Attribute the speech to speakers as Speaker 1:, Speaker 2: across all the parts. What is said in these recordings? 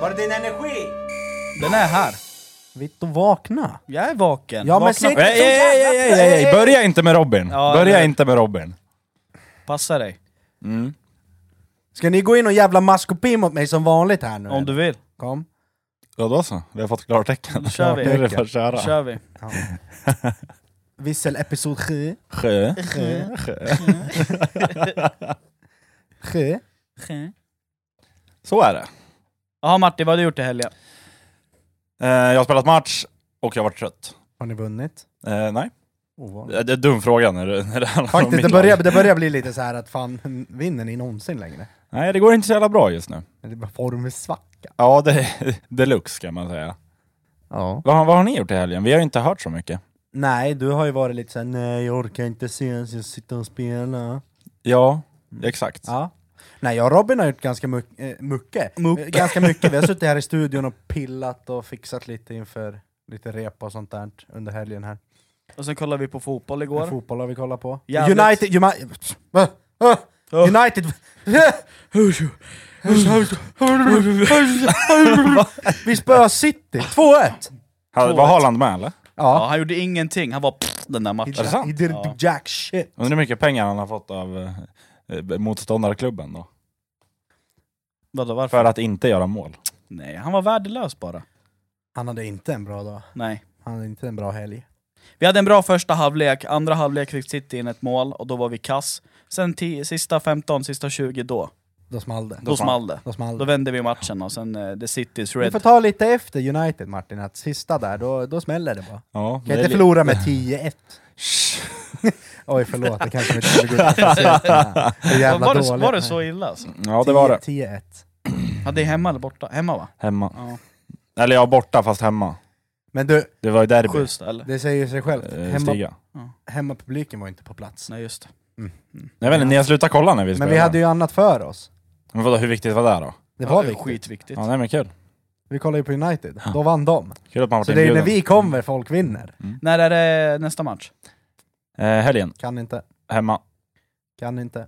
Speaker 1: Var är din energi?
Speaker 2: Den är här.
Speaker 3: Vitt och vakna.
Speaker 2: Jag är vaken.
Speaker 3: Ja, men
Speaker 2: Vakna
Speaker 3: sitt-
Speaker 2: upp.
Speaker 4: Ej, ej, ej, ej, ej, ej, börja inte med Robin.
Speaker 2: Ja,
Speaker 4: börja
Speaker 2: eller-
Speaker 4: inte med Robin.
Speaker 2: Passa dig.
Speaker 3: Ska ni gå in och jävla maskopi mot mig som vanligt här nu?
Speaker 2: Om du vill.
Speaker 3: Kom.
Speaker 4: Ja, då så, vi har fått klartecken.
Speaker 2: Då kör vi.
Speaker 4: Nu är det bara att köra.
Speaker 2: kör vi.
Speaker 3: Vissel episod 7.
Speaker 4: Sjö. Så är det.
Speaker 2: Jaha Martin, vad har du gjort i helgen?
Speaker 4: Eh, Jag har spelat match och jag har varit trött.
Speaker 3: Har ni vunnit?
Speaker 4: Eh, nej,
Speaker 3: Ovanligt.
Speaker 4: det det är en dum fråga när det, när det handlar om
Speaker 3: Faktiskt,
Speaker 4: mitt
Speaker 3: det
Speaker 4: lag.
Speaker 3: börjar, det börjar bli lite så här att fan, vinner ni någonsin längre?
Speaker 4: Nej, det går inte så jävla bra just nu.
Speaker 3: Det är bara formsvacka.
Speaker 4: Ja, det är deluxe kan man säga.
Speaker 3: Ja.
Speaker 4: Vad, har- vad har ni gjort i helgen? Vi har ju inte hört så mycket.
Speaker 3: Nej, du har ju varit lite såhär, nej jag orkar inte ses, jag sitter och spelar.
Speaker 4: Ja, exakt.
Speaker 3: Ja. Nej, jag och Robin har gjort ganska mycket, eh, mycket. Eh, ganska mycket. Vi har suttit här i studion och pillat och fixat lite inför lite rep och sånt där under helgen här.
Speaker 2: Och sen kollade vi på fotboll
Speaker 3: Vilken
Speaker 2: igår.
Speaker 3: fotboll har vi kollat på?
Speaker 2: Jävligt.
Speaker 3: United... Uni- Va? Va? United... vi spöar City, 2-1!
Speaker 4: Ha- Var Haaland med eller?
Speaker 2: Ja,
Speaker 3: Ja.
Speaker 2: han gjorde ingenting, han var pff, den där
Speaker 3: He
Speaker 2: matchen.
Speaker 4: det sant?
Speaker 3: didn't do jack shit.
Speaker 4: Undrar hur mycket pengar han har fått av eh, eh, motståndarklubben då?
Speaker 2: Vadå varför?
Speaker 4: För att inte göra mål.
Speaker 2: Nej, han var värdelös bara.
Speaker 3: Han hade inte en bra dag.
Speaker 2: Nej.
Speaker 3: Han hade inte en bra helg.
Speaker 2: Vi hade en bra första halvlek, andra halvlek fick City in ett mål och då var vi kass. Sen ti- sista 15, sista 20 då,
Speaker 3: Då small det.
Speaker 2: då, small det.
Speaker 3: Då small
Speaker 2: Då
Speaker 3: det.
Speaker 2: vände vi matchen och sen eh, the Citys
Speaker 3: Vi
Speaker 2: red.
Speaker 3: får ta lite efter United Martin, att sista där, då, då smäller det bara.
Speaker 4: Ja,
Speaker 3: Kan
Speaker 4: det
Speaker 3: inte
Speaker 4: är li-
Speaker 3: förlora med 10-1. Oj förlåt, det kanske vi inte skulle gå ut och säga. Det är jävla
Speaker 2: var, det,
Speaker 3: dåligt.
Speaker 2: var det så illa alltså?
Speaker 4: Ja, det var det.
Speaker 3: 10-1.
Speaker 2: Ja, det är hemma eller borta? Hemma va?
Speaker 4: Hemma.
Speaker 2: Ja.
Speaker 4: Eller ja, borta fast hemma.
Speaker 3: Men du,
Speaker 4: Det var ju derby.
Speaker 2: Schyssta eller?
Speaker 3: det säger sig självt.
Speaker 4: eh,
Speaker 3: Hemma,
Speaker 4: Stiga.
Speaker 3: hemmapubliken var inte på plats.
Speaker 2: Nej just det.
Speaker 4: Jag vet inte, ni har slutat kolla när vi
Speaker 3: Men
Speaker 4: spelade.
Speaker 3: vi hade ju annat för oss.
Speaker 4: Men vadå, hur viktigt var det då?
Speaker 3: Det
Speaker 2: Ja,
Speaker 3: var
Speaker 2: det är
Speaker 3: viktigt.
Speaker 2: skitviktigt.
Speaker 4: Ja, nej men kul.
Speaker 3: Vi kollade ju på United, då vann de.
Speaker 4: Kul att man varit
Speaker 3: Så det är ju när
Speaker 4: inbjuden.
Speaker 3: vi kommer folk vinner.
Speaker 2: När är det nästa match?
Speaker 4: Eh, helgen,
Speaker 3: Kan inte,
Speaker 4: hemma.
Speaker 3: kan inte.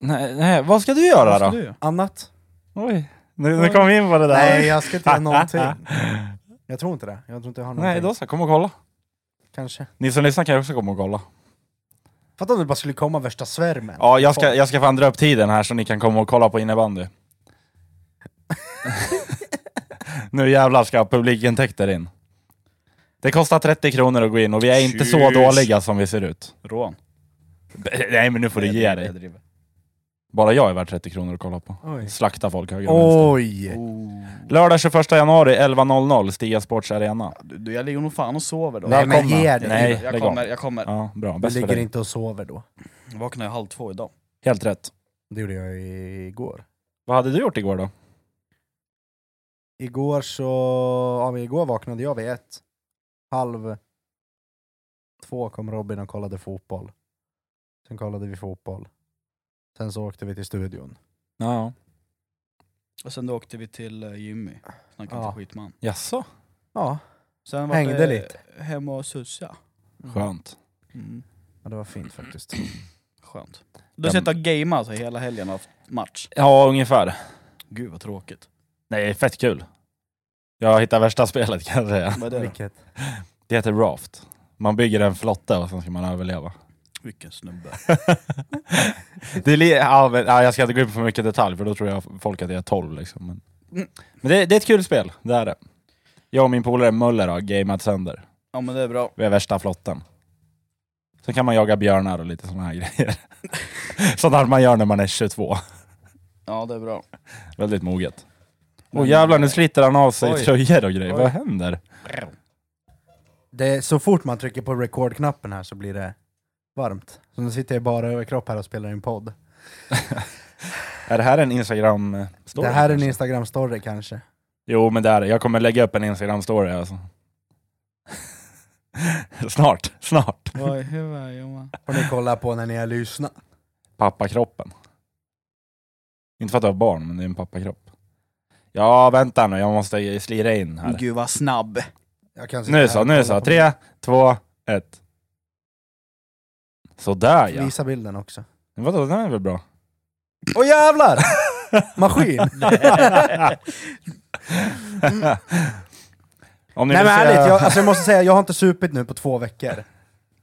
Speaker 4: Nej, nej, vad ska du göra
Speaker 2: Vad ska
Speaker 4: då?
Speaker 2: du göra?
Speaker 3: Annat?
Speaker 4: Oj, nu, nu kom vi in på det där.
Speaker 3: Nej, jag ska inte göra någonting. Jag tror inte det. Jag tror inte jag har någonting.
Speaker 4: nej då så, kom och kolla.
Speaker 3: Kanske.
Speaker 4: Ni som lyssnar kan ju också komma och kolla.
Speaker 3: Fattar om det bara skulle komma värsta svärmen.
Speaker 4: Ja, jag ska, jag ska fan dra upp tiden här så ni kan komma och kolla på innebandy. nu jävlar ska publikintäkter in. Det kostar 30 kronor att gå in och vi är inte så
Speaker 2: Tjus.
Speaker 4: dåliga som vi ser ut.
Speaker 2: Rån.
Speaker 4: B- Nej men nu får du
Speaker 2: Jag
Speaker 4: ge
Speaker 2: driver,
Speaker 4: dig.
Speaker 2: jag driver.
Speaker 4: Bara jag är värd 30 kronor att kolla på.
Speaker 3: Oj.
Speaker 4: Slakta folk höger och vänster.
Speaker 2: Oh,
Speaker 3: Oj!
Speaker 4: Lördag 21 januari 11.00 Stia Sports Arena.
Speaker 2: Du, du, jag ligger nog fan och sover då.
Speaker 3: Nej men
Speaker 4: Välkomna.
Speaker 3: ge dig!
Speaker 4: Nej,
Speaker 2: jag
Speaker 4: lägg
Speaker 2: kommer,
Speaker 4: av.
Speaker 2: jag kommer.
Speaker 4: Ja, bra.
Speaker 3: Du
Speaker 4: Bäst för
Speaker 3: ligger
Speaker 4: dig.
Speaker 3: inte och sover då.
Speaker 2: Jag vaknade halv två idag.
Speaker 4: Helt rätt.
Speaker 3: Det gjorde jag igår.
Speaker 4: Vad hade du gjort igår då?
Speaker 3: Igår så... Ja, men igår vaknade jag vid ett. Halv två kom Robin och kollade fotboll. Sen kollade vi fotboll. Sen så åkte vi till studion.
Speaker 4: Ja.
Speaker 2: Och sen då åkte vi till eh, Jimmy. Snackade
Speaker 3: Ja.
Speaker 2: inte skit man.
Speaker 4: Jaså?
Speaker 3: Ja,
Speaker 2: Sen det
Speaker 3: Hängde lite.
Speaker 2: hem och sussa. Mm.
Speaker 4: Skönt.
Speaker 3: ja det var fint faktiskt.
Speaker 2: Skönt. Du har suttit och gameat alltså, hela helgen och haft match.
Speaker 4: Ja, ungefär.
Speaker 2: Gud vad tråkigt.
Speaker 4: Nej, fett kul. Jag hittade värsta spelet kan jag säga.
Speaker 2: Vad är det då?
Speaker 3: Vilket?
Speaker 4: Det heter Raft. Man bygger en flotte och sen ska man överleva.
Speaker 2: Vilken snubbe.
Speaker 4: Det är li- ja, men, ja, jag ska inte gå in på för mycket detalj för då tror jag folk att jag är 12 liksom. Men,
Speaker 2: Mm.
Speaker 4: men det, det är ett kul spel, det är det. Jag och min polare Möller har gameat sönder.
Speaker 2: Ja men det är bra.
Speaker 4: Vi är värsta flotten. Sen kan man jaga björnar och lite sådana här grejer. Sånt här man gör när man är 22.
Speaker 2: Ja det är bra.
Speaker 4: Väldigt moget. Åh jävlar, nu sliter han av sig
Speaker 2: Oj.
Speaker 4: tröjor och grejer.
Speaker 2: Oj.
Speaker 4: Vad händer?
Speaker 3: Det är, så fort man trycker på record-knappen här så blir det varmt. Så nu sitter jag bara överkropp här och spelar in podd.
Speaker 4: Är det här en Instagram-story?
Speaker 3: det här är en
Speaker 4: kanske?
Speaker 3: Instagram-story kanske.
Speaker 4: Jo, men det är det. Jag kommer lägga upp en Instagram-story alltså. snart, snart.
Speaker 2: Vad i huvudet Johan?
Speaker 3: Får ni kolla på när ni har lyssnat.
Speaker 4: Pappakroppen. Inte för att jag har barn, men det är en pappakropp. Ja, vänta nu. Jag måste slira in här.
Speaker 2: Gud vad snabb.
Speaker 3: Jag kan sitta
Speaker 4: Nu
Speaker 3: här
Speaker 4: så,
Speaker 3: och
Speaker 4: nu
Speaker 3: kolla
Speaker 4: så.
Speaker 3: på-
Speaker 4: Tre, två, ett. Sådär ja.
Speaker 3: Visa bilden också.
Speaker 4: Men Vadå, den är väl bra?
Speaker 3: Åh jävlar! Maskin!
Speaker 4: Om ni
Speaker 3: Nej men
Speaker 4: vill se-
Speaker 3: ärligt, jag, alltså, jag måste säga, jag har inte supit nu på två veckor.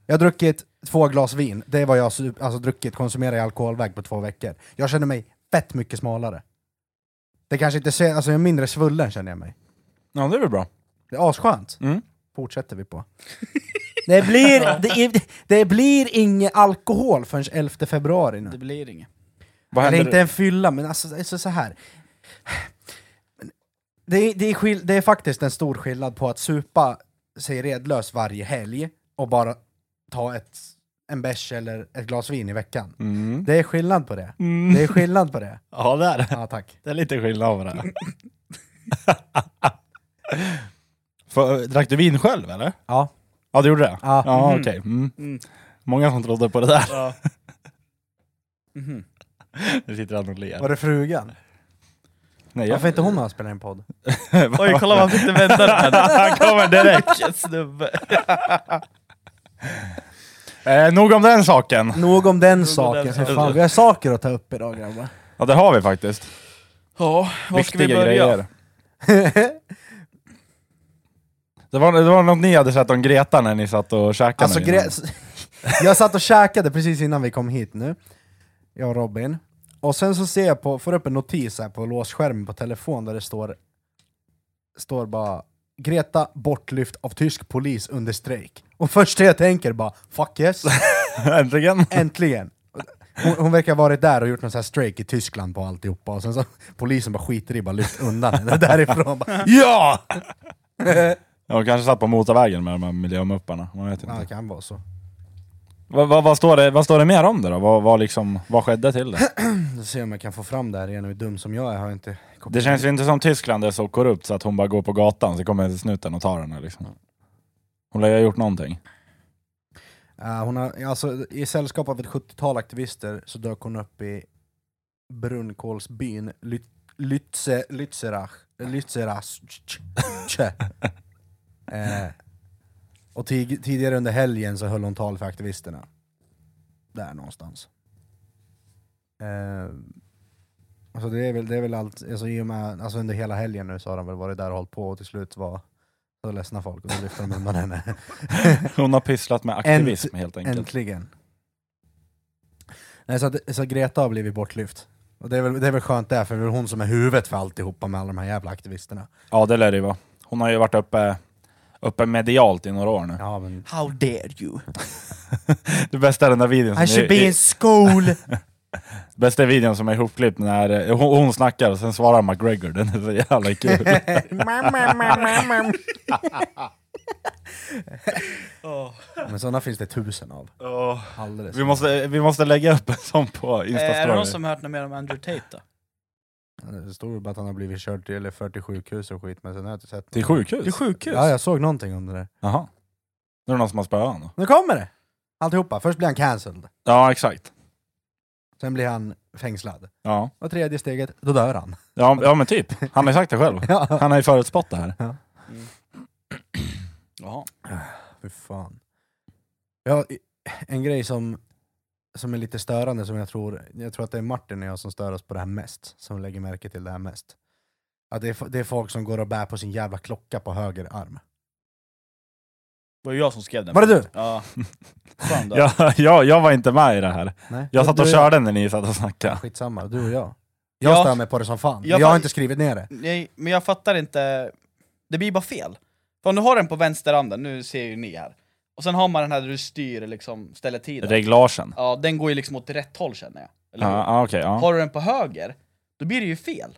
Speaker 3: Jag har druckit två glas vin, det är vad jag har sup- alltså, druckit, konsumerat i alkoholväg på två veckor. Jag känner mig fett mycket smalare. Det kanske inte ser, alltså jag är mindre svullen känner jag mig.
Speaker 4: Ja, det är väl bra.
Speaker 3: Det är asskönt.
Speaker 4: Mm.
Speaker 3: Fortsätter vi på. Det blir, det, det blir ingen alkohol förrän 11 februari nu.
Speaker 2: Det blir inget.
Speaker 4: Vad
Speaker 3: Eller
Speaker 4: händer?
Speaker 3: inte en fylla, men alltså, alltså så här. Det är, det, är skill- det är faktiskt en stor skillnad på att supa sig redlös varje helg och bara ta ett, en bärs eller ett glas vin i veckan.
Speaker 4: Mm.
Speaker 3: Det är skillnad på det. Det är skillnad på det.
Speaker 4: Ja, det är det.
Speaker 3: Ja, tack.
Speaker 4: Det är lite skillnad på det. För, drack du vin själv eller?
Speaker 3: Ja.
Speaker 4: Ja, du gjorde det?
Speaker 3: Ja.
Speaker 4: ja
Speaker 2: Mhm.
Speaker 4: okej. Mm.
Speaker 2: Mm.
Speaker 4: Många som trodde på det där.
Speaker 2: Ja. Mhm.
Speaker 4: Nu sitter han och ler.
Speaker 3: Var det frugan?
Speaker 4: Nej,
Speaker 3: Varför är inte hon med och spelar in podd?
Speaker 2: Oj, kolla vad han sitter och väntar på.
Speaker 4: Han kommer direkt.
Speaker 2: Vilken snubbe.
Speaker 4: Eh, nog om den saken.
Speaker 3: Nog om den
Speaker 2: saken,
Speaker 3: saken.
Speaker 2: för
Speaker 3: Fan, vi har saker att ta upp idag grabbar.
Speaker 4: Ja, det har vi faktiskt.
Speaker 2: Ja, var ska vi
Speaker 4: Viktiga
Speaker 2: börja?
Speaker 4: grejer. Det var, det var något ni hade sett om Greta när ni satt och käkade
Speaker 3: Alltså,
Speaker 4: med henne.
Speaker 3: gre- jag satt och käkade precis innan vi kom hit nu, jag och Robin. Och sen så ser jag på, får upp en notis här på låsskärmen på telefon där det står, står bara Greta bortlyft av tysk polis under strejk. Och första jag tänker bara, fuck yes,
Speaker 4: Äntligen!
Speaker 3: äntligen! Hon, hon verkar ha varit där och gjort någon sån här strejk i Tyskland på alltihopa, och sen så polisen bara skiter i bara lyft undan henne därifrån. Bara,
Speaker 4: Ja! Jag kanske satt på motorvägen med de här miljömupparna, man vet inte.
Speaker 3: ja, det kan vara så.
Speaker 4: Vad, vad, vad, står det, vad står det mer om det då? Vad, vad, liksom, vad skedde till det?
Speaker 3: Då ser jag om jag kan få fram det här igen, hur dum som jag är har jag inte kopplat
Speaker 4: Det känns ju inte som Tyskland är så korrupt så att hon bara går på gatan så kommer snuten och tar henne liksom. Hon lär ju ha gjort någonting.
Speaker 3: Eh, hon har, alltså, I sällskap av ett 70-tal aktivister så dök hon upp i brunkålsbyn Lüt- Lütze- Lützerach. Lützerach. Eh, och tig- tidigare under helgen så höll hon tal för aktivisterna. Där någonstans. Eh, alltså det är väl, det är väl allt, alltså i och med, alltså under hela helgen nu så har de väl varit där och hållit på och till slut var så ledsna folk och då lyfte de undan henne.
Speaker 4: Hon har pysslat med aktivism helt enkelt.
Speaker 3: Äntligen. Nej, så, att, så Greta har blivit bortlyft. Och det är, väl, det är väl skönt det, för det är väl hon som är huvudet för alltihopa med alla de här jävla aktivisterna.
Speaker 4: Ja det lär det ju vara. Hon har ju varit uppe, uppe medialt i några år nu.
Speaker 3: Ja, men...
Speaker 2: How dare you?
Speaker 4: Det bästa är den där videon
Speaker 3: I
Speaker 4: som
Speaker 3: should
Speaker 4: Alltså, är,
Speaker 3: be in school!
Speaker 4: bästa är videon som är ihopklippt när eh, hon, hon snackar och sen svarar McGregor. Den är så jävla kul.
Speaker 3: men sådana finns det tusen av. Alldeles.
Speaker 4: vi, måste, vi måste lägga upp en sån
Speaker 2: Eh, är
Speaker 4: på
Speaker 2: det någon
Speaker 4: Instastory.
Speaker 2: som hört något mer om Andrew Tate då?
Speaker 3: Det stod ju bara att han har blivit körd till, eller fört till sjukhus och skit, men sen har jag inte sett
Speaker 4: Till
Speaker 3: något.
Speaker 4: sjukhus?
Speaker 2: Till sjukhus?
Speaker 3: Ja, jag såg någonting om det där.
Speaker 4: Jaha. Nu är det någon som har spöat honom.
Speaker 3: Nu kommer det! Alltihopa. Först blir han cancelled,
Speaker 4: Ja, exakt.
Speaker 3: sen blir han fängslad.
Speaker 4: Ja.
Speaker 3: Och tredje steget, då dör han.
Speaker 4: Ja, ja men typ. Han har ju sagt det själv.
Speaker 3: Ja.
Speaker 4: Han har ju förutspått det här.
Speaker 2: Jaha.
Speaker 3: Fy fan. Ja, i- en grej som, som är lite störande, som jag tror, jag tror att det är Martin och jag som stör oss på det här mest, som lägger märke till det här mest. Att det är, fo- det är folk som går och bär på sin jävla klocka på höger arm.
Speaker 2: Det var ju jag som skrev den.
Speaker 3: Var det du?
Speaker 2: Ja. Fan då.
Speaker 4: Jag, jag, jag var inte med i det här.
Speaker 3: Nej.
Speaker 4: Jag satt och
Speaker 3: Du-
Speaker 4: körde när ni satt och snackade.
Speaker 3: Skitsamma, du och jag. Jag
Speaker 2: Ja.
Speaker 3: stör mig på det som fan,
Speaker 2: Jag
Speaker 3: jag, jag har
Speaker 2: fa-
Speaker 3: inte skrivit ner det.
Speaker 2: Nej, men jag fattar inte. Det blir bara fel. För om du har den på vänsteranden, nu ser ju ni här. Och sen har man den här där du styr liksom, ställer tiden.
Speaker 4: Reglagen.
Speaker 2: Ja, den går ju liksom åt rätt håll känner jag. Eller hur?
Speaker 4: Ja, ja, okej. ja.
Speaker 2: Har du den på höger, då blir det ju fel.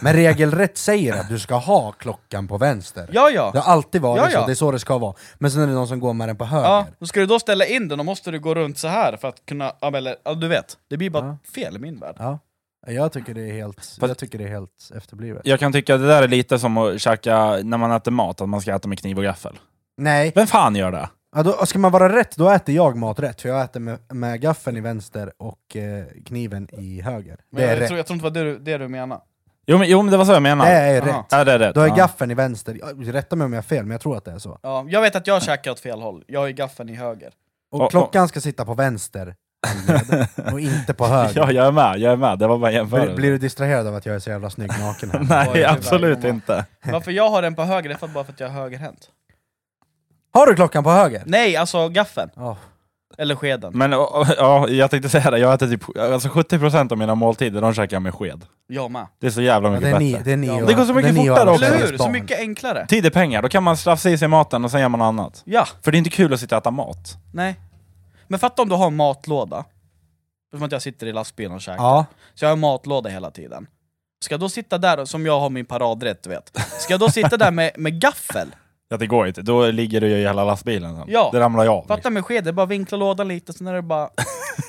Speaker 3: Men regelrätt säger att du ska ha klockan på vänster.
Speaker 2: Ja, ja.
Speaker 3: Det har alltid varit
Speaker 2: Ja, ja.
Speaker 3: så, det är så det ska vara. Men sen är det någon som går med den på höger.
Speaker 2: ja. Då ska du då ställa in den, då måste du gå runt så här för att kunna... Ja, men eller, ja du vet. Det blir bara fel i min värld.
Speaker 3: Ja. Jag tycker det är helt, jag tycker det är helt efterblivet.
Speaker 4: Jag kan tycka att det där är lite som att käka när man äter mat, att man ska äta med kniv och gaffel.
Speaker 3: Nej,
Speaker 4: Vem fan gör det?
Speaker 3: Ja, då, ska man vara rätt, då äter jag mat rätt, för jag äter med, med gaffeln i vänster och eh, kniven i höger.
Speaker 2: Men
Speaker 3: Det är
Speaker 2: jag,
Speaker 3: rätt.
Speaker 2: tror, jag tror inte det var det du, det du menade.
Speaker 4: Jo men, jo, men det var så jag
Speaker 3: Det
Speaker 4: menade.
Speaker 3: är
Speaker 2: Aha.
Speaker 3: rätt.
Speaker 4: Ja, det är rätt.
Speaker 3: Då är
Speaker 4: ja.
Speaker 3: gaffeln i vänster, Ja, rätta mig om jag har fel, men jag tror att det är så.
Speaker 2: Ja, jag vet att jag käkar åt fel håll. Jag har ju gaffeln i höger.
Speaker 3: Och
Speaker 4: Och-
Speaker 3: klockan ska sitta på vänster handled och inte på höger.
Speaker 4: Ja, jag är med, jag är med. Det var bara en jämförelse.
Speaker 3: blir, blir du distraherad av att jag är så jävla snygg naken här?
Speaker 2: Oj, det
Speaker 4: Nej,
Speaker 2: är
Speaker 4: absolut
Speaker 2: verkligen.
Speaker 4: inte.
Speaker 2: Varför jag har den på höger det är för bara för att jag är högerhänt.
Speaker 3: Har du klockan på höger?
Speaker 2: Nej, alltså gaffeln.
Speaker 3: Ja.
Speaker 2: Eller skeden.
Speaker 4: Men och- och- ja, jag tänkte säga det, jag äter typ alltså 70% av mina måltider, de käkar jag med sked.
Speaker 2: Jag med.
Speaker 4: Det är så jävla
Speaker 3: Ja,
Speaker 4: mycket
Speaker 3: det, är ni,
Speaker 4: bättre.
Speaker 3: det, är ni
Speaker 2: Ja.
Speaker 3: och,
Speaker 4: Det går så mycket
Speaker 3: är ni och
Speaker 4: fortare
Speaker 3: alla
Speaker 4: också.
Speaker 2: Eller
Speaker 3: Sveriges
Speaker 2: hur? Så
Speaker 3: barn.
Speaker 2: mycket enklare.
Speaker 4: Tid är pengar, då kan man slafsa i sig maten och sen gör man annat.
Speaker 2: Ja,
Speaker 4: För det är inte kul att sitta och äta mat.
Speaker 2: nej. Men fatta om du har en matlåda. Som att jag sitter i lastbilen och käkar.
Speaker 3: Ja,
Speaker 2: Så jag har en matlåda hela tiden. Ska jag då sitta där, och- som jag har min paradrätt du vet. Ska jag då sitta där med, med gaffel?
Speaker 4: Ja, det går inte, då ligger du i hela lastbilen sen.
Speaker 2: Ja.
Speaker 4: Det ramlar ju av.
Speaker 2: Fatta med sked, det är bara vinkla lådan lite, sen är det bara...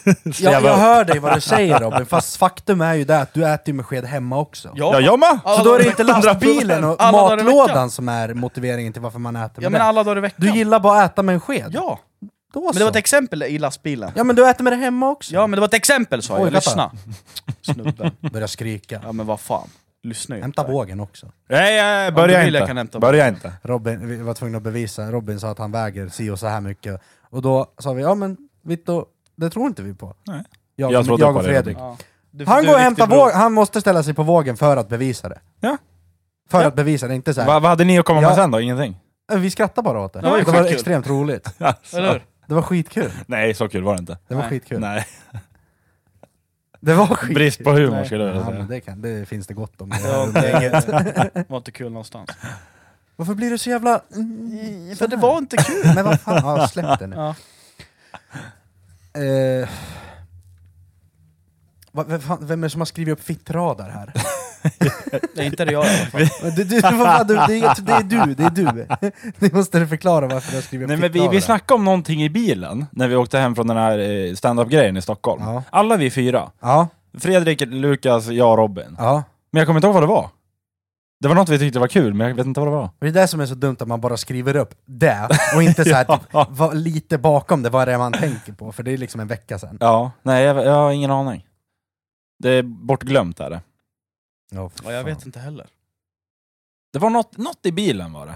Speaker 4: liksom.
Speaker 3: jag, jag
Speaker 4: Jävla-
Speaker 3: hör dig vad du säger Robin, fast faktum är ju det att du äter ju med sked hemma också.
Speaker 4: Ja, jag med!
Speaker 3: Så då är det inte lastbilen och
Speaker 2: Alla dagar i veckan.
Speaker 3: matlådan som är motiveringen till varför man äter
Speaker 2: Ja
Speaker 3: med
Speaker 2: men
Speaker 3: det.
Speaker 2: alla dagar i veckan.
Speaker 3: Du gillar bara att äta med en sked?
Speaker 2: Ja,
Speaker 3: Då
Speaker 2: men det var ett
Speaker 3: så.
Speaker 2: exempel i lastbilen.
Speaker 3: Ja men du äter med det hemma också?
Speaker 2: Ja men det var ett exempel sa jag,
Speaker 3: Oj,
Speaker 2: lyssna. Snubben.
Speaker 3: Börja skrika.
Speaker 2: Ja men vad fan, lyssna ju
Speaker 3: Hämta
Speaker 2: inte.
Speaker 3: bågen också.
Speaker 4: Nej, nej,
Speaker 2: Om
Speaker 4: börja
Speaker 2: du vill, jag kan
Speaker 4: inte.
Speaker 2: hämta
Speaker 4: Börja inte.
Speaker 3: Robin, vi var tvungna att bevisa, Robin sa att han väger si och så här mycket. Och då sa vi, ja men Vitto, det tror inte vi på.
Speaker 4: Nej.
Speaker 3: Jag,
Speaker 4: Jag
Speaker 3: jag,
Speaker 4: trodde på
Speaker 3: och
Speaker 4: det,
Speaker 3: Fredrik.
Speaker 2: Ja. Du-
Speaker 3: Han
Speaker 2: du
Speaker 3: går och
Speaker 2: är
Speaker 3: hämtar
Speaker 2: riktigt bra.
Speaker 3: våg, han måste ställa sig på vågen för att bevisa det.
Speaker 4: Ja.
Speaker 3: För
Speaker 4: Ja.
Speaker 3: att bevisa det, inte så här.
Speaker 4: Va, vad hade ni att komma med
Speaker 3: Ja.
Speaker 4: sen då? Ingenting?
Speaker 3: Vi skrattar bara åt det.
Speaker 2: Det var ju
Speaker 3: det var
Speaker 2: skitkul.
Speaker 3: extremt roligt.
Speaker 4: Alltså.
Speaker 2: Eller hur?
Speaker 3: Det var skitkul.
Speaker 4: Nej, så kul var det inte.
Speaker 3: Det var
Speaker 2: Nej.
Speaker 3: skitkul.
Speaker 4: Nej.
Speaker 3: Det var skitkul.
Speaker 4: Brist på humor
Speaker 2: Nej.
Speaker 4: skulle jag
Speaker 3: Ja,
Speaker 4: säga.
Speaker 3: men det, kan, det finns det gott om.
Speaker 2: Det var inte, det var inte kul någonstans.
Speaker 3: Varför blir du så jävla... Mm.
Speaker 2: För det var inte kul!
Speaker 3: Men vad fan, ja, släpp det nu.
Speaker 2: Ja.
Speaker 3: Eh, vad- vad fan- vem är det som har skrivit upp fittradar här?
Speaker 2: Det är inte det jag i alla fall.
Speaker 3: Men Du, du, vad fan, du, det, är, det är du, det är du. Nu måste du förklara varför du har skrivit upp
Speaker 4: Nej, men vi,
Speaker 3: fittradar.
Speaker 4: vi snackade om någonting i bilen när vi åkte hem från den här eh, stand-up-grejen i Stockholm.
Speaker 3: Ja.
Speaker 4: Alla vi fyra.
Speaker 3: Ja,
Speaker 4: Fredrik, Lukas, jag och Robin.
Speaker 3: ja.
Speaker 4: Men jag kommer inte ihåg vad det var. Det var något vi tyckte var kul, men jag vet inte vad det var.
Speaker 3: Det är det som är så dumt, att man bara skriver upp det och inte så här, typ, vad, lite bakom det, vad är det man tänker på? För det är liksom en vecka sedan.
Speaker 4: Ja, nej jag, jag har ingen aning. Det är bortglömt är det.
Speaker 3: Ja,
Speaker 2: Ja, jag vet inte heller.
Speaker 4: Det var något, något i bilen var det.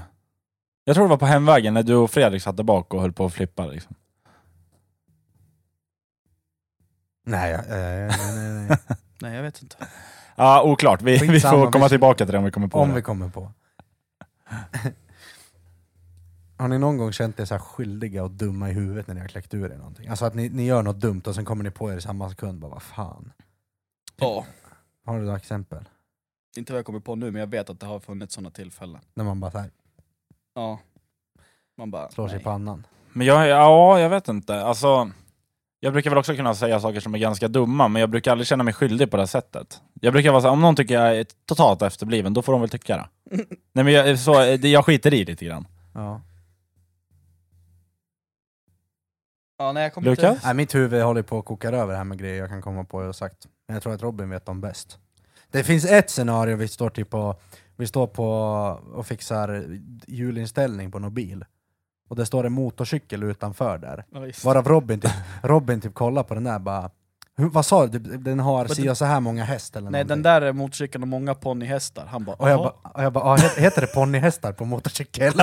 Speaker 4: Jag tror det var på hemvägen när du och Fredrik satt där bak och höll på att flippa liksom.
Speaker 3: Nej, jag- eh, nej, nej, nej.
Speaker 2: Nej jag vet inte.
Speaker 4: Ja, oklart. Vi, vi
Speaker 3: Skitsamma,
Speaker 4: får komma
Speaker 3: vi-
Speaker 4: tillbaka till det om vi kommer på
Speaker 3: Om
Speaker 4: det.
Speaker 3: vi kommer på. Har ni någon gång känt er så här skyldiga och dumma i huvudet när ni har kläckt ur er någonting? Alltså att ni, ni gör något dumt och sen kommer ni på er i samma sekund, bara vad fan.
Speaker 2: Ja,
Speaker 3: Har du några exempel?
Speaker 2: inte vad jag kommer på nu men jag vet att det har funnits sådana tillfällen.
Speaker 3: När man bara så här,
Speaker 2: Ja. Man bara...
Speaker 3: slår sig
Speaker 2: nej.
Speaker 3: i pannan.
Speaker 4: Men jag, ja, jag vet inte. Alltså, jag brukar väl också kunna säga saker som är ganska dumma, men jag brukar aldrig känna mig skyldig på det här sättet. Jag brukar vara så här, om någon tycker jag är totalt efterbliven, då får de väl tycka det. Nej men jag, så, det- jag skiter i lite grann.
Speaker 3: Ja.
Speaker 2: Ja, nej, jag kommer
Speaker 4: Lukas?
Speaker 2: Inte...
Speaker 3: Nej, mitt huvud håller på att koka över här med grejer jag kan komma på jag har sagt. Men jag tror att Robin vet dem bäst. Det finns ett scenario vi står typ och, vi står på och fixar hjulinställning på någon bil. Och det står en motorcykel utanför där.
Speaker 2: Ja, visst.
Speaker 3: Varav Robin typ, Robin typ kollar på den där bara "Hur- Vad sa du? Typ, Den har
Speaker 2: Men
Speaker 3: si
Speaker 2: det-
Speaker 3: och så här många häst eller
Speaker 2: Nej den
Speaker 3: någonting."
Speaker 2: där motorcykeln och många ponnyhästar, han bara
Speaker 3: Och jag
Speaker 2: "Jaha."
Speaker 3: bara, och jag bara "Ah, he- heter det ponnyhästar på motorcykel?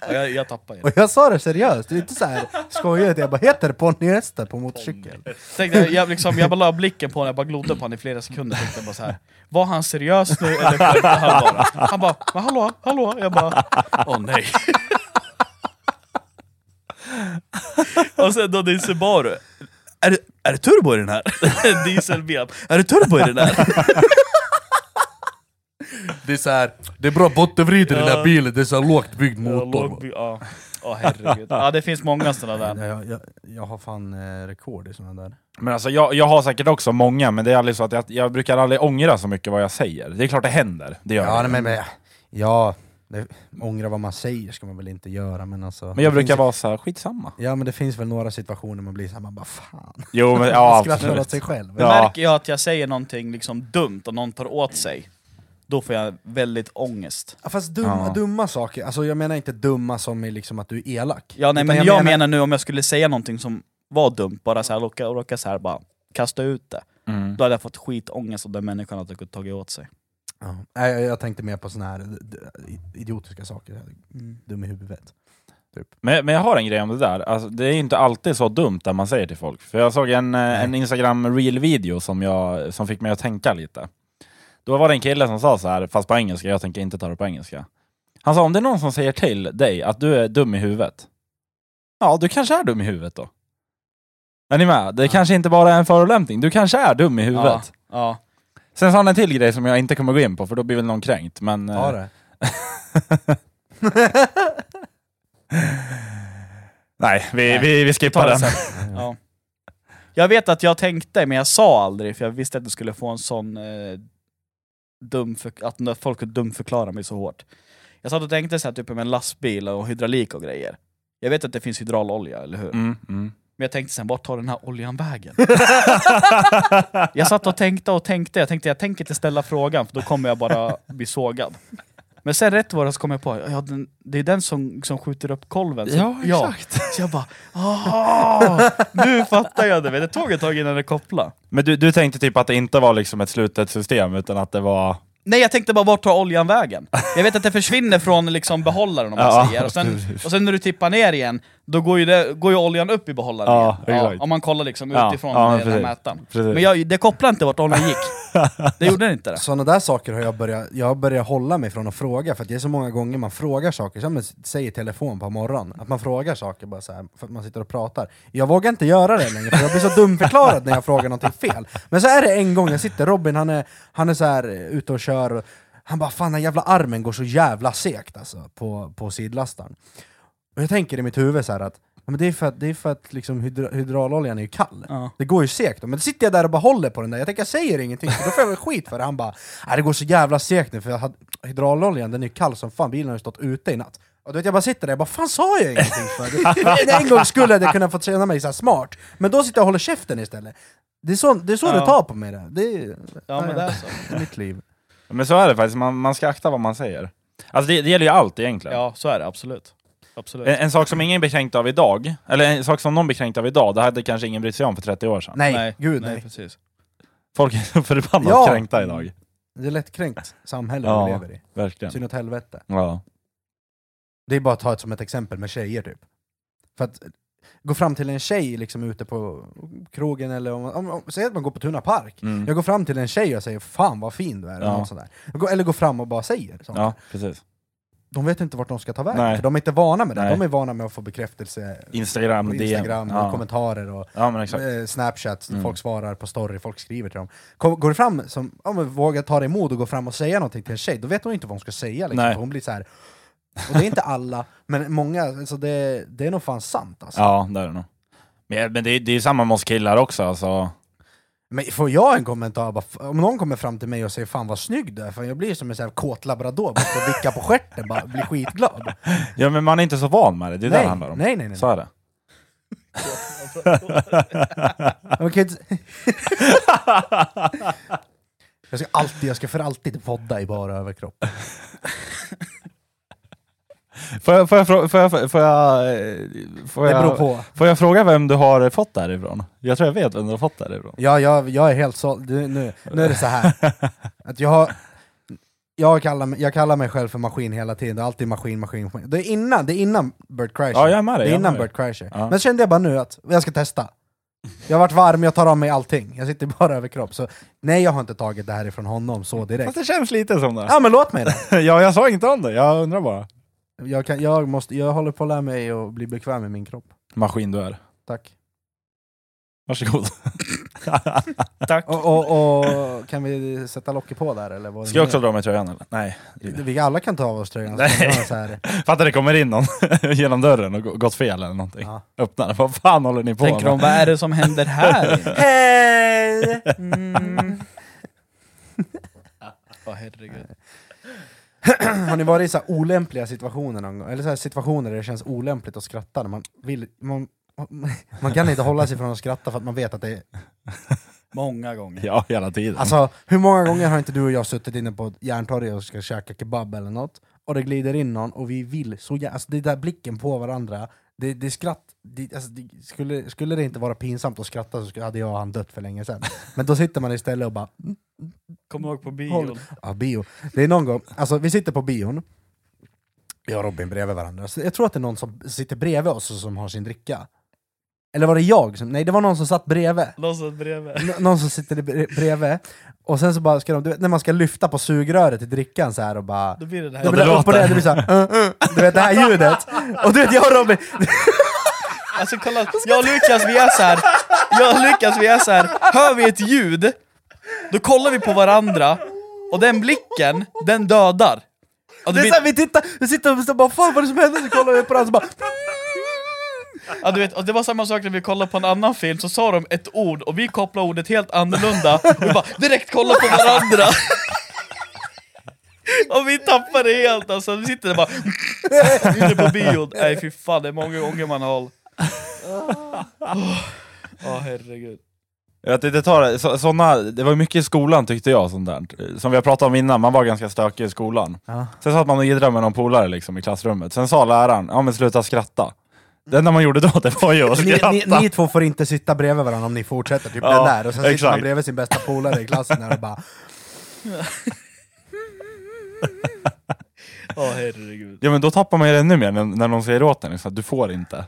Speaker 2: Ja, jag, jag tappar ju
Speaker 3: Och
Speaker 2: det.
Speaker 3: jag sa det seriöst, det är inte såhär skojigt, jag bara heter det ponnyhästar på motorcykel?
Speaker 2: Tänkte, jag- jag, liksom, jag bara la blicken på honom, jag bara glodde på honom i flera sekunder tänkte bara så här. Var han seriös nu eller skämtade han bara? Han bara "Men hallå, hallå? Jag bara åh nej Och sen då din Subaru är det, är det turbo i den här? En dieselbil Är det turbo i den här?
Speaker 3: Det är så det är bra bottenvrid
Speaker 2: i den här Ja.
Speaker 3: bilen, det är så lågt byggd
Speaker 2: Ja, låg- Ja, Åh, herregud Ja det finns många sådana där
Speaker 3: Jag, jag, jag har fan eh, rekord i sådana där.
Speaker 4: Men alltså, jag, jag har säkert också många, men det är aldrig så att jag, jag brukar aldrig ångra så mycket vad jag säger. Det är klart det händer, det gör
Speaker 3: Ja,
Speaker 4: det.
Speaker 3: nej, men, men ja, det, ångra vad man säger ska man väl inte göra men alltså...
Speaker 4: Men jag
Speaker 3: det
Speaker 4: brukar
Speaker 3: finns,
Speaker 4: vara så här, skitsamma.
Speaker 3: Ja men det finns väl några situationer man blir såhär, man bara fan.
Speaker 4: Jo, men ja,
Speaker 3: Skrattar åt
Speaker 4: absolut.
Speaker 3: sig själv.
Speaker 4: Ja.
Speaker 2: Märker jag att jag säger någonting liksom dumt och någon tar åt sig Då får jag väldigt ångest
Speaker 3: Ja, Fast dumma,
Speaker 4: Ja.
Speaker 3: dumma saker, alltså jag menar inte dumma som är liksom att du är elak.
Speaker 2: Ja, nej,
Speaker 3: Utan
Speaker 2: men jag, menar... nu om jag skulle säga någonting som var dumt, bara så här, råka, råka så här, bara kasta ut det.
Speaker 4: Mm.
Speaker 2: Då hade jag fått skitångest av den människan att jag tagit åt sig.
Speaker 3: Ja.
Speaker 2: Mm.
Speaker 3: Nej, jag, jag tänkte mer på såna här d- d- idiotiska saker, dum i huvudet. Typ.
Speaker 4: Men, men jag har en grej om det där. Alltså, det är ju inte alltid så dumt det man säger till folk. För jag såg en, eh, en Instagram reel-video som, jag- som fick mig att tänka lite. Då var det en kille som sa så här, fast på engelska, jag tänker inte ta det på engelska. Han sa, om det är någon som säger till dig att du är dum i huvudet. Ja, du kanske är dum i huvudet då. Är ni med? Det kanske inte bara är en förolämpning. Du kanske är dum i huvudet.
Speaker 2: Ja, ja.
Speaker 4: Sen sa han en till grej som jag inte kommer gå in på, för då blir väl någon kränkt. Men,
Speaker 3: Ta
Speaker 4: eh,
Speaker 3: det.
Speaker 4: Nej, vi,
Speaker 2: Nej.
Speaker 4: Vi, vi
Speaker 2: Ta
Speaker 4: skippar
Speaker 2: det
Speaker 4: den.
Speaker 2: sen. Ja. Jag vet att jag tänkte, men jag sa aldrig, för jag visste att du skulle få en sån... Eh, dum för, att när folk dumförklarar mig så hårt. Jag satt och tänkte så här, typ med en lastbil och hydraulik och grejer. Jag vet att det finns hydraulolja, eller hur?
Speaker 4: Mm, mm.
Speaker 2: Men jag tänkte sen, vart tar den här oljan vägen? jag satt och tänkte och tänkte, jag tänkte jag tänker inte ställa frågan för då kommer jag bara bli sågad. Men sen rätt vad det var så kom jag på, ja, den, det är den som, som skjuter upp kolven. Så, Så jag bara, "Ah, nu fattar jag det! Det tog ett tag innan det kopplade.
Speaker 4: Men du, du tänkte typ att det inte var liksom ett slutet system, utan att det var...
Speaker 2: Nej jag tänkte bara, vart tar oljan vägen? Jag vet att det försvinner från liksom behållaren om man
Speaker 4: Ja,
Speaker 2: säger, och sen,
Speaker 4: precis.
Speaker 2: och sen när du tippar ner igen, då går ju, det, går ju oljan upp i behållaren
Speaker 4: Ja,
Speaker 2: igen.
Speaker 4: exakt.
Speaker 2: om man kollar liksom
Speaker 4: Ja,
Speaker 2: utifrån
Speaker 4: ja,
Speaker 2: den här
Speaker 4: precis.
Speaker 2: mätaren.
Speaker 4: Precis.
Speaker 2: Men jag, det kopplade inte vart oljan gick. Det gjorde det inte det.
Speaker 3: Sådana där saker har jag börjat, jag har börjat hålla mig från att fråga, för att det är så många gånger man frågar saker, som man säger i telefon på morgonen, att man frågar saker bara så här, för att man sitter och pratar. Jag vågar inte göra det längre, för jag blir så dumförklarad när jag frågar någonting fel. Men så är det en gång, jag sitter, Robin han är, han är så här eh, ute och kör, och han bara 'Fan den jävla armen går så jävla segt alltså, på, på sidlastaren' Och jag tänker i mitt huvud så här att ja, men det är för att, det är för att liksom hydra, hydrauloljan är ju kall.
Speaker 2: Ja.
Speaker 3: Det går ju segt. då. Men då sitter jag där och bara håller på den där. Jag tänker jag säger ingenting, för då får jag väl skit för det. Han bara "Nej, det går så jävla segt nu för jag hade, hydrauloljan den är ju kall som fan, bilen har ju stått ute i natt. Och du vet, jag bara sitter där och bara fan sa jag ingenting för? Det- en gång skulle jag kunna fått känna mig så här smart, men då sitter jag och håller käften istället. Det är så det, är så
Speaker 2: Ja.
Speaker 3: det tar på mig det. Det är,
Speaker 2: Ja, men det är så.
Speaker 3: mitt liv.
Speaker 4: Men så är det faktiskt, man, man ska akta vad man säger. Alltså det, det gäller ju allt egentligen.
Speaker 2: Ja, så är det absolut. absolut.
Speaker 4: En, en sak som ingen blir kränkt av idag, eller en sak som någon blir kränkt av idag, det hade kanske ingen brytt sig om för 30 år sedan.
Speaker 3: Nej, gud nej.
Speaker 2: precis.
Speaker 4: Folk är så förbannat
Speaker 3: Ja.
Speaker 4: kränkta idag.
Speaker 3: Det är lättkränkt samhälle
Speaker 4: Ja.
Speaker 3: vi lever i.
Speaker 4: Verkligen.
Speaker 3: Syn åt helvete.
Speaker 4: Ja.
Speaker 3: Det är bara att ta ett som ett exempel med tjejer typ. För att gå fram till en tjej liksom ute på krogen eller om, om, om säg att man går på Tuna Park.
Speaker 4: Mm.
Speaker 3: Jag går fram till en tjej och säger 'Fan vad fin du är' eller
Speaker 4: Ja.
Speaker 3: något sånt där. Jag går, eller går fram och bara säger sånt.
Speaker 4: ja, precis.
Speaker 3: De vet inte vart de ska ta vägen,
Speaker 4: Nej.
Speaker 3: för de är inte vana med det.
Speaker 4: Nej.
Speaker 3: De är vana med att få bekräftelse
Speaker 4: Instagram,
Speaker 3: på
Speaker 4: DM.
Speaker 3: Instagram, och
Speaker 4: ja.
Speaker 3: kommentarer och
Speaker 4: ja, men exakt.
Speaker 3: eh, Snapchat,
Speaker 4: Mm.
Speaker 3: folk svarar på story, folk skriver till dem. Kom, går du fram, som, ja, men vågar ta dig mod och gå fram och säga någonting till en tjej, då vet hon inte vad hon ska säga. Liksom.
Speaker 4: Nej.
Speaker 3: För Hon blir så här. Och det är inte alla, men många, alltså det, det är nog fan sant alltså.
Speaker 4: Ja, det är det nog. Men, men det, är- det är ju samma med oss killar också. Alltså.
Speaker 3: Men får jag en kommentar, bara, f- om någon kommer fram till mig och säger 'Fan vad snygg du är' för jag blir som en sån här kåt labrador, bara får vicka på stjärten, bara blir skitglad.
Speaker 4: Ja, men man är inte så van med det, det är det
Speaker 3: nej,
Speaker 4: det handlar om.
Speaker 3: nej, nej, nej.
Speaker 4: Så är det.
Speaker 3: Man kan ju inte- jag ska alltid, jag ska för alltid podda i bara överkropp.
Speaker 4: Får jag, får jag, frå- får jag, får jag, får jag, får
Speaker 3: Det
Speaker 4: jag,
Speaker 3: beror på.
Speaker 4: Får jag fråga vem du har fått därifrån? Jag tror jag vet vem du har fått därifrån.
Speaker 3: Ja, jag, jag är helt såld. Du, Nu, nu är det så här. Att jag, har- jag, kallar, mig- jag kallar mig själv för maskin hela tiden, det är alltid maskin, maskin, maskin. Det är innan, det är innan Bert Kreischer.
Speaker 4: Ja, jag är med dig.
Speaker 3: det är
Speaker 4: jag
Speaker 3: innan
Speaker 4: med dig.
Speaker 3: Bert Kreischer.
Speaker 4: Ja.
Speaker 3: Men så kände jag bara nu att jag ska testa. Jag har varit varm, jag tar av mig allting. Jag sitter bara över kropp. Så nej, jag har inte tagit det här ifrån honom så direkt.
Speaker 4: Mm. Fast det känns lite som det.
Speaker 3: Ja, men låt mig det.
Speaker 4: ja, jag sa inte om det. Jag undrar bara.
Speaker 3: Jag, kan, jag, måste, jag håller på att lära mig att bli bekväm med min kropp.
Speaker 4: Maskin du är.
Speaker 3: Tack.
Speaker 4: Varsågod.
Speaker 2: Tack.
Speaker 3: Och, och, och kan vi sätta locket på där eller? Vad det
Speaker 4: Ska jag
Speaker 3: nu
Speaker 4: också dra mig tröjan eller? Nej.
Speaker 3: är? Vi alla kan ta av oss tröjan.
Speaker 4: Nej.
Speaker 3: Så kan vi ha så här.
Speaker 4: Fattar det kommer in någon genom dörren och gå- gått fel eller någonting.
Speaker 3: Ja.
Speaker 4: Öppnar den. Vad fan håller ni på
Speaker 2: Tänker de,
Speaker 4: med?
Speaker 2: vad är det som händer här inne?
Speaker 3: Hej!
Speaker 2: Mm. Åh, herregud.
Speaker 3: Har ni varit i så här olämpliga situationer någon gång? Eller så här situationer där det känns olämpligt att skratta? När man, vill, man, man kan inte hålla sig från att skratta för att man vet att det är...
Speaker 2: Många gånger.
Speaker 4: Ja, hela tiden.
Speaker 3: Alltså, hur många gånger har inte du och jag suttit inne på Järntorget och ska käka kebab eller något, och det glider in någon och vi vill så jävla... Alltså, det där blicken på varandra, det, det är skratt... Det, alltså, det, skulle, skulle det inte vara pinsamt att skratta så skulle- hade jag och han dött för länge sedan. Men då sitter man istället och bara...
Speaker 2: Kommer ihåg på
Speaker 3: Håll-
Speaker 2: bion?
Speaker 3: Ja, bio. Det är någon gång, alltså vi sitter på bion, Jag och Robin bredvid varandra. Så jag tror att det är någon som sitter bredvid oss och som har sin dricka. Eller var det jag? Som, nej, det var någon som satt bredvid.
Speaker 2: Någon som bredvid.
Speaker 3: N- någon som sitter bre- bredvid. Och sen så bara ska de, du vet, när man ska lyfta på sugröret i drickan så här och bara...
Speaker 2: Då blir det det
Speaker 3: Det
Speaker 2: här.
Speaker 3: blir upp och
Speaker 4: låter.
Speaker 3: ner, det blir såhär... Uh, uh, du vet det här ljudet. Och du vet, jag och Robin...
Speaker 2: Alltså kolla, jag och Lukas vi är såhär, jag och Lukas vi är såhär, hör vi ett ljud, då kollar vi på varandra, och den blicken, den dödar. Ja,
Speaker 3: Det
Speaker 2: du,
Speaker 3: är
Speaker 2: vet,
Speaker 3: såhär, vi tittar, vi sitter och så bara fan vad är det som händer? Så kollar vi på varandra så bara...
Speaker 2: ja, du vet, och det var samma sak när vi kollade på en annan film, så sa de ett ord och vi kopplade ordet helt annorlunda, och vi bara direkt kollar på varandra. Och vi tappar det helt alltså, vi sitter där bara inne på bion. Nej fy fan, det är många gånger man har... Åh herregud.
Speaker 4: Jag vet inte, ta det. Så, såna, det var ju mycket i skolan tyckte jag, sånt där. Som vi har pratat om innan, man var ganska stökig i skolan.
Speaker 3: Ja.
Speaker 4: Sen satt man och jiddrade med någon polare liksom, i klassrummet. Sen sa läraren, ja men sluta skratta. Det enda man gjorde då, det var ju att
Speaker 3: Ni,
Speaker 4: skratta.
Speaker 3: ni, ni två får inte sitta bredvid varandra om ni fortsätter, typ
Speaker 4: Ja,
Speaker 3: den där. Och sen sitter man
Speaker 4: exakt.
Speaker 3: bredvid sin bästa polare i klassen där och bara...
Speaker 2: Åh herregud.
Speaker 4: Ja men då tappar man ju det ännu mer när, när någon säger åt en, liksom, du får inte.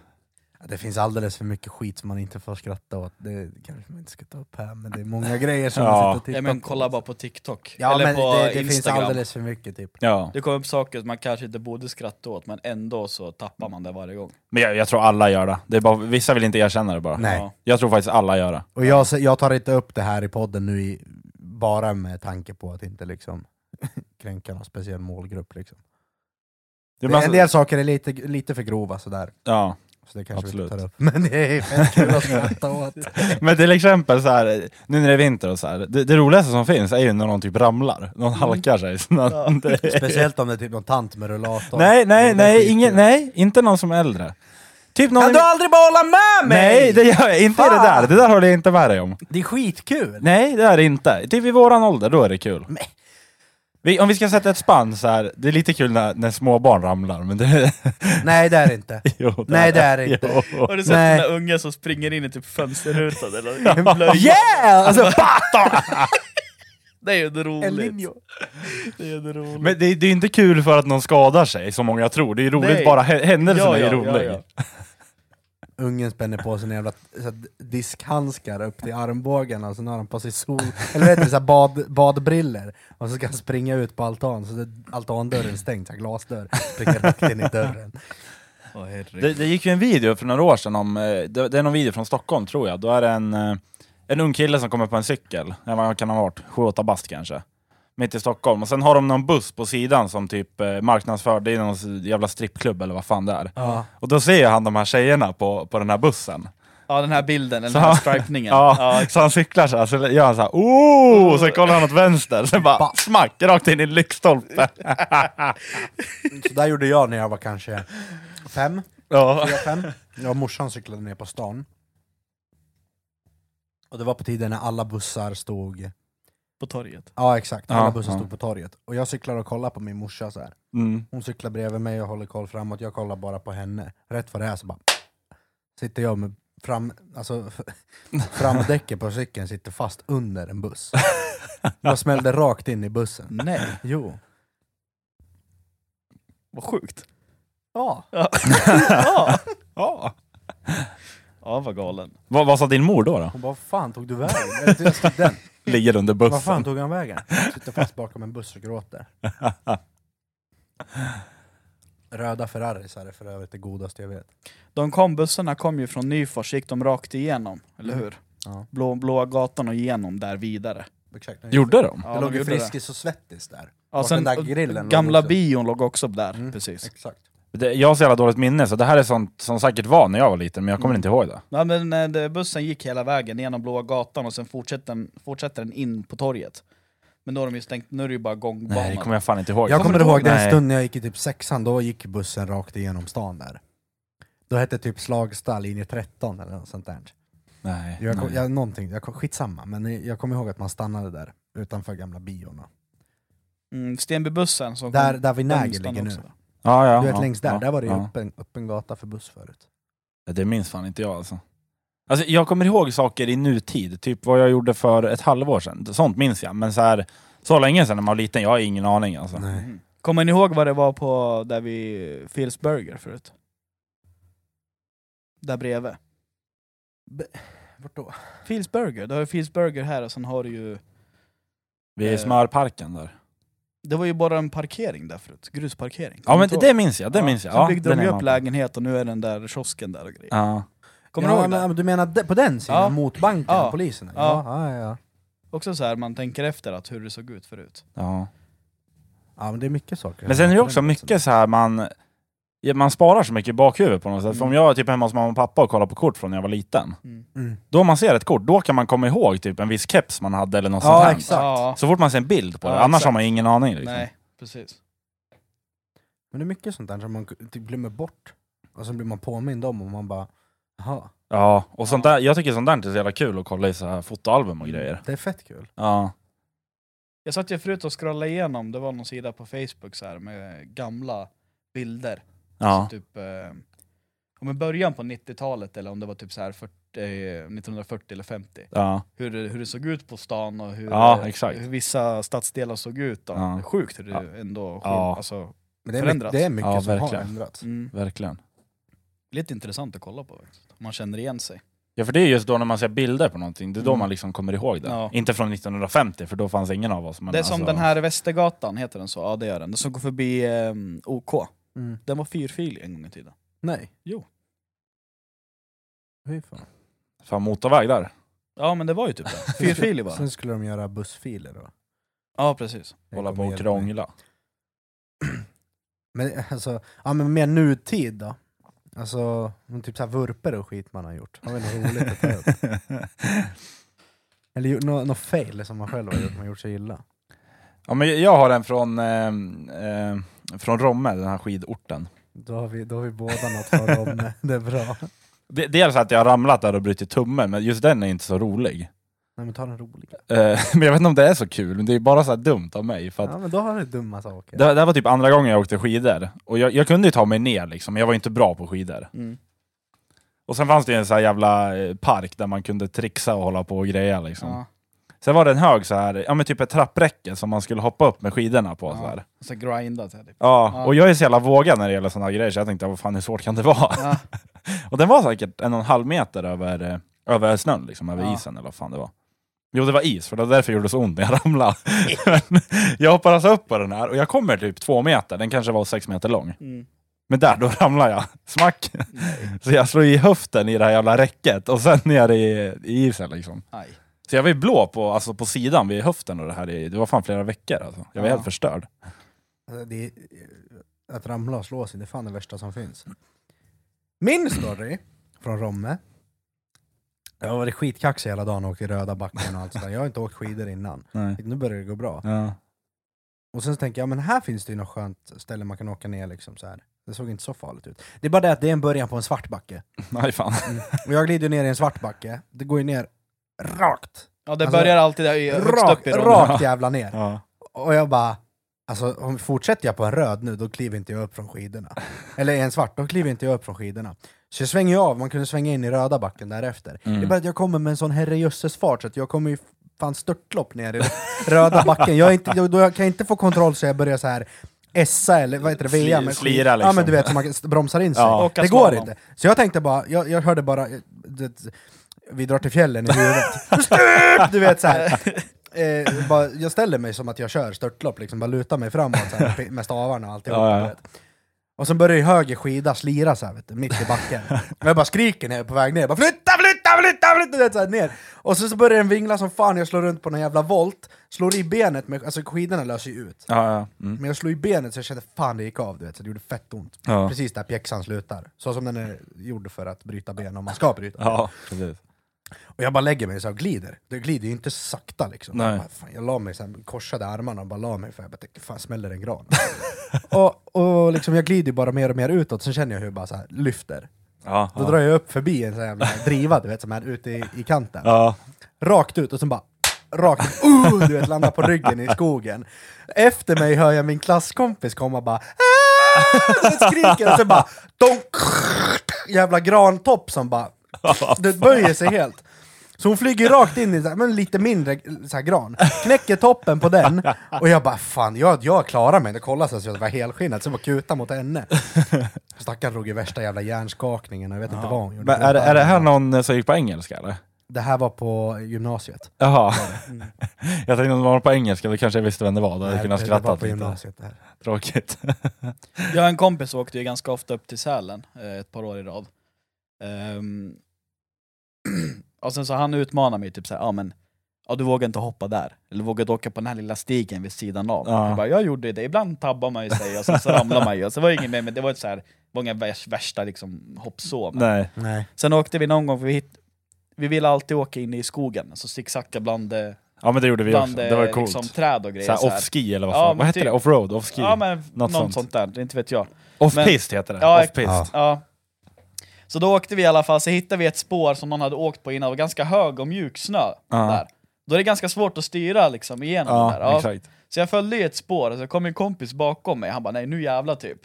Speaker 3: Det finns alldeles för mycket skit som man inte får skratta åt. Det kanske man inte ska ta upp här, men det är många grejer som man
Speaker 4: Ja.
Speaker 3: sitter och tittar
Speaker 2: Ja, men
Speaker 3: på.
Speaker 2: kolla bara på TikTok,
Speaker 3: Ja,
Speaker 2: eller
Speaker 3: men
Speaker 2: på
Speaker 3: det, det finns
Speaker 2: Instagram.
Speaker 3: alldeles för mycket typ.
Speaker 4: Ja.
Speaker 2: Det kommer upp saker som man kanske inte borde skratta åt, men ändå så tappar man det varje gång.
Speaker 4: Men jag, jag tror alla gör det. det är bara, vissa vill inte erkänna det bara.
Speaker 3: Nej.
Speaker 2: Ja.
Speaker 4: Jag tror faktiskt alla gör det.
Speaker 3: Och jag, jag tar inte upp det här i podden nu i, bara med tanke på att inte liksom kränka någon speciell målgrupp. Liksom.
Speaker 4: Det är
Speaker 3: Det-
Speaker 4: bara-
Speaker 3: en del saker är lite, lite för grova sådär,
Speaker 4: ja.
Speaker 3: så det kanske vi inte
Speaker 4: Absolut.
Speaker 3: tar upp. Men det är fett kul att skratta åt.
Speaker 4: Men till exempel så här, nu när det är vinter och så här, det, det roligaste som finns är ju när någon typ ramlar, någon
Speaker 3: Mm.
Speaker 4: halkar sig. Så när-
Speaker 2: Ja.
Speaker 4: det är-
Speaker 3: Speciellt om det är typ någon tant med rullator.
Speaker 4: nej,
Speaker 3: Det
Speaker 4: nej,
Speaker 3: är
Speaker 4: nej,
Speaker 3: skitkul.
Speaker 4: ingen, nej, inte någon som är äldre. Typ någon...
Speaker 3: Kan du aldrig bara hålla med mig?
Speaker 4: nej, det gör jag inte
Speaker 3: Fan.
Speaker 4: det där. Det där håller jag inte med dig om.
Speaker 3: Det är skitkul!
Speaker 4: Nej, det är det inte. Typ i våran ålder, då är det kul.
Speaker 3: Men-
Speaker 4: Vi, om vi ska sätta ett spann så här, det är lite kul när, när småbarn ramlar, men det...
Speaker 3: Nej det är det inte.
Speaker 4: jo, det
Speaker 3: Nej, det är det inte.
Speaker 4: Jo.
Speaker 2: Har du sett
Speaker 3: sett Nej.
Speaker 2: den
Speaker 3: den
Speaker 2: där ungen som springer in i typ fönsterrutan eller
Speaker 3: Yeah! Alltså, bata!
Speaker 2: Det är ju roligt.
Speaker 3: linjo.
Speaker 2: Det är ju roligt.
Speaker 4: Men det, det är inte kul för att någon skadar sig, som många tror. Det är ju roligt,
Speaker 2: Nej.
Speaker 4: bara hä- händelsen är ju rolig.
Speaker 3: Ungen spänner på sig en jävla så här, diskhandskar upp till armbågarna och sen har han på sig sol... Eller vet du, så här, bad, badbriller Och så ska han springa ut på altan, så det- altandörren är stängd, så här, glasdörr. Springer rakt in i dörren.
Speaker 2: Åh, herregud.
Speaker 4: Det, det gick ju en video för några år sedan om, eh, det, det är någon video från Stockholm tror jag, då är det en, eh, en ung kille som kommer på en cykel, Eh, vad kan han ha varit, 7-8 bast kanske, mitt i Stockholm. Och sen har de någon buss på sidan som typ eh, marknadsför, det är någon jävla strippklubb eller vad fan det är.
Speaker 3: Ja.
Speaker 4: Och då ser han de här tjejerna på, på den här bussen.
Speaker 2: Ja den här bilden, eller
Speaker 4: Så
Speaker 2: den här
Speaker 4: han-
Speaker 2: stripningen.
Speaker 4: Ja,
Speaker 2: Ja,
Speaker 4: så han cyklar så här, så gör han så här, oh! Och sen kollar han åt vänster, sen bara
Speaker 3: Ba.
Speaker 4: smack, rakt in i en lyktstolpe.
Speaker 3: Så där gjorde jag när jag var kanske fem,
Speaker 4: Ja.
Speaker 3: fyra, fem. Jag och morsan cyklade ner på stan. Och det var på tiden när alla bussar stod...
Speaker 2: på torget.
Speaker 3: Ja exakt, alla
Speaker 4: Ja,
Speaker 3: bussar
Speaker 4: ja.
Speaker 3: stod på torget. Och jag cyklar och kollar på min morsa så här.
Speaker 4: Mm.
Speaker 3: Hon cyklar bredvid mig och håller koll framåt, jag kollar bara på henne. Rätt vad det är så bara sitter jag med fram, alltså, framdäcket på cykeln sitter fast under en buss. Jag smällde rakt in i bussen.
Speaker 2: Nej,
Speaker 3: Jo.
Speaker 2: vad sjukt.
Speaker 3: Ja.
Speaker 2: Ja,
Speaker 4: Ja.
Speaker 2: ja vad galen.
Speaker 4: Vad, vad sa din mor då? då?
Speaker 3: Hon bara, vad fan tog du vägen? Eller till student.
Speaker 4: Ligger under
Speaker 3: Vad fan
Speaker 4: bussen.
Speaker 3: tog han vägen? Sitter fast bakom en buss och gråter. Röda Ferrarisar är för övrigt det godaste jag vet.
Speaker 2: De kom, bussarna kom ju från Nyfors, gick de rakt igenom, eller
Speaker 3: Mm.
Speaker 2: hur?
Speaker 3: Ja.
Speaker 2: Blå, blåa gatan och igenom där vidare.
Speaker 3: Exakt.
Speaker 4: Gjorde de?
Speaker 2: Ja,
Speaker 3: Jag
Speaker 2: de
Speaker 3: låg i
Speaker 2: gjorde det.
Speaker 3: Friskis och Svettis där.
Speaker 2: Ja,
Speaker 3: Vart
Speaker 2: sen,
Speaker 3: den där grillen låg
Speaker 2: gamla
Speaker 3: också.
Speaker 2: bion låg också där,
Speaker 3: Mm.
Speaker 2: precis.
Speaker 3: Exakt.
Speaker 4: Det, jag har så jävla dåligt minne, så det här är sånt som säkert var när jag var liten, men jag kommer
Speaker 2: Mm.
Speaker 4: inte ihåg det.
Speaker 2: Ja, men, eh, det- bussen gick hela vägen genom Blåa gatan och sen fortsätter den, fortsätter den in på torget. Men då har de ju stängt, nu är det ju bara gångbanan.
Speaker 4: Nej, det kommer jag fan inte ihåg.
Speaker 3: Jag kommer,
Speaker 2: du
Speaker 3: ihåg
Speaker 2: ihåg?
Speaker 3: den
Speaker 4: Nej.
Speaker 3: stund när jag gick i typ sexan, då gick bussen rakt igenom stan där. Då hette typ Slagsta linje 13 eller något sånt där.
Speaker 4: Nej.
Speaker 3: Jag kom,
Speaker 4: nej.
Speaker 3: jag, någonting, jag kom, skitsamma, men jag kommer ihåg att man stannade där utanför gamla bion.
Speaker 2: Mm, Stenbybussen som
Speaker 3: Där,
Speaker 2: kom-
Speaker 3: där vid
Speaker 2: den
Speaker 3: Näger
Speaker 2: stannar
Speaker 3: ligger nu.
Speaker 2: också där.
Speaker 4: Ja, ja,
Speaker 3: Du vet
Speaker 4: ja,
Speaker 3: längst där,
Speaker 4: ja,
Speaker 3: där var det ju
Speaker 4: ja.
Speaker 3: öppen, öppen gata för buss förut.
Speaker 4: Det minns fan inte jag alltså. alltså. Jag kommer ihåg saker i nutid, typ vad jag gjorde för ett halvår sedan. Sånt minns jag, men så här, så länge sedan när man var liten, jag har ingen aning alltså.
Speaker 3: Nej.
Speaker 2: Mm. Kommer ni ihåg vad det var på där vi Phil's Burger förut? Där bredvid.
Speaker 3: Vart då?
Speaker 2: Phil's Burger, du har ju Phil's Burger här och sen har du ju...
Speaker 4: Vid
Speaker 2: Eh.
Speaker 4: smörparken där.
Speaker 2: Det var ju bara en parkering där förut, grusparkering.
Speaker 4: Ja
Speaker 2: Kommer
Speaker 4: men
Speaker 2: du
Speaker 4: det
Speaker 2: ihåg?
Speaker 4: minns jag, det minns jag.
Speaker 2: Sen
Speaker 4: Ja,
Speaker 2: byggde
Speaker 4: den
Speaker 2: de
Speaker 4: är
Speaker 2: ju
Speaker 4: man
Speaker 2: upp
Speaker 4: på.
Speaker 2: lägenhet och nu är den där kiosken där och grejer.
Speaker 4: Ja.
Speaker 2: Kommer
Speaker 3: ja,
Speaker 2: du ihåg det?
Speaker 3: men, Du menar de- på den sidan,
Speaker 2: Ja.
Speaker 3: mot banken
Speaker 2: Ja.
Speaker 3: och polisen?
Speaker 2: Ja.
Speaker 3: Ja, ja, ja.
Speaker 2: Också så här, man tänker efter att hur det såg ut förut.
Speaker 4: ja.
Speaker 3: ja, men det är mycket saker.
Speaker 4: Men sen är det ju också mycket så här man... ja, Man sparar så mycket i bakhuvudet på något sätt. För om jag är typ hemma hos mamma och pappa och kollar på kort från när jag var liten.
Speaker 3: Mm.
Speaker 4: Då om man ser ett kort, då kan man komma ihåg typ en viss keps man hade eller något sånt
Speaker 3: Ja,
Speaker 4: här.
Speaker 3: exakt.
Speaker 2: Ja,
Speaker 4: Så fort man ser en bild på det,
Speaker 2: Ja,
Speaker 4: annars
Speaker 2: exakt.
Speaker 4: har man ingen aning. Liksom.
Speaker 2: nej, precis.
Speaker 3: Men det är mycket sånt där som man typ glömmer bort. Och sen blir man påmind om och man bara, jaha,
Speaker 4: Ja, och sånt där, jag tycker sånt där inte är så jävla kul att kolla i så här fotoalbum och
Speaker 2: Mm.
Speaker 4: grejer.
Speaker 3: det är fett kul.
Speaker 4: Ja.
Speaker 2: Jag satt ju förut och scrollade igenom, det var någon sida på Facebook så här med gamla bilder.
Speaker 4: Ja.
Speaker 2: Så typ, eh, om i början på 90-talet eller om det var typ så här 40, eh, 1940 eller 50.
Speaker 4: Ja.
Speaker 2: Hur det, hur det såg ut på stan och hur,
Speaker 4: Ja, exakt.
Speaker 2: hur vissa stadsdelar såg ut. Då.
Speaker 4: Ja.
Speaker 2: Det är Sjukt hur det
Speaker 4: Ja.
Speaker 2: ändå sjuk,
Speaker 4: Ja.
Speaker 2: alltså,
Speaker 3: Men det är, mycket,
Speaker 2: Förändrats.
Speaker 3: det är mycket
Speaker 4: Ja,
Speaker 3: som har
Speaker 4: verkligen.
Speaker 3: ändrats.
Speaker 2: mm,
Speaker 4: Verkligen.
Speaker 2: Lite intressant att kolla på faktiskt. Man känner igen sig.
Speaker 4: Ja, för det är just då när man ser bilder på någonting, det är då
Speaker 2: Mm.
Speaker 4: man liksom kommer ihåg det.
Speaker 2: Ja.
Speaker 4: Inte från 1950, för då fanns ingen av oss. Men
Speaker 2: det är som
Speaker 4: alltså-
Speaker 2: den här Västergatan, heter den så? Ja det gör den. Den som går förbi eh, OK.
Speaker 3: Mm.
Speaker 2: Den var fyrfilig en gång i tiden.
Speaker 3: Nej.
Speaker 2: Jo.
Speaker 3: Hur fan?
Speaker 4: Fan, motorväg där.
Speaker 2: Ja men det var ju typ det. Fyrfilig bara.
Speaker 3: Sen skulle de göra bussfiler då.
Speaker 2: Ja precis.
Speaker 3: Det
Speaker 4: Hålla på
Speaker 3: kommer
Speaker 4: och
Speaker 3: hjälpa mig.
Speaker 4: krångla.
Speaker 3: Men alltså, ja men mer nutid då? Alltså, men typ så här vurper och skit man har gjort. Har vi något roligt att ta upp? Eller gjort nå- något fail som man själv har gjort, man har gjort sig illa.
Speaker 4: ja, men jag har en från, ehm, ehm, från Romme, den här skidorten.
Speaker 3: Då har vi, då har vi båda något för om det är bra.
Speaker 4: De- Dels att jag har ramlat där och brutit tummen, men just den är inte så rolig.
Speaker 3: Nej men ta den roliga.
Speaker 4: Eh, men jag vet inte om det är så kul, men det är bara så här dumt av mig. För att
Speaker 3: Ja men då har du dumma saker.
Speaker 4: det, det här var typ andra gången jag åkte skidor. Och jag, jag kunde ju ta mig ner liksom, men jag var ju inte bra på skidor.
Speaker 2: Mm.
Speaker 4: Och sen fanns det ju en sån här jävla eh, park där man kunde trixa och hålla på och greja liksom.
Speaker 2: Ja.
Speaker 4: Sen var det en hög så här, ja men typ ett trappräcke som man skulle hoppa upp med skidorna på
Speaker 2: Ja.
Speaker 4: så här.
Speaker 2: Och så grindat här typ.
Speaker 4: Ja,
Speaker 2: Ja.
Speaker 4: och jag är så jävla vågad när det gäller sådana grejer så jag tänkte, vad fan hur svårt kan det vara?
Speaker 2: Ja.
Speaker 4: Och den var säkert en och en halv meter över, eh, över snön, liksom, över
Speaker 2: Ja.
Speaker 4: isen eller vad fan det var. Jo, det var is, för det var därför det gjorde så ont när jag ramlade. Men jag hoppar alltså upp på den här och jag kommer typ två meter, den kanske var sex meter lång.
Speaker 2: Mm.
Speaker 4: Men där, då ramlar jag. Smack! Så jag slår i höften i det här jävla räcket och sen ner i, i isen liksom.
Speaker 2: Aj.
Speaker 4: Så jag var ju blå på, alltså, på sidan vid höften och det här, i, det var fan flera veckor alltså. Jag var
Speaker 2: Ja.
Speaker 4: helt förstörd.
Speaker 3: Alltså, det är, eh, att ramla och slå sig, det är fan det värsta som finns. Min story från Romme. Jag har varit skitkaxig hela dagen och åkt i röda backen och allt sådär. Jag har inte åkt skidor innan.
Speaker 4: Nej.
Speaker 3: Nu börjar det gå bra.
Speaker 4: Ja.
Speaker 3: Och sen så tänker jag, men här finns det ju något skönt ställe man kan åka ner liksom så här. Det såg inte så farligt ut. Det är bara det att det är en början på en svart backe.
Speaker 4: Nej fan.
Speaker 3: Och jag glider ju ner i en svart backe, det går ju ner rakt.
Speaker 2: Ja det
Speaker 3: Alltså,
Speaker 2: börjar alltid där i- högst
Speaker 3: Rakt,
Speaker 2: upp i rummet.
Speaker 3: rakt jävla ner.
Speaker 4: Ja.
Speaker 3: Och jag bara, alltså om fortsätter jag på en röd nu, då kliver inte jag upp från skidorna. Eller en svart, då kliver inte jag upp från skidorna. Så jag svänger ju av, man kunde svänga in i röda backen därefter.
Speaker 4: Mm.
Speaker 3: Det är bara att jag kommer med en sån herrejösses fart så att jag kommer ju fan störtlopp ner i den röda backen. Jag, är inte, då, då jag kan inte få kontroll så jag börjar så här essa eller vad heter det,
Speaker 4: Sli-
Speaker 3: VM?
Speaker 4: slira
Speaker 3: Ja
Speaker 4: liksom.
Speaker 3: men du vet, så man bromsar in sig.
Speaker 4: Ja.
Speaker 2: Åka
Speaker 3: Det går
Speaker 2: slalom.
Speaker 3: inte. Så jag tänkte bara, jag, jag hörde bara, det, vi drar till fjällen i huvudet. Störtlopp! du vet så här. Eh, bara, jag ställer mig som att jag kör störtlopp, liksom, bara lutar mig framåt så här, med stavarna och alltihopa.
Speaker 4: Ja, ja.
Speaker 3: du vet. Och sen börjar ju höger skida slira så här, vet du, mitt i backen. Och jag bara skriker när jag är på väg ner, bara flytta, flytta, flytta, flytta! Du vet, så här, ner. Och sen så börjar den vingla som fan, jag slår runt på någon jävla volt, slår i benet, med, alltså skidorna löser ju ut.
Speaker 4: Ja, ja. Mm.
Speaker 3: Men jag slog i benet så jag kände fan det gick av, du vet, så det gjorde fett ont.
Speaker 4: Ja.
Speaker 3: Precis där pjäxan slutar. Så som den är gjord för att bryta ben om man ska bryta ben.
Speaker 4: ja, precis.
Speaker 3: Och jag bara lägger mig så här och glider. Det glider ju inte sakta liksom.
Speaker 4: Nej.
Speaker 3: Jag, bara, fan, jag la mig så här, korsade armarna och bara la mig för jag bara tänkte, fan smäller en gran? och och liksom, jag glider ju bara mer och mer utåt, sen känner jag hur jag bara så här, lyfter.
Speaker 4: Ja,
Speaker 3: Då drar jag upp förbi en sån här jävla driva, du vet, som är ute i, i kanten.
Speaker 4: ja.
Speaker 3: Rakt ut och sen bara Rakt uh, du vet, landar på ryggen i skogen. Efter mig hör jag min klasskompis komma bara "Ah!" och skriker och sen bara donk, jävla grantopp som bara du vet, böjer sig helt. Så hon flyger rakt in i så här, men lite mindre så här, gran, knäcker toppen på den och jag bara fan, jag, jag klarar mig. Det kollade så att jag var helskinnad, så jag bara kuta mot henne. Stackaren drog ju värsta jävla hjärnskakningen, och jag vet inte vad hon gjorde.
Speaker 4: Men är, det- är det här någon eh, som gick på engelska eller?
Speaker 3: Det här var på gymnasiet.
Speaker 4: Jaha. Jag tänkte om det var på engelska, då kanske jag visste vem det var. Då hade jag kunnat
Speaker 3: det, det
Speaker 4: skratta
Speaker 3: var på
Speaker 4: lite.
Speaker 3: gymnasiet. Det här.
Speaker 4: Tråkigt.
Speaker 2: Jag har en kompis som åkte ju ganska ofta upp till Sälen eh, ett par år i rad. Ehm, och sen så han utmanar mig typ såhär, ja men ja, du vågar inte hoppa där, eller vågar inte åka på den här lilla stigen vid sidan av.
Speaker 4: Ja.
Speaker 2: Jag, bara, jag gjorde det, ibland tabbar man ju sig och sen så ramlar man ju. Och så var det inget mer, men det var inte så här, var inga värst- värsta liksom, hoppsov.
Speaker 4: Nej.
Speaker 3: Nej.
Speaker 2: Sen åkte vi någon gång, för vi, hit, vi ville alltid åka in i skogen, så zigzacka bland, eh,
Speaker 4: Ja men det gjorde vi också.
Speaker 2: bland
Speaker 4: Det var ju
Speaker 2: eh,
Speaker 4: coolt.
Speaker 2: liksom, träd och grejer.
Speaker 4: Såhär
Speaker 2: så här.
Speaker 4: off-ski eller vad,
Speaker 2: Ja,
Speaker 4: fan. vad
Speaker 2: men
Speaker 4: hette
Speaker 2: typ-
Speaker 4: det? Offroad? Off-ski?
Speaker 2: Ja men något,
Speaker 4: sånt.
Speaker 2: sånt där, inte vet jag.
Speaker 4: Off-pist heter det.
Speaker 2: Ja,
Speaker 4: Off-pist.
Speaker 3: Ja.
Speaker 2: Ja. Så då åkte vi i alla fall, så hittade vi ett spår som någon hade åkt på innan, det var ganska hög och mjuk snö.
Speaker 4: Ja.
Speaker 2: Där. Då är det ganska svårt att styra liksom igenom
Speaker 4: Ja,
Speaker 2: det där. Ja.
Speaker 4: exakt.
Speaker 2: Så jag följde i ett spår, och så kom en kompis bakom mig, han bara nej nu jävla typ.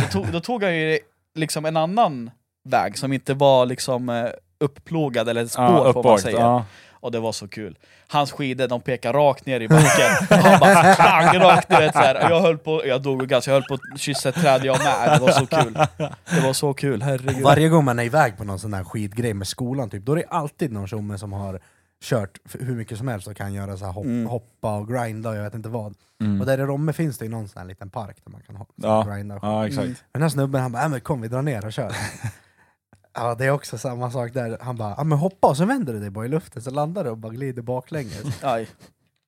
Speaker 2: Så tog, då tog han ju liksom en annan väg som inte var liksom eh, uppplogad eller ett spår
Speaker 4: Ja,
Speaker 2: får man
Speaker 4: uppåkt.
Speaker 2: säga.
Speaker 4: Ja.
Speaker 2: Och det var så kul. Hans skidor de pekar rakt ner i backen. Och han bara pang, rakt du vet, så här. Och Jag höll på, jag dog ganska, jag höll på att kyssa ett träd jag med. Det var så kul. Det var så kul, herregud.
Speaker 3: Varje gång man är iväg på någon sån där skidgrej med skolan, typ, då är det alltid någon tjomme som har kört f- hur mycket som helst och kan göra så här hop-
Speaker 4: Mm.
Speaker 3: hoppa och grinda och jag vet inte vad. Och där i Romme finns det ju någon sån här liten park där man kan hoppa
Speaker 4: Ja.
Speaker 3: och grinda. och skit.
Speaker 4: ja, exakt.
Speaker 3: Den här snubben han bara, äh, men kom vi drar ner och kör. ja, det är också samma sak där. Han bara, ja, men hoppa och så vänder du dig bara i luften, så landar du och bara glider baklänges.
Speaker 2: Aj.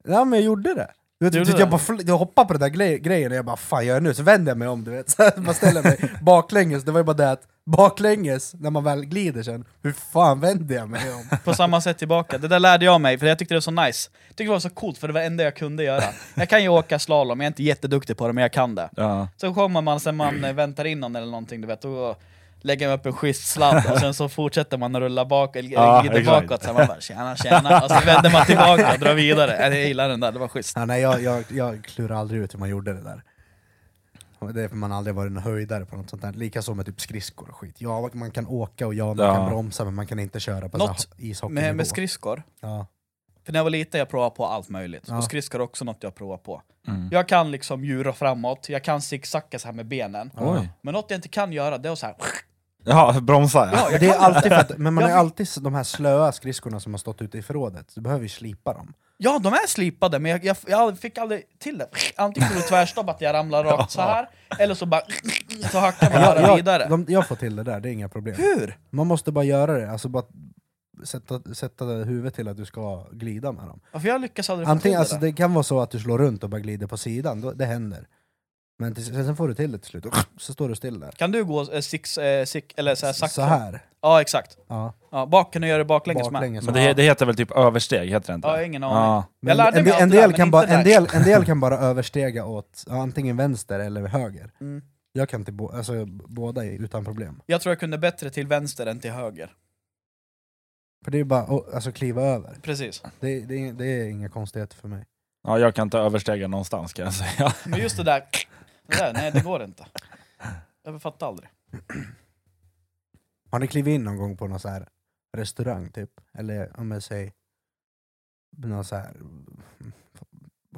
Speaker 3: Ja men jag gjorde det. Du vet,
Speaker 2: Du
Speaker 3: du
Speaker 2: gjorde
Speaker 3: vet, jag,
Speaker 2: det?
Speaker 3: bara, fl- jag hoppade på den där gre- grejen och jag bara fan gör jag nu? Så vänder jag mig om du vet, så här, man ställer mig baklänges. Det var ju bara det att baklänges, när man väl glider sen, hur fan vänder jag mig om?
Speaker 2: På samma sätt tillbaka. Det där lärde jag mig, för jag tyckte det var så nice. Jag tyckte det var så coolt, för det var det enda jag kunde göra. Jag kan ju åka slalom, jag är inte jätteduktig på det, men jag kan det.
Speaker 4: Ja.
Speaker 2: Så kommer man, sen man eh, väntar in någon eller någonting, du vet, då lägger man upp en schysst sladd och sen så fortsätter man att rulla bak, eller
Speaker 4: Ja,
Speaker 2: glider
Speaker 4: exakt.
Speaker 2: bakåt, så här, man bara tjena tjena, och så vänder man tillbaka och drar vidare. Ja, Jag gillar den där, det var schysst.
Speaker 3: Ja, nej jag, jag, jag klurar aldrig ut hur man gjorde det där. Och Det är för man aldrig varit någon höjdare på något sånt där. Likaså med typ skridskor och skit. Ja, man kan åka och ja, man
Speaker 4: Ja.
Speaker 3: kan bromsa men man kan inte köra på
Speaker 2: Något
Speaker 3: något ishockeynivå.
Speaker 2: Med, med skridskor,
Speaker 3: ja.
Speaker 2: för när jag var liten jag provade på allt möjligt,
Speaker 3: Ja.
Speaker 2: och skridskor är också något jag provar på.
Speaker 4: Mm.
Speaker 2: Jag kan liksom djura framåt, jag kan zigzacka så här med benen,
Speaker 4: Oj.
Speaker 2: men något jag inte kan göra det är att så här,
Speaker 4: Ja, bromsa ja.
Speaker 2: Ja, jag
Speaker 3: Det är
Speaker 2: kan
Speaker 3: alltid för att, men man
Speaker 2: Jag
Speaker 3: har ju
Speaker 2: vill-
Speaker 3: alltid s- de här slöa skridskorna som har stått ute i förrådet. Du behöver ju slipa dem.
Speaker 2: Ja, de är slipade, men jag, jag, jag fick aldrig till det. Antingen blev det tvärstopp, att jag ramlar rakt så här eller så bara... Så hackar man
Speaker 3: jag,
Speaker 2: bara
Speaker 3: jag,
Speaker 2: vidare.
Speaker 3: De, jag får till det där, det är inga problem.
Speaker 2: Hur?
Speaker 3: Man måste bara göra det, alltså bara sätta, sätta huvudet till att du ska glida med dem.
Speaker 2: Varför jag lyckas aldrig få till
Speaker 3: Antingen,
Speaker 2: det
Speaker 3: alltså,
Speaker 2: där?
Speaker 3: det kan vara så att du slår runt och bara glider på sidan, då, det händer. Men till, sen sen får du till det till slut, och så står du still där.
Speaker 2: Kan du gå eh, six, eh, six, eller så här, sakta?
Speaker 3: Så här.
Speaker 2: Ja, exakt.
Speaker 3: Ja,
Speaker 2: Ja, bak, kan du göra det baklänges, med?
Speaker 3: baklänges.
Speaker 4: Men det, det heter väl typ översteg, heter det inte?
Speaker 2: Ja, jag har
Speaker 4: det?
Speaker 2: ingen aning.
Speaker 4: ja.
Speaker 2: Jag lärde
Speaker 3: en,
Speaker 2: mig
Speaker 3: del-
Speaker 2: allt
Speaker 3: en,
Speaker 2: det där,
Speaker 3: del
Speaker 2: men
Speaker 3: kan
Speaker 2: inte
Speaker 3: bara,
Speaker 2: det här.
Speaker 3: en, del, en del kan bara överstega åt ja, antingen vänster eller höger.
Speaker 2: Mm.
Speaker 3: Jag kan till bo, alltså, båda i- utan problem.
Speaker 2: Jag tror jag kunde bättre till vänster än till höger.
Speaker 3: För det är ju bara att alltså, kliva över.
Speaker 2: Precis.
Speaker 3: Det, det, det är inga konstigheter för mig.
Speaker 4: ja, jag kan inte överstega någonstans kan jag säga.
Speaker 2: Men just det där... Det där nej, det går inte. Jag fattar aldrig.
Speaker 3: Har ni klivit in någon gång på någon så här restaurang typ? Eller om jag säger någon så här mm,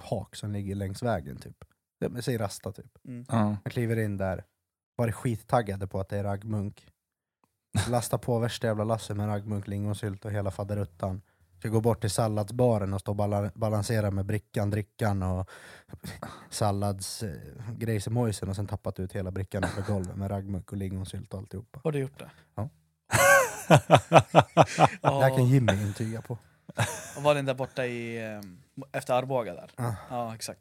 Speaker 3: hak som ligger längs vägen typ? Ja, men Säg rasta typ.
Speaker 2: Mm.
Speaker 4: Ja.
Speaker 3: Man kliver in där, varit skittaggade på att det är raggmunk. Lasta på värsta jävla lassen med raggmunk, lingonsylt och hela faderuttan. Ska gå bort till salladsbaren och stå och bala- balansera med brickan, drickan och salladsgrejsemojsen och sen tappat ut hela brickan över golvet med raggmunk och lingonsylt och alltihopa.
Speaker 2: Har du gjort det?
Speaker 3: Ja. Det här kan
Speaker 2: Ja,
Speaker 3: Jimmy intyga på.
Speaker 2: och var den där borta i, eh, efter Arboga där?
Speaker 3: Ah.
Speaker 2: Ja, exakt.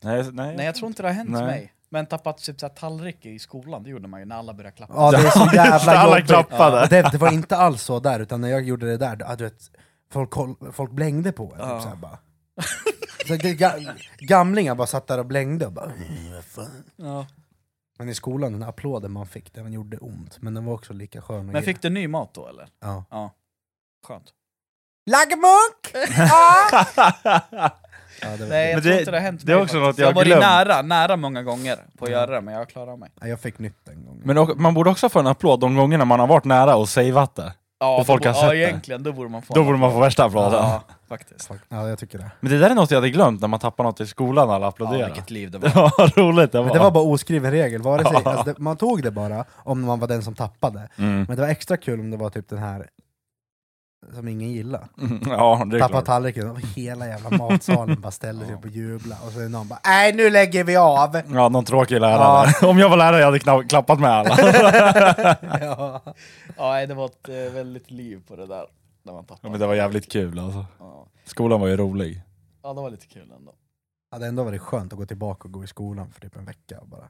Speaker 4: Nej, nej.
Speaker 2: Nej jag tror inte det har hänt
Speaker 4: Nej.
Speaker 2: mig. Men tappat typ såhär tallrik i skolan, det gjorde man ju när alla började klappa.
Speaker 3: Ja det är så jävla
Speaker 4: Alla
Speaker 3: jobbigt.
Speaker 4: klappade.
Speaker 3: Det, det var inte alls så där, utan när jag gjorde det där, ja, du vet, folk, koll- folk blängde på en.
Speaker 2: Ja.
Speaker 3: Typ, såhär, bara. så det, ga, gamlingar bara satt där och blängde. Och bara, "Mm, vad fan?"
Speaker 2: Ja.
Speaker 3: men i skolan, den applåden man fick, den gjorde ont. Men den var också lika skön. och
Speaker 2: Men
Speaker 3: gill.
Speaker 2: fick du ny mat då eller?
Speaker 3: ja.
Speaker 2: Skönt.
Speaker 3: Laggmunk! ja, det var,
Speaker 2: Nej jag
Speaker 4: Men
Speaker 2: tror
Speaker 4: det-
Speaker 2: inte det har hänt
Speaker 4: det är
Speaker 2: mig
Speaker 4: också
Speaker 2: faktiskt.
Speaker 4: något jag
Speaker 2: har varit
Speaker 4: glömt.
Speaker 2: nära, nära många gånger på att göra det, men jag klarar mig.
Speaker 3: ja, jag fick nytt en gång.
Speaker 4: Men och- man borde också få en applåd de gångerna man har varit nära och saveat det.
Speaker 2: Ja,
Speaker 4: Och folk
Speaker 2: då bo-
Speaker 4: har sett
Speaker 2: ja
Speaker 4: det.
Speaker 2: egentligen, då borde man få
Speaker 4: Då borde man få värsta applåden.
Speaker 2: Ja, faktiskt.
Speaker 3: Fuck. Ja, jag tycker det.
Speaker 4: Men det där är något jag hade glömt när man tappar något i skolan och alla
Speaker 2: Ja,
Speaker 4: applåderar.
Speaker 2: vilket liv det var.
Speaker 4: det var roligt det var.
Speaker 3: Men det var bara oskriven regel. Vare sig,
Speaker 4: Ja.
Speaker 3: alltså det, man tog det bara om man var den som tappade.
Speaker 4: Mm.
Speaker 3: Men det var extra kul om det var typ den här som ingen gillade.
Speaker 4: Mm, Ja, det är
Speaker 3: Tappa
Speaker 4: klart.
Speaker 3: tallriken och hela jävla matsalen bara ställde sig upp och jubla och så är någon bara nej nu lägger vi av!
Speaker 4: Ja, någon tråkig lärare. Om jag var lärare jag hade knappt klappat med alla.
Speaker 3: ja.
Speaker 2: Ja, nej, det var ett eh, väldigt liv på det där. När man
Speaker 4: Ja,
Speaker 2: tappade.
Speaker 4: Men det var jävligt kul alltså.
Speaker 2: Ja.
Speaker 4: Skolan var ju rolig.
Speaker 2: ja, det var lite kul ändå.
Speaker 3: det hade ändå varit skönt att gå tillbaka och gå i skolan för typ en vecka och bara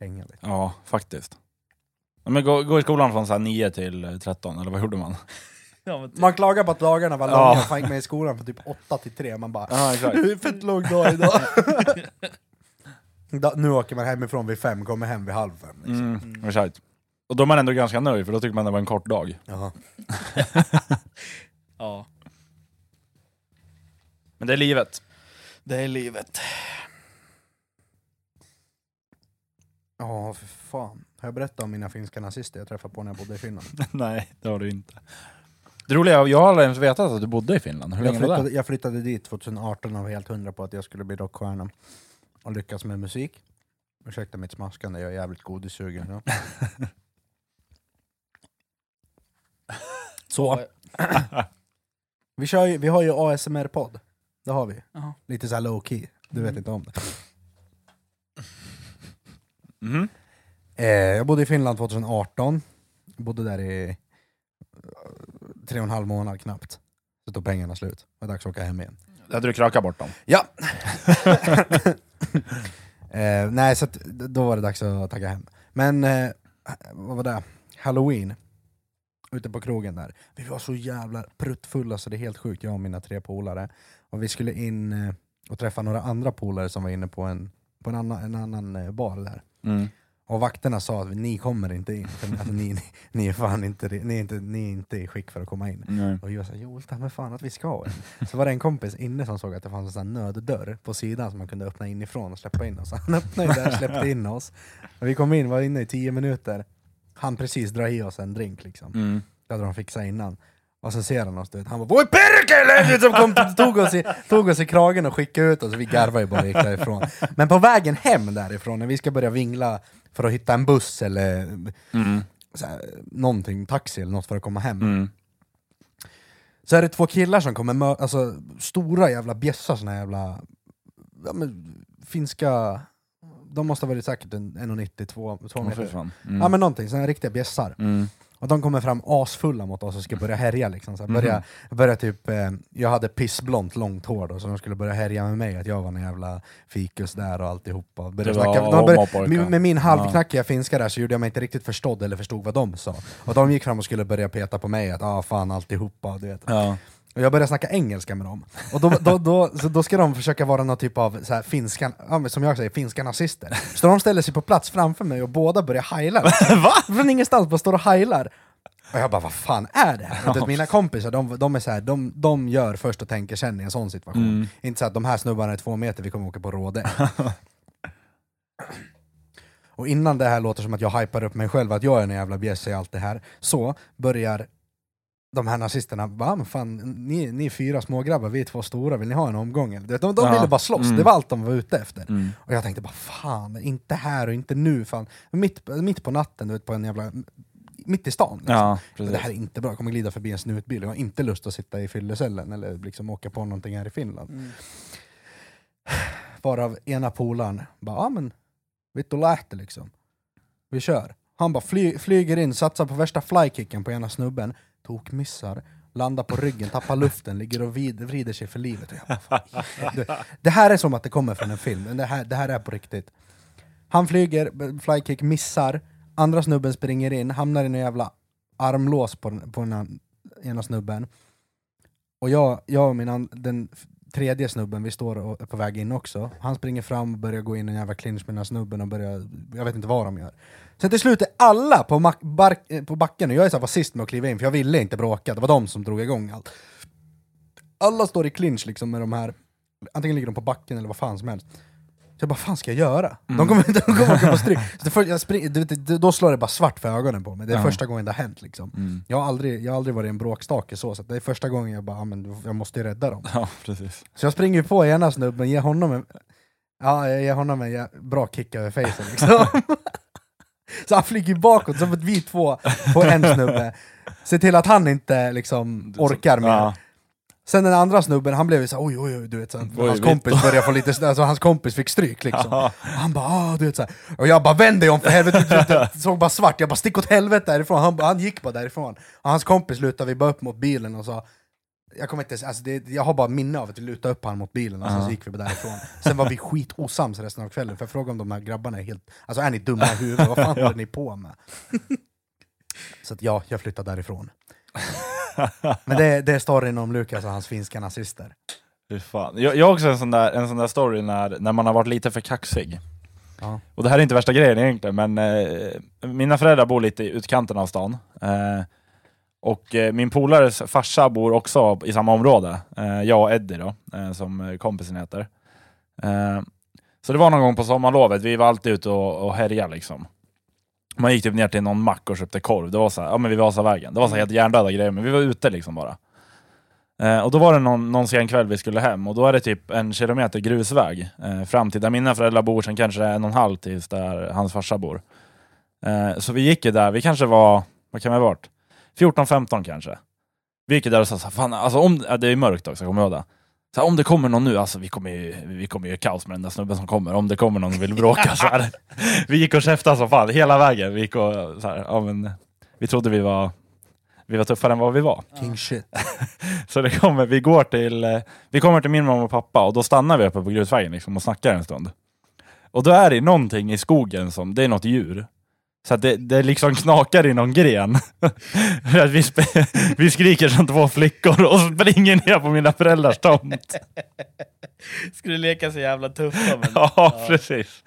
Speaker 3: hänga lite.
Speaker 4: Ja, faktiskt. Ja, Men gå, gå i skolan från så här 9 till eh, 13, eller vad gjorde man?
Speaker 2: Ja, men
Speaker 3: Man klagar på att dagarna var långa,
Speaker 4: Ja.
Speaker 3: ja. fan gick man i skolan från typ 8 till 3, man bara
Speaker 4: Ja, exakt.
Speaker 3: det är fett lång dag idag. da, nu åker man hemifrån vid fem, kommer hem vid halv fem. Liksom.
Speaker 4: Mm, exakt. Och då är man ändå ganska nöjd, för då tycker man det var en kort dag.
Speaker 3: Jaha.
Speaker 2: ja,
Speaker 4: Men det är livet.
Speaker 2: det är livet.
Speaker 3: Ja, för fan. Har jag berättat om mina finska nazister jag träffade på när jag bodde i Finland?
Speaker 4: Nej, det har du inte. Det roliga är, jag har aldrig ens vetat att du bodde i Finland. Hur
Speaker 3: Jag
Speaker 4: länge var det?
Speaker 3: flyttade, jag flyttade dit 2018 och var helt hundra på att jag skulle bli rockstjärna och lyckas med musik. Ursäkta mitt smaskande, jag är jävligt godissugen nu. Så. Vi, kör ju, vi har ju ASMR-podd, det har vi.
Speaker 2: Jaha.
Speaker 3: Lite såhär low key, du vet
Speaker 2: Mm.
Speaker 3: inte om det.
Speaker 4: Mhm.
Speaker 3: Eh, jag bodde i Finland 2018, jag bodde där i eh, tre och en halv månad knappt. Så tog pengarna slut, det var dags att åka hem igen.
Speaker 4: Hade du krakat bort dem?
Speaker 3: Ja! eh, nej, så att, d- då var det dags att tagga hem. Men, eh, vad var det? Halloween. Ute på krogen där. Vi var så jävla pruttfulla så det är helt sjukt, jag och mina tre polare. Och vi skulle in eh, och träffa några andra polare som var inne på en, på en annan, en annan eh, bar där.
Speaker 4: Mm.
Speaker 3: Och vakterna sa att ni kommer inte in, för alltså, ni, ni, ni är fan inte, re- ni är inte, ni är inte i skick för att komma in.
Speaker 4: Nej.
Speaker 3: Och jag sa jo, ta mig fan att vi ska. Så var det en kompis inne som såg att det fanns en sån här nöddörr på sidan som man kunde öppna inifrån och släppa in oss. Så han öppnade ju där och släppte in oss. Och vi kom in, var inne i tio minuter. Han precis dra i oss en drink liksom.
Speaker 4: Mm.
Speaker 3: Det hade de fixat innan. Och sen ser han oss, du vet, han bara Voi perkele! Som kom, tog, oss i, tog oss i kragen och skickade ut oss. Vi garvade ju bara och gick därifrån. Men på vägen hem därifrån, när vi ska börja vingla för att hitta en buss eller
Speaker 4: Mm.
Speaker 3: så här, någonting, taxi eller något för att komma hem.
Speaker 4: Mm.
Speaker 3: Så är det två killar som kommer mö- alltså stora jävla bjässar, såna jävla ja, men, finska, de måste ha varit säkert en 1,90, 2 2
Speaker 4: Åh,
Speaker 3: meter.
Speaker 4: fy fan. Mm.
Speaker 3: Ja men någonting, såna här riktiga bjässar.
Speaker 4: Mm.
Speaker 3: Och de kommer fram asfulla mot oss och ska börja härja liksom. Så här,
Speaker 4: Mm.
Speaker 3: börja, börja typ, eh, jag hade pissblont långt hår då, så de skulle börja härja med mig, att jag var en jävla fikus där och alltihopa. Börja
Speaker 4: Det var
Speaker 3: snacka, de börja,
Speaker 4: homopojkar.
Speaker 3: med, med min halvknackiga finska där så gjorde jag mig inte riktigt förstådd eller förstod vad de sa. Och de gick fram och skulle börja peta på mig, att ah fan alltihopa, du vet.
Speaker 4: Ja.
Speaker 3: Och jag började snacka engelska med dem. Och då, då, då, så då ska de försöka vara någon typ av så här, finska, ja, men som jag säger, finska nazister. Så de ställer sig på plats framför mig och båda börjar heila. Va? Från ingenstans, bara står och heilar. Och jag bara, vad fan är det här? Och det, mina kompisar, de, de är så här, de, de gör först och tänker sen i en sån situation.
Speaker 4: Mm.
Speaker 3: Inte så att de här snubbarna är två meter, vi kommer åka på råde. och innan det här låter som att jag hypar upp mig själv, att jag är en jävla bjässe i allt det här, så börjar de här nazisterna bara, men fan, ni, ni är fyra smågrabbar, vi är två stora, vill ni ha en omgång? eller?" De, de
Speaker 4: Ja.
Speaker 3: ville bara slåss,
Speaker 4: Mm.
Speaker 3: det var allt de var ute efter.
Speaker 4: Mm.
Speaker 3: Och jag tänkte bara fan, inte här och inte nu. Fan. Mitt, mitt på natten, du vet, på en jävla, mitt i stan. Liksom.
Speaker 4: Ja,
Speaker 3: det här
Speaker 4: precis.
Speaker 3: är inte bra, jag kommer glida förbi en snutbil. Jag har inte lust att sitta i fyllecellen eller liksom åka på någonting här i Finland.
Speaker 2: Mm.
Speaker 3: Varav ena polaren bara, ja men, vitt och lähte liksom. Vi kör. Han bara fly, flyger in, satsar på värsta flykicken på ena snubben, tokmissar, landar på ryggen, tappar luften, ligger och vid, vrider sig för livet. Och jag bara, "Fan, helvete." det här är som att det kommer från en film, men det här, det här är på riktigt. Han flyger, b- flykick, missar, andra snubben springer in, hamnar i en jävla armlås på, den- på den här, ena snubben. Och jag, jag och min an, den f- tredje snubben, vi står och är på väg in också. Han springer fram och börjar gå in i en jävla clinch med den här snubben och börjar, jag vet inte vad de gör. Sen till slut är alla på, mack- bark, eh, på backen och jag är så här, var sist med att kliva in för jag ville inte bråka, det var de som drog igång allt. Alla står i clinch liksom med de här, antingen ligger de på backen eller vad fan som helst. jag bara, fan ska jag göra?
Speaker 4: Mm.
Speaker 3: De kommer de kommer åka på stryk. Så det för, jag spring, du, vet, då slår det bara svart för ögonen på mig. Det är
Speaker 4: Ja.
Speaker 3: första gången det har hänt liksom.
Speaker 4: Mm.
Speaker 3: Jag har aldrig, jag har aldrig varit en bråkstake så, så att det är första gången jag bara, ah, men jag måste ju rädda dem.
Speaker 4: Ja, precis.
Speaker 3: Så jag springer ju på ena snubben, ger honom en, ja, jag ger honom en jä- bra kick över fejsen liksom. så han flyger bakåt, så att vi två på en snubbe. Se till att han inte liksom orkar mer.
Speaker 4: Ja.
Speaker 3: Sen den andra snubben, han blev ju såhär oj oj oj, du vet såhär,
Speaker 4: Oj,
Speaker 3: hans
Speaker 4: vitt.
Speaker 3: kompis började få lite, snö- alltså hans kompis fick stryk liksom.
Speaker 4: Ja.
Speaker 3: Han bara ah, du vet såhär, och jag bara vänd dig om för helvete, du vet, jag såg bara svart, jag bara stick åt helvete därifrån, han, bara- han gick bara därifrån. Och hans kompis lutade vi bara upp mot bilen och sa, jag kommer inte, alltså det, jag har bara minne av att vi lutade upp han mot bilen och sen så
Speaker 4: Ja.
Speaker 3: gick vi bara därifrån. Sen var vi skitosams resten av kvällen, för jag frågade om de här grabbarna är helt, alltså är ni dumma i huvudet, vad fan håller ni på med? Så att ja, jag flyttade därifrån. Men det, det är storyn om Lukas och hans finska nazister.
Speaker 4: Fy fan. Jag, jag har också en sån där, en sån där story när, när man har varit lite för kaxig.
Speaker 3: Ja.
Speaker 4: Och det här är inte värsta grejen egentligen, men eh, mina föräldrar bor lite i utkanten av stan. Eh, och eh, min polares farsa bor också i samma område. Eh, jag och Eddie då, eh, som eh, kompisen heter. Eh, så det var någon gång på sommarlovet, vi var alltid ute och, och härjade liksom. Man gick typ ner till någon mack och köpte korv. Det var så här, ja men vi var vägen. Det var så här helt hjärndöda grejer, men vi var ute liksom bara. Eh, och då var det någon, någon sen kväll vi skulle hem och då är det typ en kilometer grusväg eh, fram till där mina föräldrar bor, sen kanske det är en och en halv tills där hans farsa bor. Eh, så vi gick ju där, vi kanske var, vad kan vi ha varit? 14-15 kanske. Vi gick ju där och sa så här, fan alltså om, ja, det är mörkt också, kommer jag ihåg det. Så här, om det kommer någon nu, alltså vi kommer ju, vi kommer ju kaos med den där snubben som kommer, om det kommer någon som vill bråka så här. Vi gick och käftade som fan hela vägen, vi gick och så här, ja, men, vi trodde vi var, vi var tuffare än vad vi var.
Speaker 3: King shit.
Speaker 4: Så det kommer, vi går till, eh, vi kommer till min mamma och pappa och då stannar vi uppe på grusvägen liksom och snackar en stund. Och då är det någonting i skogen som, det är något djur. Så att det, det liksom knakar i någon gren. För att vi, sp- vi skriker som två flickor och springer ner på mina föräldrars tomt.
Speaker 2: Skulle leka så jävla tuffa men...
Speaker 4: Ja, precis.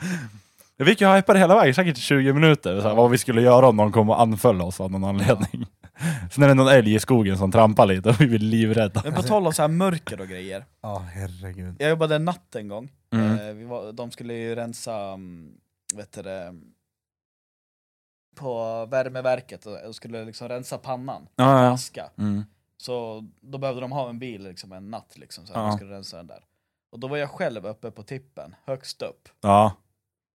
Speaker 4: Vi fick ju hajpa det hela vägen, säkert 20 minuter, så här, vad vi skulle göra om någon kom och anföll oss av någon anledning. Sen är det någon älg i skogen som trampar lite och vi blir livrädda.
Speaker 2: Men på tal om så här mörker och grejer.
Speaker 3: Ja, herregud.
Speaker 2: Jag jobbade en natt en gång.
Speaker 4: Mm.
Speaker 2: Eh, vi var, de skulle ju rensa mm, vet du, det, på värmeverket och och skulle liksom rensa pannan
Speaker 4: Ja, ja.
Speaker 2: aska.
Speaker 4: Mm.
Speaker 2: Så då behövde de ha en bil liksom, en natt liksom, så att
Speaker 4: Ja.
Speaker 2: de skulle rensa den där. Och då var jag själv uppe på tippen, högst upp.
Speaker 4: ja.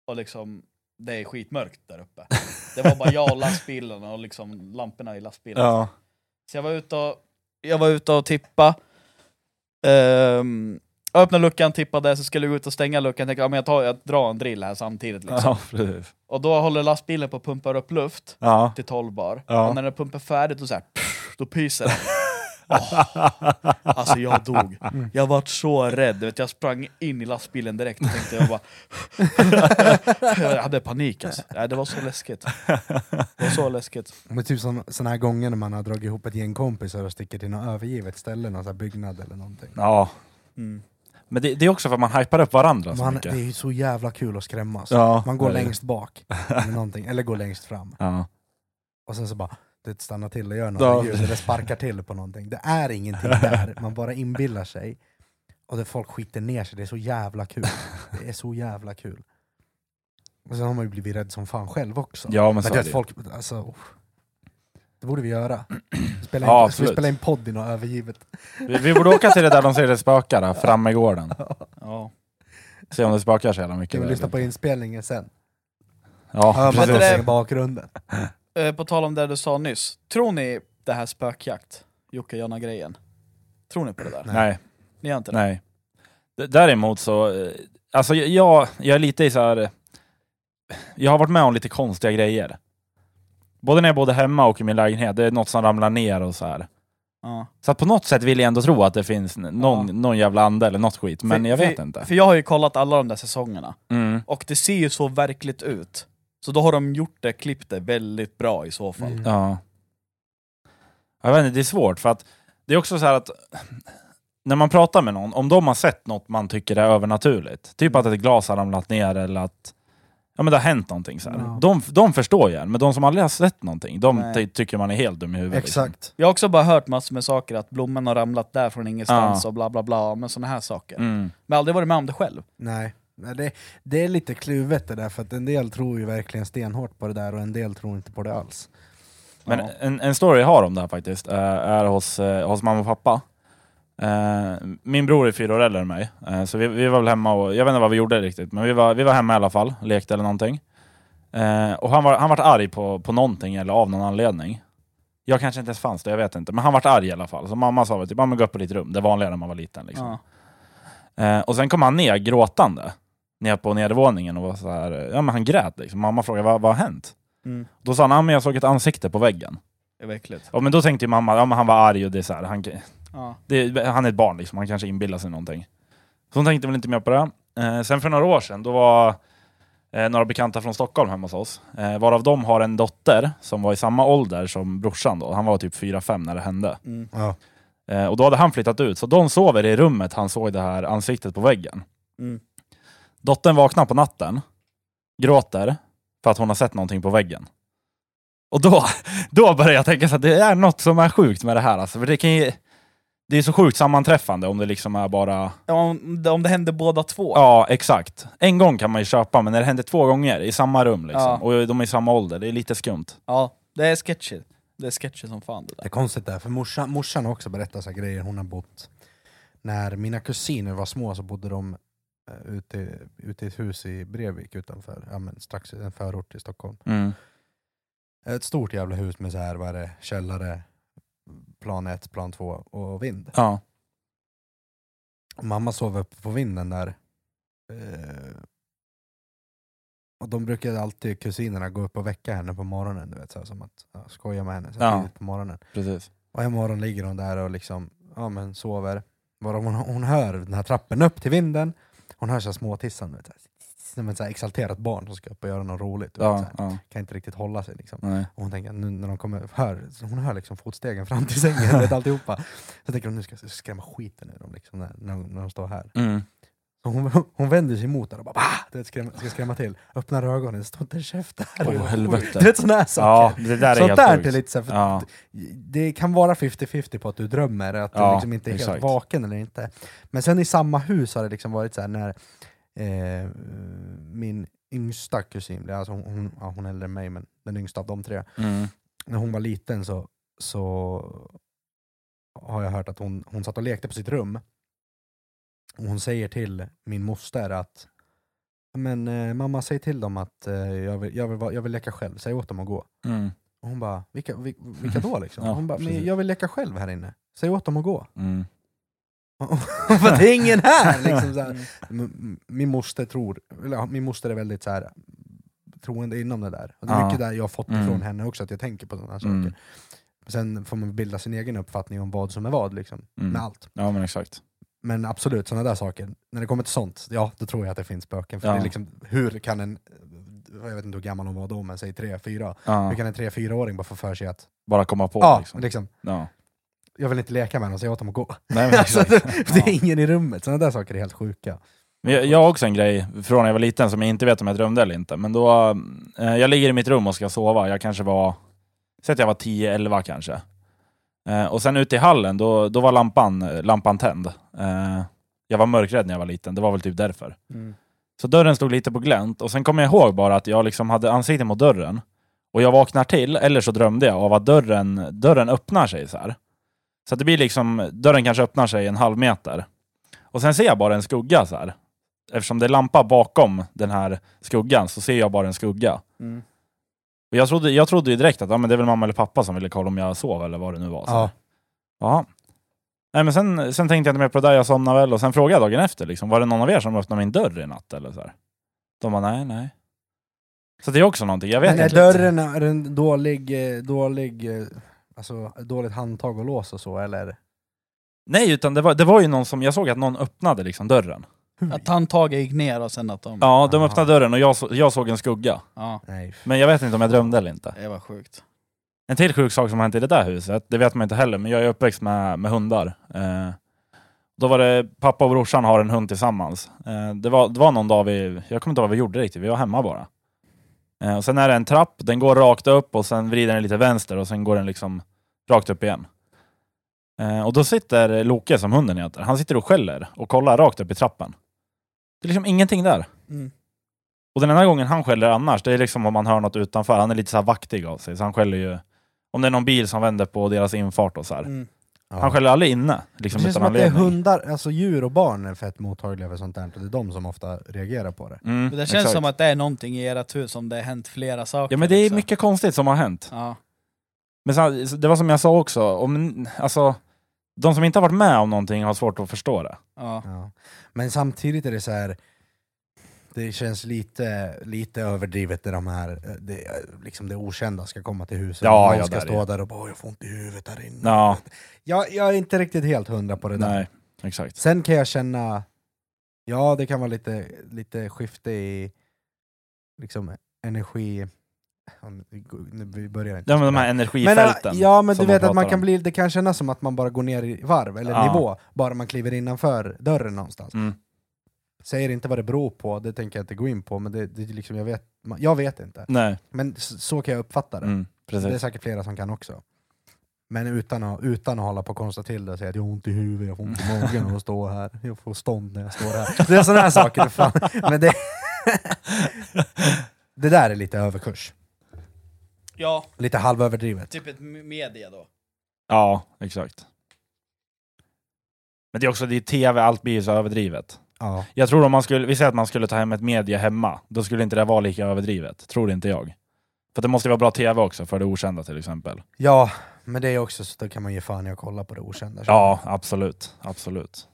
Speaker 2: Och liksom, det är skitmörkt där uppe. Det var bara jag och lastbilen och liksom lamporna i lastbilen.
Speaker 4: Ja.
Speaker 2: Så jag var ute och, jag var ute och tippa. Um, öppnade luckan, tippade, så skulle jag gå ut och stänga luckan. Tänkte ja, men jag, tar, jag drar en drill här samtidigt. Liksom.
Speaker 4: Ja, precis.
Speaker 2: Och då håller lastbilen på och pumpar upp luft
Speaker 4: Ja.
Speaker 2: till 12 bar.
Speaker 4: Ja.
Speaker 2: Och när den pumpar färdigt, då, så här, pff, då pyser den. Åh, alltså jag dog.
Speaker 4: Mm.
Speaker 2: Jag vart så rädd. Du Vet, jag sprang in i lastbilen direkt och tänkte jag bara... jag hade panik alltså. Nej, det var så läskigt. Det var så läskigt.
Speaker 3: Men typ sån, sån här gånger när man har dragit ihop ett gäng kompisar och sticker till något övergivet ställe, någon sån här byggnad eller någonting.
Speaker 4: ja.
Speaker 2: Mm.
Speaker 4: Men det, det är också för att man hypar upp varandra så
Speaker 3: Man, det
Speaker 4: mycket.
Speaker 3: är ju så jävla kul att skrämmas.
Speaker 4: Ja,
Speaker 3: Man går
Speaker 4: det är det.
Speaker 3: längst bak, eller, någonting, eller går längst fram,
Speaker 4: Ja.
Speaker 3: och sen så bara du vet, stannar till och gör
Speaker 4: Ja.
Speaker 3: något ljud, eller sparkar till på någonting. Det är ingenting där, man bara inbillar sig. Och det, folk skiter ner sig, det är så jävla kul. Det är så jävla kul. Och sen har man ju blivit rädd som fan själv också.
Speaker 4: ja, men så
Speaker 3: Men
Speaker 4: är
Speaker 3: det är
Speaker 4: det
Speaker 3: att
Speaker 4: ju.
Speaker 3: folk, alltså, oh. det borde vi göra. Spela in,
Speaker 4: Ja,
Speaker 3: så vi
Speaker 4: absolut.
Speaker 3: spelar in podd i något övergivet.
Speaker 4: vi, vi borde åka till det där de säger det spökar, där, framme i gården.
Speaker 2: Ja.
Speaker 4: Se om det spökar så jävla mycket.
Speaker 3: Kan vi
Speaker 4: där.
Speaker 3: lyssna på inspelningen sen?
Speaker 4: Ja,
Speaker 3: Hör man
Speaker 2: precis.
Speaker 4: precis.
Speaker 2: det-
Speaker 3: någonting i bakgrunden?
Speaker 2: Eh, på tal om det du sa nyss, tror ni det här spökjakt, Jocke Jonna-grejen? Tror ni på det där?
Speaker 4: Nej,
Speaker 2: Ni gör inte det?
Speaker 4: nej. D- Däremot så, eh, alltså jag- jag, jag är lite i så här. eh, jag har varit med om lite konstiga grejer. Både när jag bodde hemma och i min lägenhet, det är något som ramlar ner och så här.
Speaker 2: Ja.
Speaker 4: Så att på något sätt vill jag ändå tro att det finns n- någon,
Speaker 2: Ja.
Speaker 4: någon jävla ande eller något skit, men
Speaker 2: För-
Speaker 4: jag vet
Speaker 2: för,
Speaker 4: inte.
Speaker 2: För jag har ju kollat alla de där säsongerna,
Speaker 4: Mm.
Speaker 2: och det ser ju så verkligt ut. Så då har de gjort det, klippt det väldigt bra i så fall.
Speaker 3: Mm.
Speaker 4: Ja. Jag vet inte, det är svårt för att det är också så här att när man pratar med någon, om de har sett något man tycker är övernaturligt, typ att ett glas har ramlat ner eller att ja, men det har hänt någonting så här.
Speaker 3: Ja.
Speaker 4: De, de förstår ju en, men de som aldrig har sett någonting, de
Speaker 2: Nej.
Speaker 4: ty- tycker man är helt dum i huvudet. liksom.
Speaker 3: Exakt.
Speaker 2: Jag har också bara hört massor med saker, att blommorna har ramlat där från ingenstans
Speaker 4: Ja.
Speaker 2: och bla bla bla, men såna här saker.
Speaker 4: Mm.
Speaker 2: Men jag har aldrig varit med om det själv.
Speaker 3: Nej. Nej, det, det är lite kluvet det där, för att en del tror ju verkligen stenhårt på det där och en del tror inte på det alls.
Speaker 4: Men
Speaker 2: Ja.
Speaker 4: en, en story jag har om det här faktiskt eh, är hos, eh, hos mamma och pappa. Eh, Min bror är fyra år äldre än mig, eh, så vi, vi var väl hemma och, jag vet inte vad vi gjorde riktigt, men vi var, vi var hemma i alla fall, lekte eller någonting. Eh, Och han var, han vart arg på, på någonting eller av någon anledning. Jag kanske inte ens fanns det, jag vet inte, men han vart arg i alla fall. Så mamma sa väl typ, "Ja, men gå upp på ditt rum, det vanliga när man var liten. Liksom.
Speaker 2: Ja.
Speaker 4: Eh, och sen kom han ner gråtande, ner på nedervåningen och var så här, eh, ja men han grät liksom. Mamma frågade vad, vad har hänt?
Speaker 2: Mm.
Speaker 4: Då sa han, ja men jag såg ett ansikte på väggen.
Speaker 2: Det är verkligt.
Speaker 4: Ja men då tänkte ju mamma, ja men han var arg och det är så här, han,
Speaker 2: Ja.
Speaker 4: det, han är ett barn liksom, han kanske inbillar sig någonting. Så hon tänkte väl inte mer på det. Eh, sen för några år sedan, då var eh, några bekanta från Stockholm hemma hos oss. Eh, varav de har en dotter som var i samma ålder som brorsan då. Han var typ 4-5 när det hände.
Speaker 2: Mm.
Speaker 3: Ja.
Speaker 4: Eh, och då hade han flyttat ut, så de sover i rummet han såg det här ansiktet på väggen.
Speaker 2: Mm.
Speaker 4: Dottern vaknar på natten, gråter, för att hon har sett någonting på väggen. Och då, då börjar jag tänka så att det är något som är sjukt med det här. Alltså, för det, kan ju, det är så sjukt sammanträffande om det liksom är bara...
Speaker 2: Om, om det händer båda två.
Speaker 4: Ja, exakt. En gång kan man ju köpa, men när det händer två gånger i samma rum liksom,
Speaker 2: Ja.
Speaker 4: och de är i samma ålder, det är lite skumt.
Speaker 2: Ja, det är sketchy. Det är sketchy som fan det
Speaker 3: Det är
Speaker 2: där.
Speaker 3: konstigt det här, för morsan, morsan har också berättat så här grejer hon har bott. När mina kusiner var små så bodde de eh, ute, ute i ett hus i Brevik utanför, ja, men strax en förort till Stockholm. Ett stort jävla hus med så här, vad är det, källare, plan ett, plan två och vind.
Speaker 4: Ja.
Speaker 3: Och Mamma sov uppe på vinden där. Eh, och de brukade alltid, kusinerna, gå upp och väcka henne på morgonen, du vet, så här, som att ja, skoja med henne så här
Speaker 4: Ja.
Speaker 3: tidigt på morgonen.
Speaker 4: Precis.
Speaker 3: Och en morgon ligger hon där och liksom, ja men sover. Varav hon, hon hör den här trappen upp till vinden, hon hör så här småtissan, du vet, så här, som ett så här exalterat barn som ska upp och göra något roligt. du vet, så
Speaker 4: Ja,
Speaker 3: här.
Speaker 4: ja,
Speaker 3: Kan inte riktigt hålla sig liksom.
Speaker 4: nej.
Speaker 3: Och hon tänker, nu när de kommer, hör, så hon hör liksom fotstegen fram till sängen, du vet, alltihopa. Så tänker hon, nu ska jag skrämma skiten ur dem liksom, när, när, de- när de står här.
Speaker 4: Mm.
Speaker 3: Så hon, hon vänder sig emot där och bara bah! Du vet, skrämma, ska skrämma till, öppnar ögonen, står inte en käft där.
Speaker 4: Åh, helvete.
Speaker 3: Du vet sådana här
Speaker 4: Ja,
Speaker 3: saker.
Speaker 4: det där är
Speaker 3: Sånt
Speaker 4: helt
Speaker 3: där
Speaker 4: sjukt.
Speaker 3: är lite så här, för
Speaker 4: Ja.
Speaker 3: det kan vara 50-50 på att du drömmer, att du
Speaker 4: Ja,
Speaker 3: liksom inte är helt
Speaker 4: exakt.
Speaker 3: vaken eller inte. Men sen i samma hus har det liksom varit så här när eh, min yngsta kusin, blev- alltså hon, hon, ja, hon är äldre än mig, men den yngsta av de tre,
Speaker 4: Mm.
Speaker 3: när hon var liten så, så har jag hört att hon, hon satt och lekte på sitt rum. Och hon säger till min moster att men eh, mamma, säg till dem att eh, jag, vill, jag, vill, vara- jag vill leka själv, säg åt dem att gå.
Speaker 4: Mm.
Speaker 3: Och hon bara, vilka, vil- vilka då liksom?
Speaker 4: Ja,
Speaker 3: hon bara, men
Speaker 4: precis.
Speaker 3: jag vill leka själv här inne. Säg åt dem att gå.
Speaker 4: Mm.
Speaker 3: För det är ingen här! Liksom, så här.
Speaker 2: Mm.
Speaker 3: M- m- Min moster tror, eller ja, min moster är väldigt så här, troende inom det där. Och det är
Speaker 4: Ja.
Speaker 3: mycket där jag har fått
Speaker 4: Mm.
Speaker 3: ifrån henne också, att jag tänker på sådana saker.
Speaker 4: Mm.
Speaker 3: Sen får man bilda sin egen uppfattning om vad som är vad, liksom,
Speaker 4: Mm.
Speaker 3: med allt.
Speaker 4: Ja men exakt.
Speaker 3: Men absolut, sådana där saker. När det kommer till sånt, ja då tror jag att det finns spöken. För
Speaker 4: Ja.
Speaker 3: det är liksom, hur kan en, jag vet inte hur gammal hon var då, men säg tre, fyra.
Speaker 4: Ja.
Speaker 3: Hur kan en tre, fyraåring bara få för sig att,
Speaker 4: Bara komma på
Speaker 3: ja,
Speaker 4: liksom.
Speaker 3: liksom,
Speaker 4: Ja.
Speaker 3: jag vill inte leka med dem, säg åt dem att gå.
Speaker 4: Nej, men
Speaker 3: Alltså,
Speaker 4: exakt.
Speaker 3: det, det
Speaker 4: Ja.
Speaker 3: är ingen i rummet, sådana där saker är helt sjuka.
Speaker 4: Men jag, jag har också en grej från när jag var liten som jag inte vet om jag drömde eller inte. Men då, eh, jag ligger i mitt rum och ska sova. Jag kanske var, säg att jag var 10-11 kanske. Eh, och sen ute i hallen, då, då var lampan, lampan tänd. Eh, jag var mörkrädd när jag var liten, det var väl typ därför.
Speaker 2: Mm.
Speaker 4: Så dörren stod lite på glänt och sen kommer jag ihåg bara att jag liksom hade ansiktet mot dörren. Och jag vaknar till, eller så drömde jag av att dörren, dörren öppnar sig så här. Så att det blir liksom, dörren kanske öppnar sig en halv meter. Och sen ser jag bara en skugga så här. Eftersom det är lampa bakom den här skuggan så ser jag bara en skugga.
Speaker 2: Mm.
Speaker 4: Och jag trodde, jag trodde ju direkt att ja, men det är väl mamma eller pappa som ville kolla om jag sov eller vad det nu var. Så här.
Speaker 3: Ja.
Speaker 4: Jaha. Nej, men sen, sen tänkte jag inte mer på det där, jag somnade väl och sen frågade jag dagen efter, liksom, var det någon av er som öppnade min dörr i natt? Eller så här? De bara, nej, nej. Så det är också någonting, jag vet
Speaker 3: Men är
Speaker 4: inte.
Speaker 3: dörren är en dålig, eh, dålig eh, alltså, dåligt handtag och lås och så, eller?
Speaker 4: Nej, utan det var, det var ju någon som, jag såg att någon öppnade liksom dörren.
Speaker 2: Att handtaget gick ner och sen att de...
Speaker 4: Ja, de
Speaker 3: Mm. Aha.
Speaker 4: öppnade dörren och jag, så, jag såg en skugga.
Speaker 2: Ja,
Speaker 3: Nej.
Speaker 4: Men jag vet inte om jag drömde eller inte.
Speaker 2: det var sjukt.
Speaker 4: En till sjuk sak som har hänt i det där huset, det vet man inte heller, men jag är uppväxt med, med hundar. Eh, då var det, pappa och brorsan har en hund tillsammans. Eh, det, var, det var någon dag vi, jag kommer inte ihåg vad vi gjorde riktigt, vi var hemma bara. Eh, och sen är det en trapp, den går rakt upp och sen vrider den lite vänster och sen går den liksom rakt upp igen. Eh, och då sitter Loke, som hunden heter, han sitter och skäller och kollar rakt upp i trappen. Det är liksom ingenting där.
Speaker 2: Mm.
Speaker 4: Och den enda gången han skäller annars, det är liksom om man hör något utanför. Han är lite så här vaktig av sig, så han skäller ju... Om det är någon bil som vänder på deras infart och så här.
Speaker 2: Mm.
Speaker 4: Han skäller aldrig inne,
Speaker 3: Det
Speaker 4: liksom
Speaker 3: känns
Speaker 4: utan
Speaker 3: som att det är
Speaker 4: anledning.
Speaker 3: hundar, alltså djur och barn är fett mottagliga för sånt där. och Det är de som ofta reagerar på det.
Speaker 4: Mm,
Speaker 2: Men det känns
Speaker 4: exakt.
Speaker 2: som att det är någonting i ert hus som det har hänt flera saker.
Speaker 4: Ja men det är
Speaker 2: liksom.
Speaker 4: mycket konstigt som har hänt.
Speaker 2: Ja.
Speaker 4: Men sen, det var som jag sa också, om, alltså, de som inte har varit med om någonting har svårt att förstå det.
Speaker 2: Ja.
Speaker 3: Ja. Men samtidigt är det så här. det känns lite, lite överdrivet när de här, det, liksom det okända ska komma till huset.
Speaker 4: Ja,
Speaker 3: Någon
Speaker 4: ja,
Speaker 3: ska
Speaker 4: där
Speaker 3: stå
Speaker 4: är-
Speaker 3: där och bara "Åh, jag får ont i huvudet här inne.
Speaker 4: Ja,
Speaker 3: Jag, jag är inte riktigt helt hundra på det där.
Speaker 4: nej, exakt.
Speaker 3: Sen kan jag känna, ja det kan vara lite, lite skifte i liksom energi... Nu börjar jag inte.
Speaker 4: Ja, men de här
Speaker 3: Men, äh,
Speaker 4: energifälten.
Speaker 3: ja men du
Speaker 4: som
Speaker 3: vet
Speaker 4: de
Speaker 3: att man
Speaker 4: pratar
Speaker 3: kan
Speaker 4: om.
Speaker 3: bli, det kan kännas som att man bara går ner i varv eller
Speaker 4: Ja.
Speaker 3: nivå, bara man kliver innanför dörren någonstans.
Speaker 4: Mm.
Speaker 3: Säger inte vad det beror på, det tänker jag inte gå in på, men det, det är liksom, jag, vet, ma- jag vet inte.
Speaker 4: Nej,
Speaker 3: Men s- så kan jag uppfatta det.
Speaker 4: mm,
Speaker 3: Det är
Speaker 4: precis.
Speaker 3: säkert flera som kan också. Men utan att, utan att hålla på och konsta till det och säga att jag har ont i huvudet, jag får ont i magen av att stå här, jag får stånd när jag står här. Det är sådana här saker. för Fan. Men det, det där är lite överkurs.
Speaker 2: ja,
Speaker 3: Lite halvöverdrivet.
Speaker 2: typ ett m- media då.
Speaker 4: Ja, exakt. Men det är också, det är tv, allt blir ju så överdrivet.
Speaker 3: Ja.
Speaker 4: Jag tror om man skulle, vi säger att man skulle ta hem ett media hemma, då skulle inte det vara lika överdrivet. Tror inte jag. För det måste ju vara bra tv också, för det okända till exempel.
Speaker 3: ja, men det är också så då kan man ge fan i att kolla på det okända.
Speaker 4: Ja, absolut. Absolut.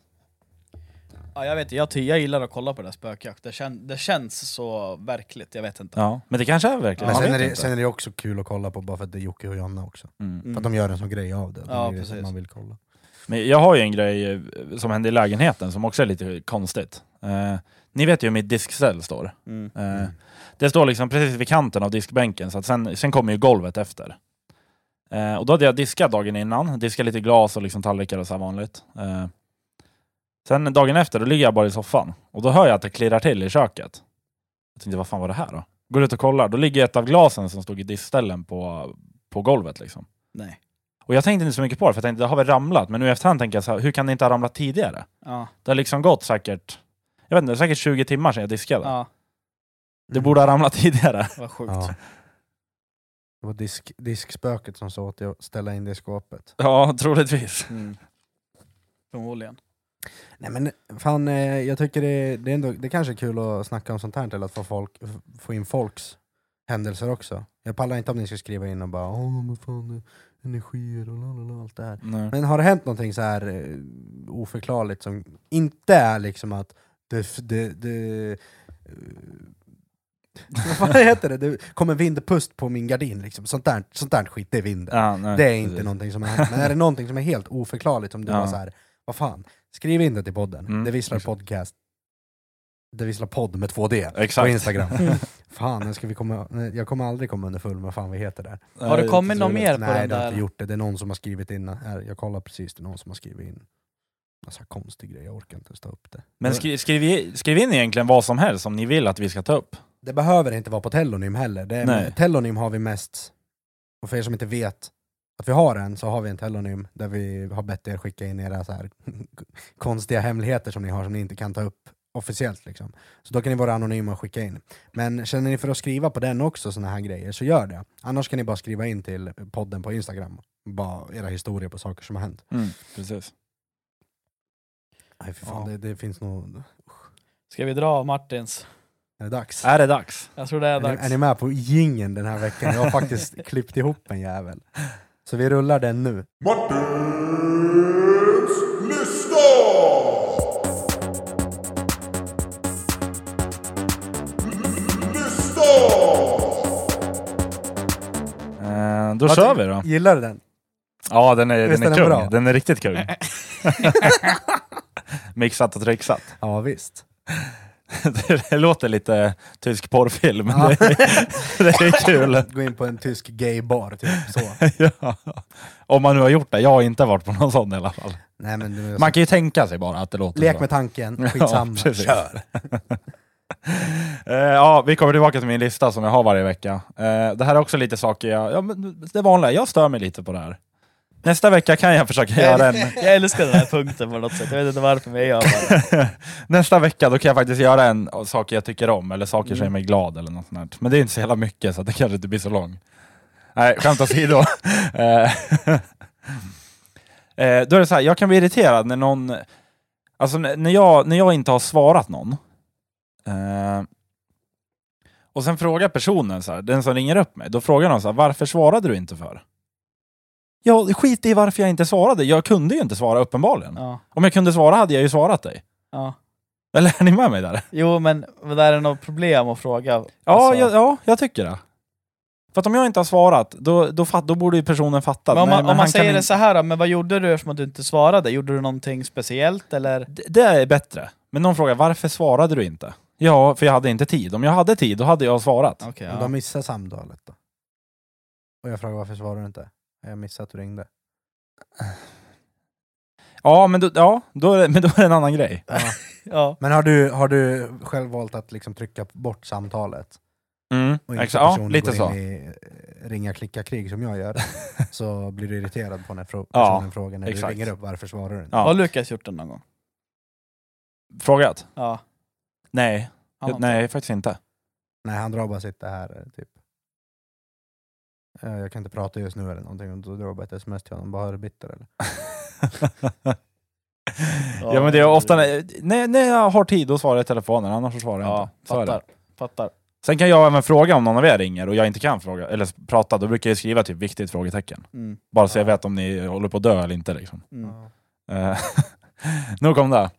Speaker 2: Ja, jag vet inte, jag, ty- jag gillar att kolla på det där spökjakt. Det, kän- det känns så verkligt, jag vet inte.
Speaker 4: Ja, men det kanske är verkligen.
Speaker 3: Men
Speaker 4: man
Speaker 3: sen är,
Speaker 4: vet
Speaker 3: det,
Speaker 4: inte.
Speaker 3: sen är det också kul att kolla på bara för att det är Jocke och Jonna också.
Speaker 4: Mm.
Speaker 3: För att de gör en sån grej av det. Det är
Speaker 2: Ja,
Speaker 3: det som
Speaker 2: precis.
Speaker 3: Man vill kolla.
Speaker 4: Men jag har ju en grej eh, som hände i lägenheten som också är lite konstigt. Eh, ni vet ju hur mitt diskställ står.
Speaker 2: Mm.
Speaker 4: Eh,
Speaker 3: Mm.
Speaker 4: Det står liksom precis vid kanten av diskbänken, så att sen, sen kommer ju golvet efter. Eh, och då hade jag diskat dagen innan, diskat lite glas och liksom tallrikar och så här vanligt. Eh, sen dagen efter, då ligger jag bara i soffan och då hör jag att det klirrar till i köket. Jag tänkte, vad fan var det här då? Går ut och kollar, då ligger ett av glasen som stod i diskställen på, på golvet liksom.
Speaker 2: Nej.
Speaker 4: Och jag tänkte inte så mycket på det, för jag tänkte det har väl ramlat. Men nu i efterhand tänker jag så här, hur kan det inte ha ramlat tidigare?
Speaker 2: Ja.
Speaker 4: Det har liksom gått säkert, jag vet inte, säkert 20 timmar sedan jag diskade.
Speaker 2: ja,
Speaker 4: Det borde ha ramlat tidigare.
Speaker 2: vad sjukt.
Speaker 3: Ja. Det var disk, diskspöket som sa åt dig att ställa in det i skåpet.
Speaker 4: Ja, troligtvis.
Speaker 2: Mm. Förmodligen.
Speaker 3: Nej men fan, eh, jag tycker det, det, är ändå, det kanske är kul att snacka om sånt här till att få, folk, f- få in folks händelser också. Jag pallar inte om ni ska skriva in och bara åh men fan eh, energier och lalala, allt det här.
Speaker 4: Nej.
Speaker 3: Men har det hänt någonting så här eh, oförklarligt som inte är liksom att det... f- det, det eh, vad fan heter det? Det kommer vindpust på min gardin liksom. Sånt där, sånt där skit, det är vinden.
Speaker 4: Ja, Ah, nej,
Speaker 3: Det är inte
Speaker 4: precis.
Speaker 3: någonting som har hänt. Men är det någonting som är helt oförklarligt som du
Speaker 4: Ja.
Speaker 3: bara så här, vad fan, skriv in det till podden.
Speaker 4: Mm,
Speaker 3: det visslar
Speaker 4: exakt.
Speaker 3: podcast. Det visslar podd med 2D
Speaker 4: Exakt.
Speaker 3: på Instagram. fan, nu ska vi komma, nej, jag kommer aldrig komma underfull med vad fan vi heter där. Alltså,
Speaker 2: Har det kommit något
Speaker 4: troligt.
Speaker 2: mer på
Speaker 3: Nej,
Speaker 2: den
Speaker 3: det har inte
Speaker 2: där?
Speaker 3: gjort det. Det är någon som har skrivit in, här, jag kollar precis, det är någon som har skrivit in. En sån här konstig grej, jag orkar inte ens ta upp det.
Speaker 4: Men skri, skriv, i- skriv in egentligen vad som helst som ni vill att vi ska ta upp.
Speaker 3: Det behöver inte vara på Tellonym heller. Det är,
Speaker 4: Nej.
Speaker 3: tellonym har vi mest, och för er som inte vet att vi har en, så har vi en Tellonym där vi har bett er skicka in era så här konstiga hemligheter som ni har som ni inte kan ta upp officiellt. Liksom. Så då kan ni vara anonyma och skicka in. Men känner ni för att skriva på den också, såna här grejer, så gör det. Annars kan ni bara skriva in till podden på Instagram, bara era historier på saker som har hänt.
Speaker 2: Mm.
Speaker 4: Precis.
Speaker 3: Nej, för fan,
Speaker 2: Ja.
Speaker 3: det, det finns nog...
Speaker 2: Ska vi dra Martins?
Speaker 3: Är det dags?
Speaker 4: Är det dags?
Speaker 2: Jag tror det är
Speaker 3: Är ni,
Speaker 2: dags.
Speaker 3: är ni med på gingen den här veckan? Jag har faktiskt klippt ihop en jävel. Så vi rullar den nu.
Speaker 1: Martins lista! Lista!
Speaker 4: Eh, då
Speaker 3: Vad
Speaker 4: kör
Speaker 3: ty-
Speaker 4: vi då.
Speaker 3: Gillar du den?
Speaker 4: Ja, den är,
Speaker 3: Visst
Speaker 4: den är
Speaker 3: är den
Speaker 4: kung.
Speaker 3: bra?
Speaker 4: Den är riktigt kung. Mixat och trixat.
Speaker 3: Ja visst.
Speaker 4: Det låter lite tysk porrfilm, men det, är- det är kul.
Speaker 3: Gå in på en tysk gaybar, typ så.
Speaker 4: Ja. Om man nu har gjort det. Jag har inte varit på någon sån i alla fall.
Speaker 3: Nej, men du,
Speaker 4: Man kan ju tänka sig bara att det låter
Speaker 3: lek
Speaker 4: så.
Speaker 3: med tanken, skitsamma. Ja,
Speaker 4: Ja, precis.
Speaker 3: Kör!
Speaker 4: Eh, ja, vi kommer tillbaka till min lista som jag har varje vecka. Eh, det här är också lite saker jag... Ja, men det vanliga, jag stör mig lite på det här. Nästa vecka kan jag försöka göra en...
Speaker 2: Jag älskar den här punkten på något sätt, jag vet inte varför men jag gör bara det.
Speaker 4: Nästa vecka då kan jag faktiskt göra en av saker jag tycker om, eller saker som gör mig glad eller något sånt där. Men det är inte så jävla mycket, så det kanske inte blir så lång. Nej, skämt åsido. Eh, eh, då är det så här, jag kan bli irriterad när någon... Alltså n- när jag, när jag inte har svarat någon. eh, och sen frågar personen, så här, den som ringer upp mig, då frågar någon så här, varför svarade du inte för? Ja, skit i varför jag inte svarade. Jag kunde ju inte svara uppenbarligen.
Speaker 2: Ja,
Speaker 4: Om jag kunde svara hade jag ju svarat dig.
Speaker 2: ja.
Speaker 4: Eller är ni med mig där?
Speaker 2: Jo men, men där är det något problem att fråga.
Speaker 4: Ja,
Speaker 2: Alltså,
Speaker 4: jag, ja, jag tycker det. För att om jag inte har svarat, då, då, fatt, då borde ju personen fatta.
Speaker 2: men om
Speaker 4: Nej,
Speaker 2: man,
Speaker 4: men
Speaker 2: om man
Speaker 4: han kan
Speaker 2: säger det
Speaker 4: inte-
Speaker 2: så här, då, men vad gjorde du eftersom att du inte svarade? Gjorde du någonting speciellt eller?
Speaker 4: D- Det är bättre. Men någon frågar, varför svarade du inte? Ja, för jag hade inte tid. Om jag hade tid, då hade jag svarat.
Speaker 2: Okej,
Speaker 3: Men
Speaker 2: ja.
Speaker 3: De missar samtalet då. Och jag frågar varför svarar du inte? Jag missade att du ringde.
Speaker 4: Ja, men då, ja, då, är, det, men då är det en annan grej.
Speaker 2: ja.
Speaker 3: Men har du, har du själv valt att liksom trycka bort samtalet?
Speaker 4: Mm,
Speaker 3: Och inte
Speaker 4: exa- ja,
Speaker 3: personen
Speaker 4: lite
Speaker 3: går in
Speaker 4: så.
Speaker 3: i eh, ringa klicka krig som jag gör. så blir du irriterad på när fro-
Speaker 4: Ja,
Speaker 3: personen frågar när
Speaker 4: exakt.
Speaker 3: du ringer upp varför svarar du inte?
Speaker 2: Har
Speaker 4: Ja.
Speaker 2: Lukas gjort det någon gång?
Speaker 4: Frågat?
Speaker 2: Ja.
Speaker 4: Nej,
Speaker 2: han har-
Speaker 4: nej faktiskt inte.
Speaker 3: Nej han drar bara sitt det här eh, typ. Eh, Jag kan inte prata just nu eller någonting. Och då drar jag bara ett sms till honom. Bara, "Är du bitter eller?
Speaker 4: ja, men det är ofta när, när, när jag har tid, då svarar jag i telefonen. Annars så svarar jag
Speaker 2: Ja,
Speaker 4: inte. Så är det.
Speaker 2: fattar. Fattar.
Speaker 4: Sen kan jag även fråga om någon av er ringer och jag inte kan fråga, eller prata, då brukar jag skriva typ viktigt frågetecken.
Speaker 2: Mm,
Speaker 4: Bara så jag
Speaker 3: Ja.
Speaker 4: vet om ni håller på att dö eller inte. Liksom.
Speaker 2: mm.
Speaker 4: Eh, Nog om det.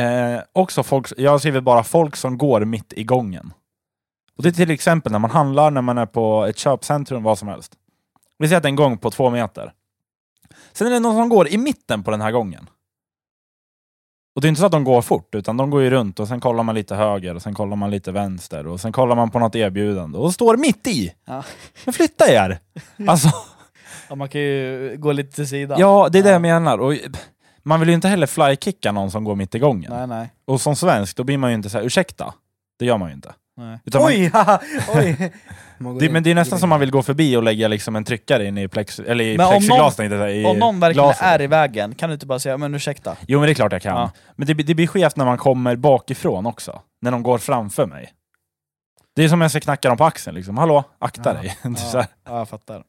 Speaker 4: Eh, också folk, jag skriver bara folk som går mitt i gången. Och det är till exempel när man handlar, när man är på ett köpcentrum, vad som helst. Vi säger att det är en gång på två meter. Sen är det någon som går i mitten på den här gången. Och det är inte så att de går fort, utan de går ju runt och sen kollar man lite höger och sen kollar man lite vänster och sen kollar man på något erbjudande och står mitt i.
Speaker 2: Ja.
Speaker 4: Men flytta er! Alltså,
Speaker 2: Ja, man kan ju gå lite till sidan.
Speaker 4: ja, det är det
Speaker 2: Ja.
Speaker 4: jag menar. Och man vill ju inte heller flykicka någon som går mitt i gången.
Speaker 2: Nej, nej.
Speaker 4: Och som svensk, då blir man ju inte så här, ursäkta. Det gör man ju inte.
Speaker 2: nej.
Speaker 4: Utan man,
Speaker 3: Oj! haha, Oj! Man går
Speaker 4: det,
Speaker 3: in-
Speaker 4: men det är nästan
Speaker 3: går
Speaker 4: som
Speaker 3: in.
Speaker 4: man vill gå förbi och lägga liksom en tryckare in i, plex, eller i
Speaker 2: Men om
Speaker 4: plexiglas. tänkte jag säga, i
Speaker 2: Om någon verkligen
Speaker 4: glasen.
Speaker 2: är i vägen, kan du inte bara säga men ursäkta?
Speaker 4: Jo men det är klart jag kan.
Speaker 2: Ja.
Speaker 4: Men det, det blir skevt när man kommer bakifrån också. När de går framför mig. Det är som när jag ska knacka dem på axeln liksom. Hallå, akta
Speaker 3: Ja.
Speaker 4: dig.
Speaker 2: Ja,
Speaker 4: Det är så här.
Speaker 2: ja jag fattar.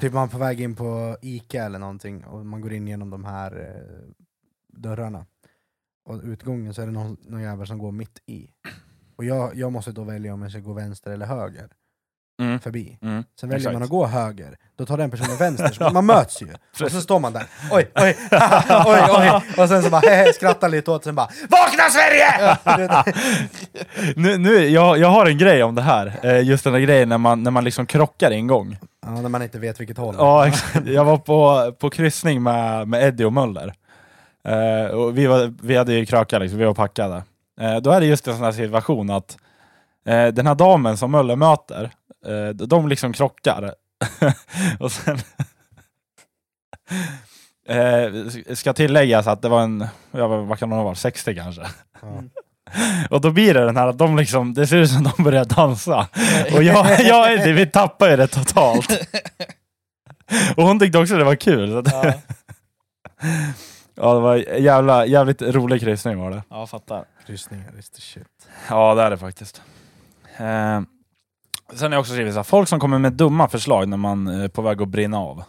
Speaker 3: Typ man är på väg in på Ica eller någonting och man går in genom de här eh, dörrarna. Och utgången så är det någon, någon jävel som går mitt i. Och jag, jag måste då välja om jag ska gå vänster eller höger
Speaker 4: Mm.
Speaker 3: förbi.
Speaker 4: Mm.
Speaker 3: Sen väljer
Speaker 4: Exakt.
Speaker 3: man att gå höger, då tar den personen vänster, så man möts ju. Och så står man där, oj, oj, oj, oj. Och sen så bara hehe, skrattar lite åt, sen bara VAKNA SVERIGE!
Speaker 4: Nu, nu, jag, jag har en grej om det här. Eh, just den där grejen när man, när man liksom krockar en gång.
Speaker 3: ja, när man inte vet vilket håll.
Speaker 4: Ja, exakt. Jag var på, på kryssning med, med Eddie och Möller. Eh, och vi, var, vi hade ju krökar, liksom, vi var packade. Eh, då är det just en sån här situation att eh, den här damen som Möller möter, eh, de liksom krockar. och sen... eh, ska tilläggas att det var en, ja, vad vad kan hon ha varit, 60 kanske?
Speaker 3: Ja.
Speaker 4: Och då blir det den här att de liksom, det ser ut som de börjar dansa. Och jag, jag och Eddie, vi tappar ju det totalt. Och hon tyckte också det var kul. Så att,
Speaker 2: Ja,
Speaker 4: ja, det var en jävla, jävligt rolig kryssning var det.
Speaker 2: ja jag fattar.
Speaker 3: Kryssningar, is the shit.
Speaker 4: Ja, det är det faktiskt. Eh, sen har jag också skrivit så här, folk som kommer med dumma förslag när man eh, är på väg att brinna av.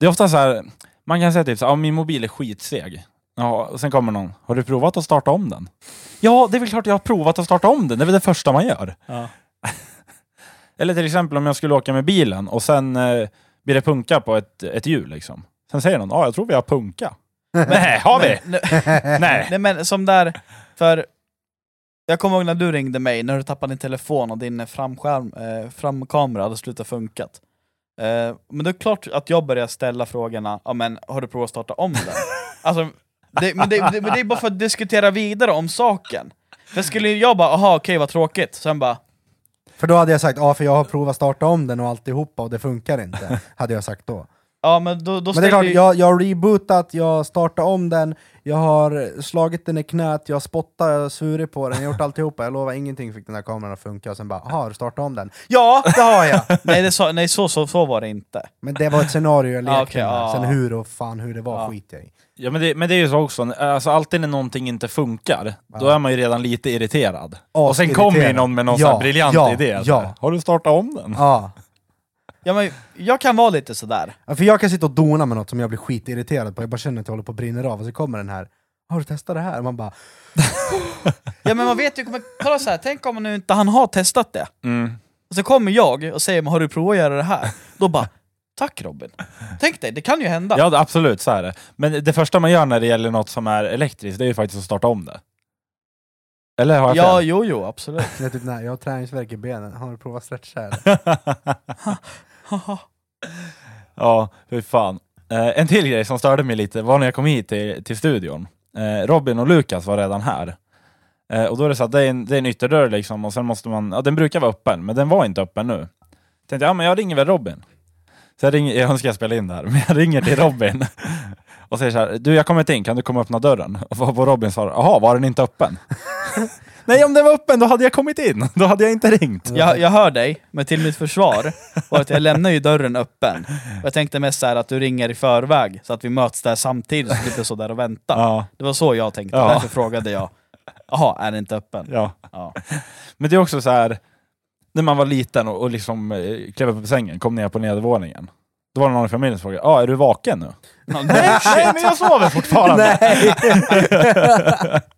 Speaker 4: Det är ofta så här, man kan säga typ så här, ja, min mobil är skitseg. Ja, och sen kommer någon, har du provat att starta om den? Ja, det är väl klart jag har provat att starta om den, det är väl det första man gör.
Speaker 2: Ja.
Speaker 4: Eller till exempel om jag skulle åka med bilen och sen eh, blir det punka på ett, ett hjul liksom. Sen säger någon, ja jag tror vi har punka. Nej, har vi?
Speaker 2: Men,
Speaker 4: Nej.
Speaker 2: nej men som där, för jag kommer ihåg när du ringde mig, när du tappade din telefon och din framskärm, eh, framkamera hade slutat funkat. Eh, men det är klart att jag börjar ställa frågorna, ja men har du provat att starta om den? alltså, det, men, det, det, men det är bara för att diskutera vidare om saken. För skulle jag bara, aha okej vad tråkigt, sen bara,
Speaker 3: För då hade jag sagt, ja för jag har provat starta om den och alltihopa och det funkar inte. Hade jag sagt då.
Speaker 2: Ja men då, då
Speaker 3: Men det är
Speaker 2: ställer
Speaker 3: klart,
Speaker 2: vi...
Speaker 3: jag, jag har rebootat, jag har startat om den, jag har slagit den i knät, jag har spottat, jag har svurit på den, jag har gjort alltihopa. Jag lovar, ingenting fick den här kameran att funka. Och sen bara, "Aha, har du startat om den? Ja, det har jag!
Speaker 2: Nej, det sa, nej så, så, så var det inte.
Speaker 3: Men det var ett scenario jag lekte
Speaker 2: Ah, okej,
Speaker 3: med.
Speaker 2: ah.
Speaker 3: Sen hur och fan hur det var
Speaker 2: Ah.
Speaker 3: skiter jag i.
Speaker 4: Ja, men, det, men det är ju så också, alltså, alltid när någonting inte funkar, då är man ju redan lite irriterad. och sen
Speaker 3: Asirriterad.
Speaker 4: kommer ju någon med någon sån
Speaker 3: Ja,
Speaker 4: här briljant
Speaker 3: ja,
Speaker 4: idé.
Speaker 3: ja.
Speaker 4: Har du startat om den?
Speaker 3: Ja.
Speaker 2: Ja, men, jag kan vara lite sådär.
Speaker 3: Ja, Ah. För jag kan sitta och dona med något som jag blir skitirriterad på, jag bara känner att jag håller på att brinna av och så kommer den här har du testat det här? Och Man bara,
Speaker 2: Ja men man vet ju, kommer, kolla så här, tänk om nu inte han har testat det.
Speaker 4: Mm.
Speaker 2: Och så kommer jag och säger men har du provat att göra det här? Då bara, tack Robin. Tänk dig, det kan ju hända.
Speaker 4: Ja, absolut, så är det. Men det första man gör när det gäller något som är elektriskt, det är ju faktiskt att starta om det. Eller har jag
Speaker 2: ja
Speaker 4: fel?
Speaker 2: jo, jo, absolut.
Speaker 3: det är typ, nej, jag har träningsvärk i benen, har du provat stretcha eller?
Speaker 4: Ja, hur fan. Eh, en till grej som störde mig lite var när jag kom hit till, till studion. Eh, Robin och Lukas var redan här. Eh, och då är det så att det är en, det är en ytterdörr liksom och sen måste man, ja den brukar vara öppen, men den var inte öppen nu. Tänkte jag, ja men jag ringer väl Robin. Så jag, ringer, jag önskar jag spelade in det här, men jag ringer till Robin och säger så här, du jag kommer inte in, kan du komma och öppna dörren? Och varpå Robin svarar, jaha var den inte öppen? Nej om den var öppen då hade jag kommit in, då hade jag inte ringt.
Speaker 2: Jag, jag hör dig, men till mitt försvar var att jag lämnar ju dörren öppen. Och jag tänkte mest så här att du ringer i förväg, så att vi möts där samtidigt, så slipper stå där och vänta.
Speaker 4: Ja,
Speaker 2: Det var så jag tänkte,
Speaker 4: Ja.
Speaker 2: därför frågade jag. Jaha, är det inte öppen?
Speaker 4: ja.
Speaker 2: Ja.
Speaker 4: Men det är också så här, när man var liten och, och liksom eh, klev upp på sängen, kom ner på nedervåningen. Då var det någon i familjen som frågade, ah, är du vaken nu?
Speaker 2: Ja, nej,
Speaker 4: Nej, men jag sover fortfarande!
Speaker 3: Nej!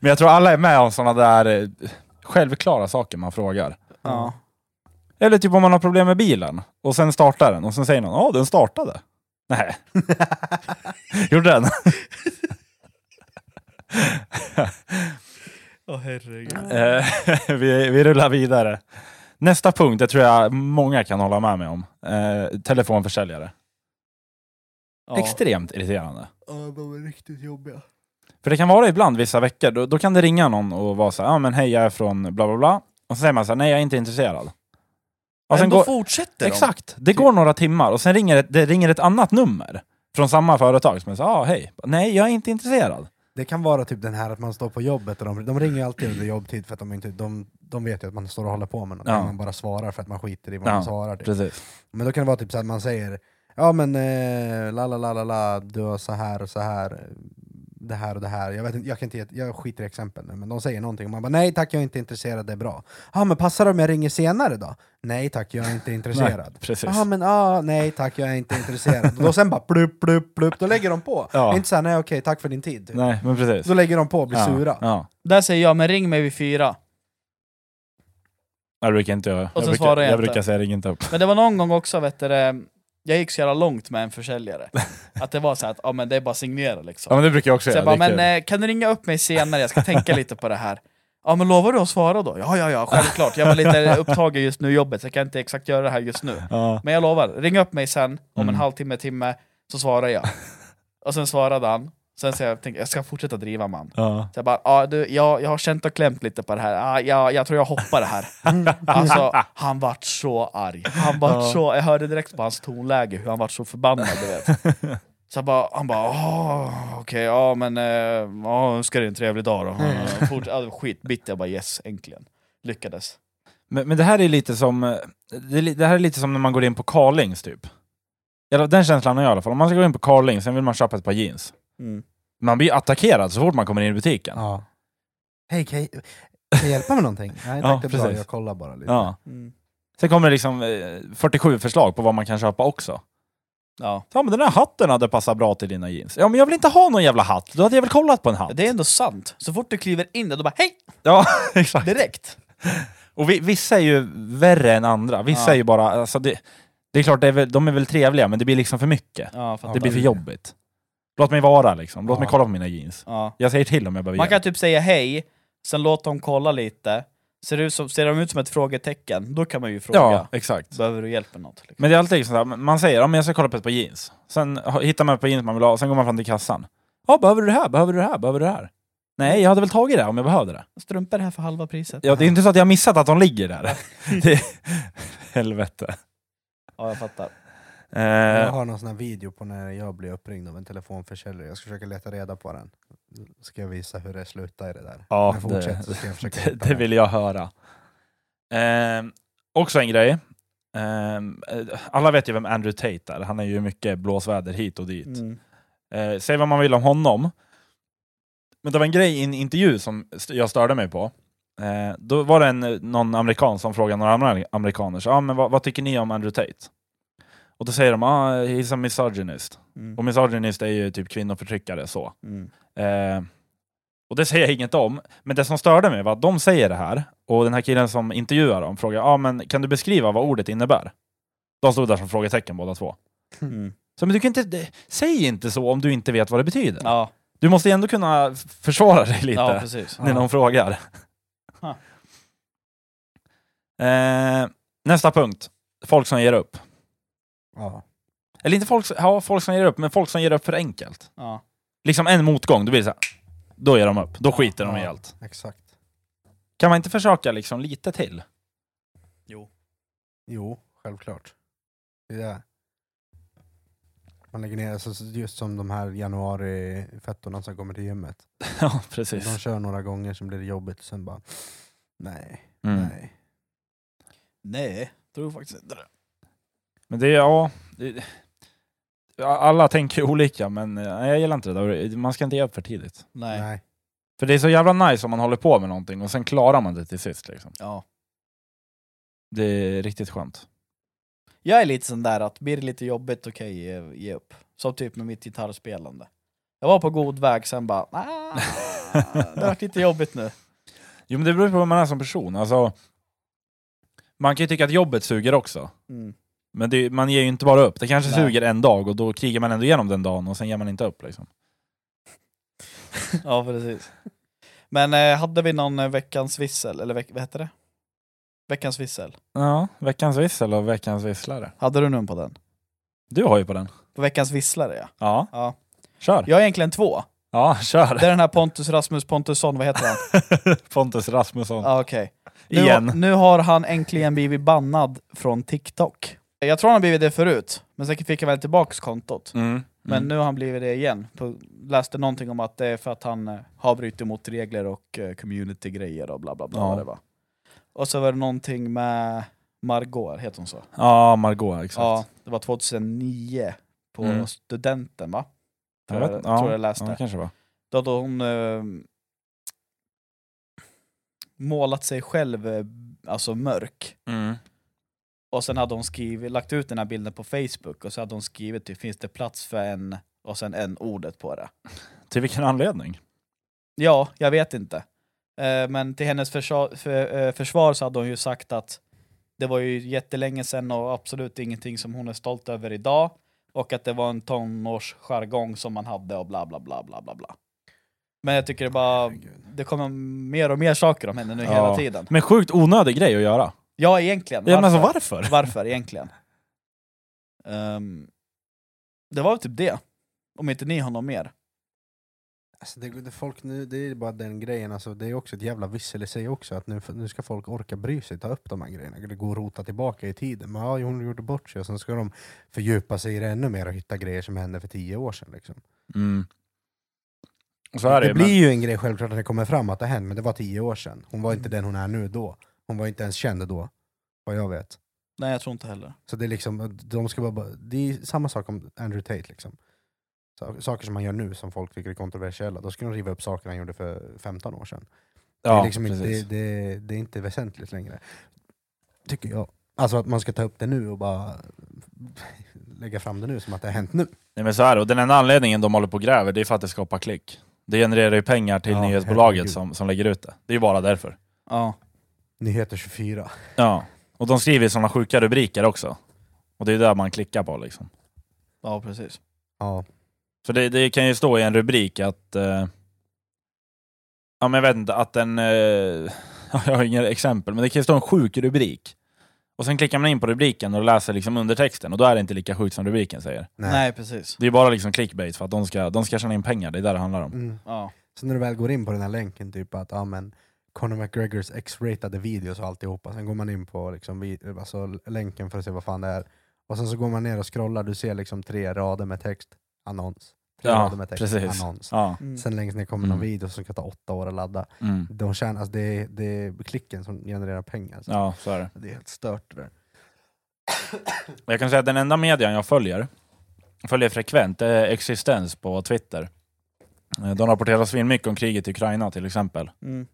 Speaker 4: Men jag tror alla är med om sådana där eh, självklara saker man frågar.
Speaker 2: Ja.
Speaker 4: Eller typ om man har problem med bilen, och sen startar den, och sen säger någon, ja ah, den startade. Nej. Gjorde den?
Speaker 2: Åh herregud.
Speaker 4: Eh, vi, vi rullar vidare. Nästa punkt, det tror jag många kan hålla med mig om. Eh, telefonförsäljare.
Speaker 2: Ja.
Speaker 4: Extremt irriterande.
Speaker 3: Ja, de var riktigt jobbiga.
Speaker 4: För det kan vara ibland vissa veckor, då, då kan det ringa någon och vara så här, ah, men hej jag är från bla bla bla. Och så säger man så här, nej jag är inte intresserad. Och sen
Speaker 2: Ändå
Speaker 4: går,
Speaker 2: fortsätter
Speaker 4: exakt, det går några timmar och sen ringer ett, det ringer ett annat nummer från samma företag som är så här, ah, hej, nej jag är inte intresserad.
Speaker 3: Det kan vara typ den här att man står på jobbet och de, de ringer ju alltid under jobbtid för att de, inte, de, de vet ju att man står och håller på med något,
Speaker 4: Ja.
Speaker 3: men man bara svarar för att man skiter i vad
Speaker 4: Ja,
Speaker 3: man svarar. Typ.
Speaker 4: Precis.
Speaker 3: Men då kan det vara typ så att man säger Ja men eh, la la la la la, du har så här och så här, eh, det här och det här. Jag, vet inte, jag, kan inte, ge- jag skiter i exempel nu, men de säger någonting och man bara nej tack jag är inte intresserad, det är bra. Ja men passar det om jag ringer senare då? Nej tack jag är inte intresserad.
Speaker 4: Nej, precis.
Speaker 3: Ja men ah, nej tack jag är inte intresserad. Och då sen bara plupp plupp plupp, då lägger de på.
Speaker 4: Ja.
Speaker 3: Inte såhär nej okej tack för din tid. typ.
Speaker 4: Nej, men precis.
Speaker 3: Då lägger de på och blir sura.
Speaker 4: Ja, ja.
Speaker 2: Där säger jag, men ring mig vid fyra.
Speaker 4: Jag brukar inte jag,
Speaker 2: sen
Speaker 4: brukar,
Speaker 2: svarar jag
Speaker 4: jag
Speaker 2: inte.
Speaker 4: brukar säga ring inte upp.
Speaker 2: Men det var någon gång också, vet du, det, jag gick så jävla långt med en försäljare. Att det var så här att, ja men det är bara att signera liksom.
Speaker 4: Ja men det brukar jag också
Speaker 2: Så
Speaker 4: göra,
Speaker 2: jag bara,
Speaker 4: det är
Speaker 2: men
Speaker 4: kul.
Speaker 2: eh, kan du ringa upp mig senare? Jag ska tänka lite på det här. Ja, men lovar du att svara då? Ja, ja, ja, självklart. Jag var lite upptagen just nu i jobbet, så jag kan inte exakt göra det här just nu.
Speaker 4: Ja.
Speaker 2: Men jag lovar, ring upp mig sen, om
Speaker 4: Mm.
Speaker 2: en halvtimme, timme, så svarar jag. Och sen svarade han. Sen så jag tänkte, jag ska fortsätta driva man.
Speaker 4: Ja.
Speaker 2: Så jag bara, ah, du, jag, jag har känt och klämt lite på det här, ah, jag, jag tror jag hoppar det här. Alltså, han vart så arg. Han vart
Speaker 4: Ja.
Speaker 2: så, jag hörde direkt på hans tonläge hur han vart så förbannad. Du vet. Så jag bara, han bara, "Ah, okej, ja men, eh, ja, önskar dig en trevlig dag då. Ja, Fort, ja, skitbitter, jag bara yes, äntligen. Lyckades.
Speaker 4: Men, men det här är lite som eh, det, är li- det här är lite som när man går in på Carlings typ. Eller, Den känslan har jag i alla fall. Om man ska gå in på Carlings, sen vill man köpa ett par jeans.
Speaker 2: Mm.
Speaker 4: Man blir attackerad så fort man kommer in i butiken.
Speaker 3: Ja. Hej, kan jag, kan jag hjälpa med någonting? Nej
Speaker 4: Ja,
Speaker 3: tack, det är bra,
Speaker 4: precis.
Speaker 3: jag kollar bara lite.
Speaker 4: Ja.
Speaker 2: Mm.
Speaker 4: Sen kommer det liksom eh, 47 förslag på vad man kan köpa också.
Speaker 2: Ja.
Speaker 4: Ja men den här hatten hade passat bra till dina jeans. Ja men jag vill inte ha någon jävla hatt, då hade jag väl kollat på en hatt.
Speaker 2: Det är ändå sant. Så fort du kliver in där, då bara hej!
Speaker 4: Ja, exakt.
Speaker 2: Direkt!
Speaker 4: Och vi, vissa är ju värre än andra. Vissa
Speaker 2: Ja.
Speaker 4: är ju bara, alltså det, det är klart, det är väl, de är väl trevliga men det blir liksom för mycket.
Speaker 2: Ja, fattar.
Speaker 4: Det blir för
Speaker 3: det-
Speaker 4: jobbigt. Låt mig vara liksom, låt
Speaker 3: Ja.
Speaker 4: mig kolla på mina jeans.
Speaker 2: Ja.
Speaker 4: Jag säger till om jag behöver
Speaker 2: Man kan
Speaker 4: hjälp.
Speaker 2: typ säga hej, sen låta dem kolla lite. Ser, det ut som, ser de ut som ett frågetecken, då kan man ju fråga.
Speaker 4: Ja, exakt.
Speaker 2: Behöver du hjälp med något? Liksom.
Speaker 4: Men det är alltid liksom så här, man säger att jag ska kolla på ett par jeans. Sen ha- hittar man ett par jeans man vill ha, sen går man fram till kassan. Ja, behöver du det här? Behöver du det här? Behöver du det här? Nej, jag hade väl tagit det om jag behövde det.
Speaker 2: Strumpor här för halva priset.
Speaker 4: Ja, det är inte så att jag har missat att de ligger där. Det- Helvete.
Speaker 2: Ja, jag fattar.
Speaker 4: Eh,
Speaker 3: Jag
Speaker 4: Eh,
Speaker 3: har någon sån här video på när jag blir uppringd av en telefonförsäljare. Jag ska försöka leta reda på den. Ska jag visa hur det slutar i det där.
Speaker 4: Ja,
Speaker 3: Men fortsätt så
Speaker 4: det-
Speaker 3: ska jag försöka
Speaker 4: det,
Speaker 3: hitta
Speaker 4: det
Speaker 3: den.
Speaker 4: vill jag höra. Eh, också en grej. Eh, alla vet ju vem Andrew Tate är. Han är ju mycket blåsväder hit och dit.
Speaker 2: Mm.
Speaker 4: Eh, säg vad man vill om honom. Men det var en grej i en intervju som st- jag störde mig på. Eh, då var det en, någon amerikan som frågade några andra amerikaner, så, ah, men vad, vad tycker ni om Andrew Tate? Och då säger de, ah, he's a misogynist.
Speaker 2: Mm.
Speaker 4: Och misogynist är ju typ kvinnoförtryckare så.
Speaker 2: Mm.
Speaker 4: Eh, och det säger jag inget om, men det som störde mig var att de säger det här, och den här killen som intervjuar dem frågar, ah, men kan du beskriva vad ordet innebär? De stod där som frågetecken båda två.
Speaker 2: Mm.
Speaker 4: Så men du kan inte, det- säg inte så om du inte vet vad det betyder.
Speaker 2: Ja,
Speaker 4: Du måste ju ändå kunna f- försvara dig lite
Speaker 2: ja, precis.
Speaker 4: när någon frågar.
Speaker 2: Ha.
Speaker 4: Eh, nästa punkt. Folk som ger upp.
Speaker 3: Ja.
Speaker 4: Eller inte folk, som- ja, folk som ger upp, men folk som ger upp för enkelt.
Speaker 2: Ja.
Speaker 4: Liksom en motgång, då blir det så här. Då ger de upp. Då skiter de i
Speaker 3: Ja.
Speaker 4: allt.
Speaker 3: Exakt.
Speaker 4: Kan man inte försöka liksom lite till?
Speaker 3: Jo, självklart. Det är det. Man lägger ner, alltså just som de här januarifettorna som kommer till gymmet.
Speaker 4: ja,
Speaker 3: De
Speaker 4: precis.
Speaker 3: kör några gånger, sen blir det jobbigt, sen bara nej,
Speaker 4: Mm.
Speaker 3: nej.
Speaker 2: Nej, tror faktiskt inte det.
Speaker 4: Men det är, ja... Det, ja, alla tänker ju olika, men eh, jag gillar inte det där. Man ska inte ge upp för tidigt.
Speaker 2: Nej.
Speaker 3: nej.
Speaker 4: För det är så jävla nice om man håller på med någonting och sen klarar man det till sist. Liksom.
Speaker 2: Ja.
Speaker 4: Det är riktigt skönt.
Speaker 2: Jag är lite sån där att blir det lite jobbigt, okej, ge, ge upp. Som typ med mitt gitarrspelande. Jag var på god väg, sen bara ah, det har varit lite jobbigt nu.
Speaker 4: Jo men det beror på vem man är som person. Alltså, man kan ju tycka att jobbet suger också.
Speaker 2: Mm.
Speaker 4: Men det, man ger ju inte bara upp. Det kanske
Speaker 2: Nej.
Speaker 4: suger en dag och då krigar man ändå igenom den dagen och sen ger man inte upp. Liksom.
Speaker 2: Ja, precis. Men eh, hade vi någon eh, veckans vissel, eller veck, vad hette det? Veckans vissel.
Speaker 4: Ja, veckans vissel och veckans visslare.
Speaker 2: Hade du någon på den?
Speaker 4: Du har ju på den.
Speaker 2: På veckans visslare ja.
Speaker 4: Ja,
Speaker 2: ja.
Speaker 4: kör.
Speaker 2: Jag har egentligen två.
Speaker 4: Ja, kör.
Speaker 2: Det är den här Pontus Rasmus Pontusson, vad heter han?
Speaker 4: Pontus Rasmusson.
Speaker 2: Ja, okej. Nu,
Speaker 4: Igen.
Speaker 2: Nu har han äntligen blivit bannad från TikTok. Jag tror han har blivit det förut, men säkert fick han väl tillbaks kontot.
Speaker 4: Mm. Mm.
Speaker 2: Men nu har han blivit det igen. På, läste någonting om att det är för att han eh, har brutit mot regler och eh, community-grejer och bla bla bla.
Speaker 4: Ja.
Speaker 2: vad Det var. Och så var det någonting med Margot, heter hon så?
Speaker 4: Mm. Ja, Margot, exakt.
Speaker 2: Ja, det var 2009 på
Speaker 4: Mm.
Speaker 2: studenten va?
Speaker 4: jag vet,
Speaker 2: tror jag läste.
Speaker 4: Ja, det kanske var.
Speaker 2: Då hade hon eh, målat sig själv eh, alltså mörk.
Speaker 4: Mm.
Speaker 2: Och sen hade hon skrivit, lagt ut den här bilden på Facebook och så hade hon skrivit typ, finns det plats för en och sen en ordet på det.
Speaker 4: Till vilken anledning?
Speaker 2: Ja, jag vet inte. Eh, men till hennes försvar, för, eh, försvar så hade hon ju sagt att det var ju jättelänge sedan och absolut ingenting som hon är stolt över idag. Och att det var en tonårsjargong som man hade och bla bla bla bla bla bla. Men jag tycker det bara,
Speaker 3: Herregud.
Speaker 2: det kommer mer och mer saker om henne nu
Speaker 4: Ja.
Speaker 2: hela tiden.
Speaker 4: Men sjukt onödig grej att göra.
Speaker 2: Ja, egentligen.
Speaker 4: Ja, men alltså varför?
Speaker 2: Varför egentligen? Ehm, det var väl typ det. Om inte ni har något mer.
Speaker 3: Alltså det, det, folk nu, det är bara den grejen, alltså det är också ett jävla vissel i sig också, att nu, nu ska folk orka bry sig, ta upp de här grejerna, det går att rota tillbaka i tiden. Men ja, hon gjorde bort sig och sen ska de fördjupa sig i det ännu mer och hitta grejer som hände för tio år sedan. Liksom.
Speaker 4: Mm. Så
Speaker 3: Det,
Speaker 4: är det, ju,
Speaker 3: blir
Speaker 4: men-
Speaker 3: ju en grej självklart när det kommer fram att det hände, men det var tio år sedan. Hon var inte den hon är nu då. Hon var inte ens känd då, vad jag vet.
Speaker 2: Nej, jag tror inte heller.
Speaker 3: Så det är liksom, de ska bara, det är samma sak om Andrew Tate liksom. Sa- Saker som man gör nu som folk tycker är kontroversiella, då ska de riva upp saker han gjorde för 15 år sedan. det,
Speaker 4: Ja,
Speaker 3: är liksom inte,
Speaker 4: precis.
Speaker 3: det, det, det är inte väsentligt längre. Tycker jag. Alltså att man ska ta upp det nu och bara lägga fram det nu som att det har hänt nu.
Speaker 4: Nej, men så är det. Och den enda anledningen de håller på och gräver, det är för att det skapar klick. Det genererar ju pengar till
Speaker 3: Ja,
Speaker 4: nyhetsbolaget
Speaker 3: herregud.
Speaker 4: som, som lägger ut det. Det är ju bara därför.
Speaker 2: Ja.
Speaker 3: Nyheter 24.
Speaker 4: Ja. Och de skriver sådana sjuka rubriker också. Och det är ju där man klickar på liksom.
Speaker 2: Ja, precis.
Speaker 3: Ja.
Speaker 4: För det, det kan ju stå i en rubrik att... Eh, ja, men jag vet inte, att en... Eh, jag har inga exempel, men det kan ju stå en sjuk rubrik. Och sen klickar man in på rubriken och läser liksom undertexten och då är det inte lika sjukt som rubriken säger.
Speaker 2: Nej,
Speaker 3: Nej.
Speaker 2: precis.
Speaker 4: Det är ju bara liksom clickbait för att de ska, de ska tjäna in pengar, det är där det handlar om.
Speaker 3: Mm.
Speaker 2: Ja.
Speaker 3: Sen när du väl går in på den här länken, typ att ja, men Conor McGregors X-ratade videos och alltihopa, sen går man in på liksom, vi- alltså, länken för att se vad fan det är. Och sen så går man ner och scrollar, du ser liksom tre rader med text, annons. Tre
Speaker 4: Ja,
Speaker 3: rader med text,
Speaker 4: precis.
Speaker 3: annons.
Speaker 4: Ja.
Speaker 2: Mm.
Speaker 3: Sen längst ner kommer någon
Speaker 4: Mm.
Speaker 3: video som ska ta åtta år att ladda.
Speaker 4: Mm.
Speaker 3: De tjänar, alltså det, är, det är klicken som genererar pengar. Så.
Speaker 4: ja, så är det.
Speaker 3: Det är helt stört det där.
Speaker 4: Jag kan säga att den enda median jag följer, följer frekvent, det är Existens på Twitter. Eh, De rapporterar svinmycket om kriget i Ukraina till exempel.
Speaker 2: Mm.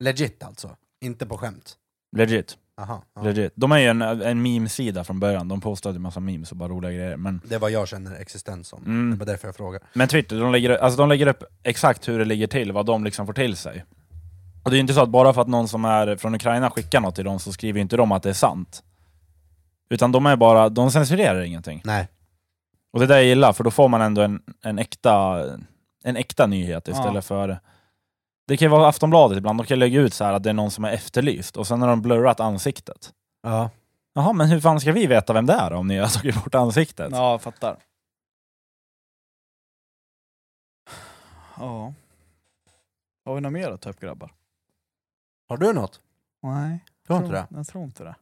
Speaker 3: Legit alltså, inte på skämt.
Speaker 4: Legit.
Speaker 3: Aha, ja.
Speaker 4: Legit. De är ju en, en meme-sida från början, de postade ju massa memes och bara roliga grejer. Men,
Speaker 3: Det är vad jag känner existens som.
Speaker 4: Mm.
Speaker 3: Det var därför jag frågade.
Speaker 4: men Twitter, de lägger, alltså de lägger upp exakt hur det ligger till, vad de liksom får till sig. Och det är ju inte så att bara för att någon som är från Ukraina skickar något till dem så skriver ju inte de att det är sant. Utan de är bara, de censurerar ingenting.
Speaker 3: Nej.
Speaker 4: Och det där jag gillar, för då får man ändå en, en, äkta, en äkta nyhet istället
Speaker 2: Ja.
Speaker 4: för... Det kan ju vara Aftonbladet ibland, de kan lägga ut så här att det är någon som är efterlyst och sen har de blurrat ansiktet.
Speaker 3: Ja.
Speaker 4: Jaha, men hur fan ska vi veta vem det är om ni har tagit bort ansiktet?
Speaker 2: Ja, jag fattar. Ja. Har vi något mer att ta upp grabbar?
Speaker 3: Har du något?
Speaker 2: Nej.
Speaker 3: Du har inte det?
Speaker 2: Jag tror inte det.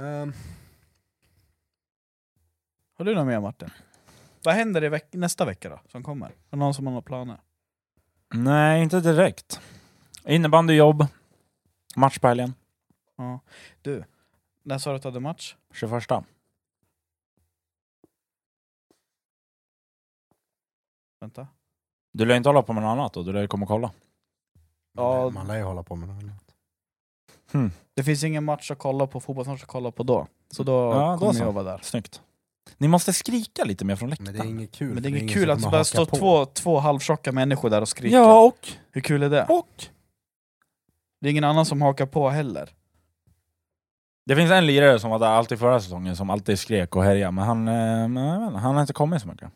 Speaker 3: Ehm,
Speaker 2: Har du något mer Martin? Vad händer i veck- nästa vecka då, som kommer? Är det någon som har några planer?
Speaker 4: Nej, inte direkt. Innebandyjobb, match på helgen,
Speaker 2: Ja. Du, när sa du att du hade match?
Speaker 4: 21.
Speaker 2: Vänta.
Speaker 4: Du lär inte hålla på med något annat då, du lär komma och kolla.
Speaker 2: Ja.
Speaker 3: Man lär ju hålla på med något annat.
Speaker 2: Det finns ingen match att kolla på, fotbollsmatch att kolla på då. Så då
Speaker 4: Ja, då
Speaker 2: kommer
Speaker 4: så.
Speaker 2: jag vara där.
Speaker 4: Snyggt. Ni måste skrika lite mer från läktaren.
Speaker 3: Men det är inget kul.
Speaker 2: Men det
Speaker 3: för
Speaker 2: är inget
Speaker 3: ingen
Speaker 2: kul
Speaker 3: som
Speaker 2: att det
Speaker 3: kommer
Speaker 2: bara
Speaker 3: haka
Speaker 2: står
Speaker 3: på.
Speaker 2: två, två halvtjocka människor där och skriker.
Speaker 4: Ja, och,
Speaker 2: Hur kul är det?
Speaker 4: och.
Speaker 2: Det är ingen annan som hakar på heller.
Speaker 4: Det finns en lirare som var där alltid förra säsongen som alltid skrek och härjade, men han, eh, men jag vet inte, han har inte kommit så mycket.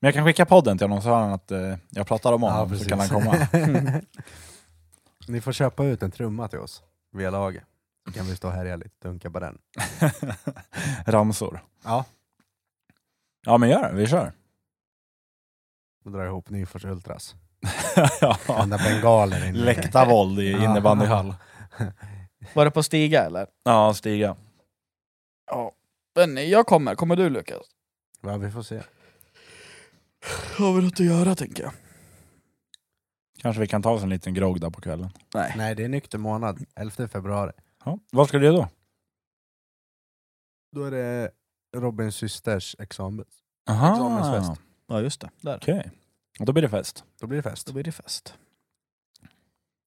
Speaker 4: Men jag kan skicka podden till honom så hör han att eh, jag pratar om honom, så
Speaker 3: precis.
Speaker 4: kan han komma.
Speaker 3: Ni får köpa ut en trumma till oss, via laget. Så kan vi stå här och lite dunka på den.
Speaker 4: Ramsor.
Speaker 3: Ja.
Speaker 4: Ja men gör det, vi kör.
Speaker 3: Och dra ihop Nyfors Ultras.
Speaker 4: ja.
Speaker 3: Enda bengaler inne.
Speaker 4: Läktarvåld i innebandyhall.
Speaker 2: Var det på Stiga eller?
Speaker 4: Ja, Stiga.
Speaker 2: Ja. Men jag kommer. Kommer du Lukas?
Speaker 3: Ja, vi får se.
Speaker 2: Har vi något att göra tänker jag.
Speaker 4: Kanske vi kan ta oss en liten grogg där på kvällen.
Speaker 2: Nej.
Speaker 3: Nej, det är nykter månad. 11 februari.
Speaker 4: Ja. Vad ska du göra då?
Speaker 3: Då är det Robins systers examen.
Speaker 4: Aha.
Speaker 2: Ah.
Speaker 3: Examensfest.
Speaker 2: Ja just det. Där.
Speaker 4: Okej. Och Då blir det fest.
Speaker 3: Då blir det
Speaker 2: Då
Speaker 3: fest.
Speaker 2: blir det fest.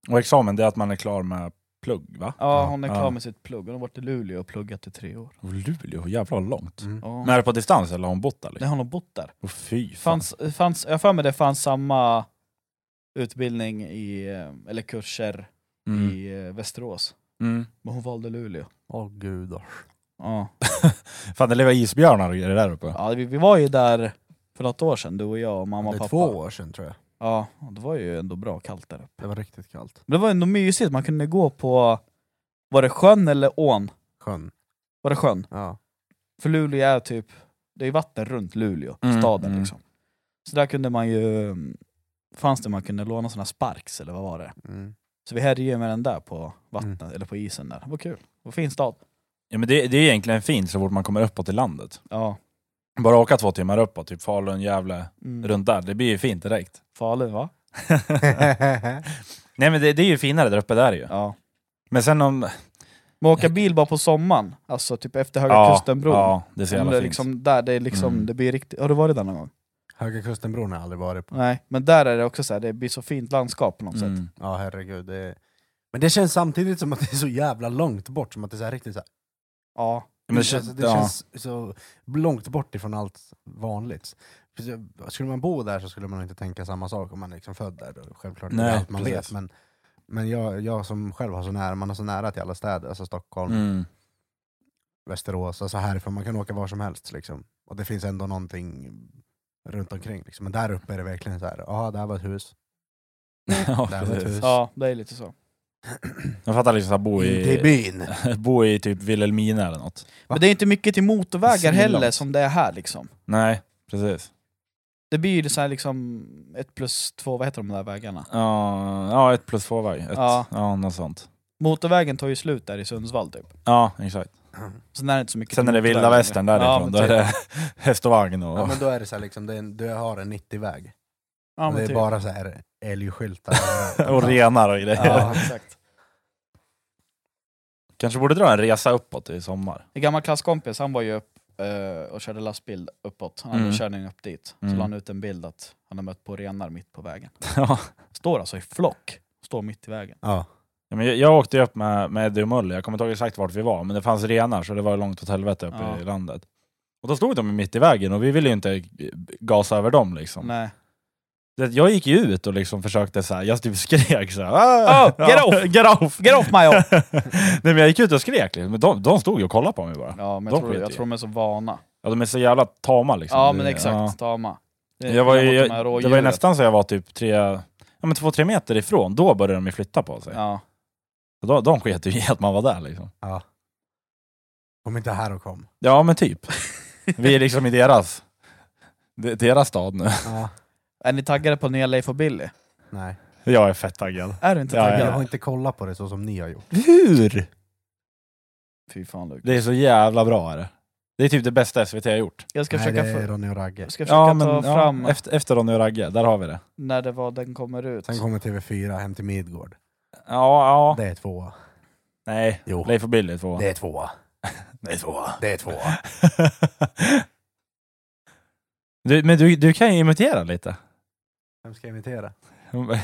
Speaker 4: Och examen, det är att man är klar med plugg va?
Speaker 2: Ja, hon är klar
Speaker 4: Ja.
Speaker 2: med sitt plugg. Hon har varit i Luleå och pluggat i tre år.
Speaker 4: Och Luleå, jävlar vad långt.
Speaker 3: Mm.
Speaker 2: Ja.
Speaker 4: Men är det på distans eller har hon bott där?
Speaker 2: Det
Speaker 4: Liksom?
Speaker 2: har hon bott där.
Speaker 4: Åh, fy fan.
Speaker 2: Fanns, fanns, jag har för mig det fanns samma utbildning i, eh, eller kurser
Speaker 4: Mm.
Speaker 2: i eh, Västerås.
Speaker 4: Mm.
Speaker 2: Men hon valde Luleå.
Speaker 3: Åh gudars.
Speaker 2: Ja.
Speaker 4: Fan det lever isbjörnar och grejer där uppe.
Speaker 2: Ja, vi, vi var ju där för något år sedan, du och jag och mamma och
Speaker 3: det är
Speaker 2: pappa.
Speaker 3: två år sedan tror jag.
Speaker 2: Ja, och det var ju ändå bra kallt där uppe.
Speaker 3: Det var riktigt kallt.
Speaker 2: Men det var ändå mysigt, man kunde gå på... Var det sjön eller ån?
Speaker 3: Sjön.
Speaker 2: Var det sjön?
Speaker 3: Ja.
Speaker 2: För Luleå är typ, det är vatten runt Luleå,
Speaker 4: Mm,
Speaker 2: staden
Speaker 4: mm.
Speaker 2: liksom. Så där kunde man ju, fanns det man kunde låna såna här sparks eller vad var det?
Speaker 3: Mm.
Speaker 2: Så vi härjade ju med den där på vattnet,
Speaker 4: Mm.
Speaker 2: eller på isen där. Det var kul. Det var fin stad.
Speaker 4: Ja, men det, det är egentligen fint så fort man kommer uppåt i landet.
Speaker 2: Ja.
Speaker 4: Bara åka två timmar uppåt, typ Falun, Gävle,
Speaker 2: Mm.
Speaker 4: runt där. Det blir ju fint direkt.
Speaker 2: Falun va?
Speaker 4: Nej men det, det är ju finare där uppe, där ju.
Speaker 2: Ja.
Speaker 4: Men sen om...
Speaker 2: Men åka bil bara på sommaren, alltså typ efter Höga
Speaker 4: Ja,
Speaker 2: Kusten-bron.
Speaker 4: ja, det är så jävla
Speaker 2: Eller
Speaker 4: fint.
Speaker 2: liksom där, det, är liksom,
Speaker 4: Mm.
Speaker 2: det blir riktigt... Har du varit där någon gång?
Speaker 3: Höga Kustenbron har jag aldrig varit på.
Speaker 2: Nej, men där är det också så här, det blir så fint landskap på något sätt.
Speaker 4: Mm.
Speaker 3: Ja herregud. Det... Men det känns samtidigt som att det är så jävla långt bort. Som att det är så här riktigt så här...
Speaker 2: Ja.
Speaker 4: Men det,
Speaker 3: alltså,
Speaker 4: känns,
Speaker 3: det
Speaker 4: ja.
Speaker 3: känns så långt bort ifrån allt vanligt. För så- Skulle man bo där så skulle man inte tänka samma sak om man är liksom född där. Då. Självklart, det är
Speaker 4: Nej,
Speaker 3: allt man
Speaker 4: precis.
Speaker 3: vet. Men, men jag, jag som själv har så nära, man har så nära till alla städer, alltså Stockholm,
Speaker 4: Mm.
Speaker 3: Västerås, alltså härifrån, man kan åka var som helst. Liksom. Och det finns ändå någonting runt omkring. Liksom. Men där uppe är det verkligen så här, ja där var ett hus.
Speaker 4: ja,
Speaker 3: Där var ett
Speaker 4: precis.
Speaker 3: hus.
Speaker 2: ja, det är lite så.
Speaker 4: Jag fattar liksom att bo
Speaker 3: Inte i
Speaker 4: i,
Speaker 3: byn.
Speaker 4: bo i typ Vilhelmina eller något.
Speaker 2: Men det är inte mycket till motorvägar
Speaker 4: Svinlångt.
Speaker 2: heller som det är här liksom.
Speaker 4: Nej, precis.
Speaker 2: Det blir ju så här liksom ett plus två, vad heter de där vägarna?
Speaker 4: Ja, ja ett plus två väg. Ett,
Speaker 2: Ja.
Speaker 4: ja. något sånt.
Speaker 2: Motorvägen tar ju slut där i Sundsvall typ.
Speaker 4: Ja, exakt.
Speaker 2: Sen är det inte så mycket
Speaker 4: Sen är det vilda
Speaker 2: motorväg
Speaker 4: västern
Speaker 2: längre.
Speaker 4: därifrån, då är
Speaker 2: Ja, men typ.
Speaker 4: det häst och vagn och...
Speaker 3: Ja, men då är det så här liksom, det är en, du har en 90-väg.
Speaker 2: Ja,
Speaker 3: och det
Speaker 2: men
Speaker 3: är
Speaker 2: typ.
Speaker 3: bara så här älgskyltar.
Speaker 4: och renar och grejer.
Speaker 2: Ja, exakt.
Speaker 4: Kanske borde dra en resa uppåt i sommar.
Speaker 2: En gammal klasskompis, han var ju upp eh, och körde lastbil uppåt. Han hade
Speaker 4: Mm.
Speaker 2: en körning upp dit. Så
Speaker 4: Mm.
Speaker 2: la han ut en bild att han har mött på renar mitt på vägen.
Speaker 4: Ja.
Speaker 2: Står alltså i flock. Står mitt i vägen.
Speaker 3: ja.
Speaker 4: Ja, men jag, jag åkte ju upp med, med Eddie och Mulle, jag kommer inte ihåg exakt vart vi var, men det fanns renar så det var långt åt helvete uppe
Speaker 2: Ja.
Speaker 4: i landet. Och då stod de mitt i vägen och vi ville ju inte eh, gasa över dem liksom.
Speaker 2: Nej.
Speaker 4: Det- Jag gick ju ut och liksom försökte så här, jag typ skrek så här,
Speaker 2: Oh,
Speaker 4: "Ah!"
Speaker 2: get
Speaker 4: Ja,
Speaker 2: off!
Speaker 4: Get off!
Speaker 2: Get off my own!
Speaker 4: Nej men jag gick ut och skrek liksom, men de, de stod ju och kollade på mig bara.
Speaker 2: Ja, men
Speaker 4: De
Speaker 2: jag tror,
Speaker 4: skiter
Speaker 2: jag
Speaker 4: i.
Speaker 2: tror de är så vana.
Speaker 4: Ja, de är så jävla tama liksom.
Speaker 2: Ja,
Speaker 4: Det-
Speaker 2: men
Speaker 4: ja.
Speaker 2: exakt. Tama. Det är
Speaker 4: Jag var ju,
Speaker 2: skillnad mot de
Speaker 4: jag,
Speaker 2: här
Speaker 4: det var ju
Speaker 2: rådjuren.
Speaker 4: nästan så jag var typ tre, ja, men två, tre meter ifrån, då började de ju flytta på sig.
Speaker 2: Ja.
Speaker 4: Så De, de sket ju i att man var där liksom.
Speaker 3: ja. Kom inte här och kom.
Speaker 4: Ja men typ. Vi är liksom i deras, de- deras stad nu.
Speaker 3: Ja.
Speaker 2: Är ni taggade på nya Leif och Billy?
Speaker 3: Nej.
Speaker 4: Jag är fett taggad.
Speaker 2: Är du inte
Speaker 4: Ja,
Speaker 2: taggad?
Speaker 3: Jag har inte kollat på det så som ni har gjort.
Speaker 4: Hur?
Speaker 2: Fy fan Luke.
Speaker 4: Det är så jävla bra är det. Det är typ det bästa SVT har gjort.
Speaker 2: Jag ska
Speaker 3: Nej, det
Speaker 2: försöka,
Speaker 3: är
Speaker 2: få-
Speaker 3: Ronny och Ragge.
Speaker 2: jag ska försöka ta fram
Speaker 4: ja, efter, efter Ronny och Ragge, där har vi det.
Speaker 2: när det var den kommer ut.
Speaker 3: Sen kommer TV4 hem till Midgård.
Speaker 4: Ja, ja.
Speaker 3: Det är tvåa.
Speaker 4: Nej,
Speaker 3: Jo,
Speaker 4: Leif och Billy två.
Speaker 3: det är tvåa.
Speaker 4: Det är två.
Speaker 3: Det är tvåa.
Speaker 4: du, men du, du kan ju imitera lite.
Speaker 3: Vem ska jag imitera?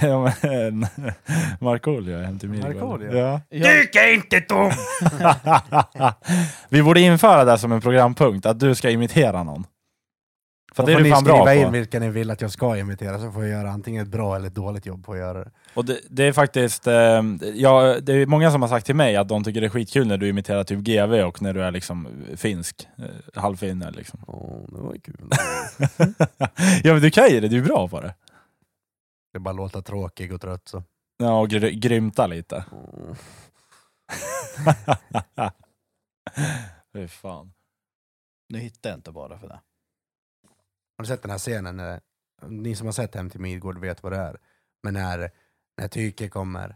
Speaker 4: Ja, men, Markoolio är hem till Midgård.
Speaker 3: Markoolio?
Speaker 4: Ja.
Speaker 2: Jag,
Speaker 4: är inte tom! vi borde införa det som en programpunkt, att du ska imitera någon. För
Speaker 3: Då
Speaker 4: det är
Speaker 3: får
Speaker 4: du
Speaker 3: ni
Speaker 4: fan bra
Speaker 3: skriva in
Speaker 4: på.
Speaker 3: vilka ni vill att jag ska imitera, så får jag göra antingen ett bra eller ett dåligt jobb på att göra det.
Speaker 4: Och det, det är faktiskt, eh, ja, det är många som har sagt till mig att de tycker det är skitkul när du imiterar typ GV och när du är liksom finsk, eh, halvfinne liksom.
Speaker 3: Åh, det var kul.
Speaker 4: ja men du kan ju det, du är bra på det.
Speaker 3: Det bara låta tråkig och trött så.
Speaker 4: Ja, och gr- grymta lite. Fy fan.
Speaker 2: nu hittar jag inte bara för det.
Speaker 3: Har du sett den här scenen? När, ni som har sett Hem till Midgård vet vad det är. Men när, när Tyke kommer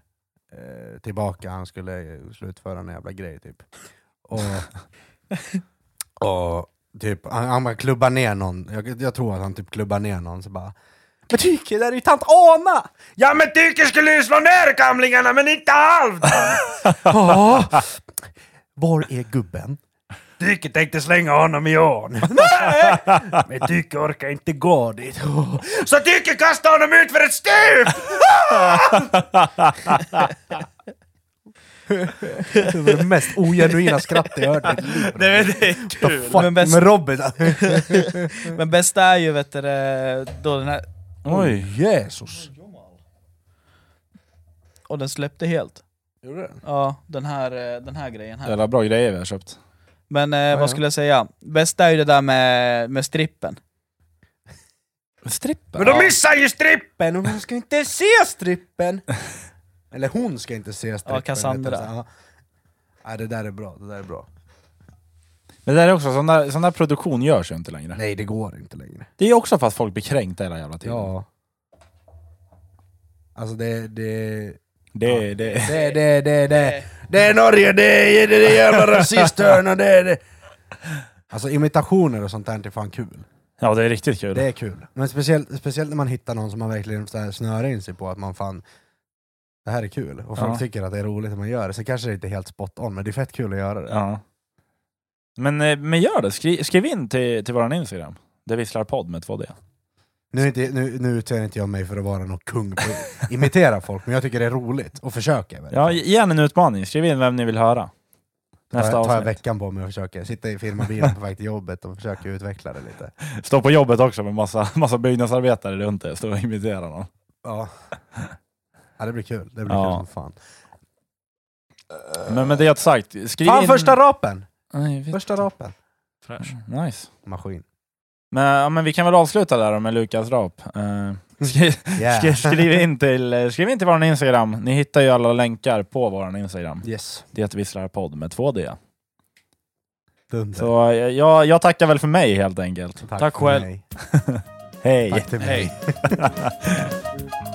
Speaker 3: eh, tillbaka, han skulle slutföra en jävla grej typ. Och, och typ, han, han bara klubbar ner någon, jag, jag tror att han typ klubbar ner någon så bara Men Tyke, där är ju tant Ana! Ja men Tyke skulle ju slå ner gamlingarna men inte halvt! Ja. Var är gubben? Tyke tänkte slänga honom i ån. Nej! Men Tyke orkar inte gå dit. Så Tyke kastade honom ut för ett stup! Det var det mest ogenuina skratt jag hört i mitt liv.
Speaker 4: Nej men det är
Speaker 3: What the
Speaker 4: kul!
Speaker 3: fuck
Speaker 2: Men bäst-
Speaker 3: med Robin?
Speaker 2: Men bästa är ju vet du, det, då den här...
Speaker 4: Oj.
Speaker 3: Jesus.
Speaker 2: Och den släppte helt.
Speaker 3: Gjorde den?
Speaker 2: Ja, den här, eh, den här grejen här.
Speaker 4: Jävla bra grejer vi har köpt.
Speaker 2: Men eh,
Speaker 3: ja.
Speaker 2: vad skulle jag säga? Bästa är ju det där med, med strippen.
Speaker 4: Strippen?
Speaker 3: Men de missar ju strippen! Och hon ska inte se strippen! Eller hon ska inte se strippen.
Speaker 2: Ja, Cassandra.
Speaker 3: vet du, så, ja. Nej, det där är bra, det där är bra.
Speaker 4: Men det där är också, sån där, sån där produktion görs ju inte längre.
Speaker 3: Nej, det går inte längre.
Speaker 4: Det är ju också för att folk blir kränkta hela jävla tiden.
Speaker 3: Ja. Alltså det, det,
Speaker 4: Det, det.
Speaker 3: Det, det, det, det. Det är Norge, det är det, är jävla rasisthörna, det är det. Alltså imitationer och sånt där är fan kul.
Speaker 4: ja, det är riktigt kul.
Speaker 3: Det är kul. Men speciellt, speciellt när man hittar någon som man verkligen så här snöar in sig på att man fan, det här är kul. Och folk
Speaker 4: Ja.
Speaker 3: tycker att det är roligt när man gör det. Sen kanske det inte är helt spot on, men det är fett kul att göra det.
Speaker 4: Ja. Men, eh, men gör det, skriv, skriv in till, till vår Instagram. Det visslar podd med 2D.
Speaker 3: Nu, är inte, nu, nu utger inte jag mig för att vara någon kung på att imitera folk, men jag tycker det är roligt och försöka. verkligen.
Speaker 4: Ja, ge en utmaning, skriv in vem ni vill höra. Nästa
Speaker 3: tar, jag, tar jag
Speaker 4: avsnitt.
Speaker 3: veckan på mig och försöker sitta i firmabilen på väg till jobbet och försöka utveckla det lite.
Speaker 4: Stå på jobbet också med massa, massa byggnadsarbetare runt dig, stå och imitera någon.
Speaker 3: Eh. Ja. ja, det blir kul. Det blir
Speaker 4: Ja.
Speaker 3: kul som fan.
Speaker 4: Men med det sagt, skriv
Speaker 3: Fan,
Speaker 4: in...
Speaker 3: första rapen!
Speaker 4: Aj, vi-
Speaker 3: Första rapen.
Speaker 4: Nice.
Speaker 3: Maskin.
Speaker 4: Men, ja, men vi kan väl avsluta där då med Lukas rap. Eh, skri,
Speaker 3: Yeah.
Speaker 4: skri, skriv, in till, eh, skriv in till vår Instagram. Ni hittar ju alla länkar på vår Instagram.
Speaker 3: Yes.
Speaker 4: Det visslar podd med 2D.
Speaker 3: Dunder.
Speaker 4: Så eh, jag, jag tackar väl för mig helt enkelt.
Speaker 3: tack
Speaker 2: tack
Speaker 3: för
Speaker 2: själv.
Speaker 3: mig.
Speaker 4: Hej!
Speaker 3: Tack till mig.
Speaker 2: Hej.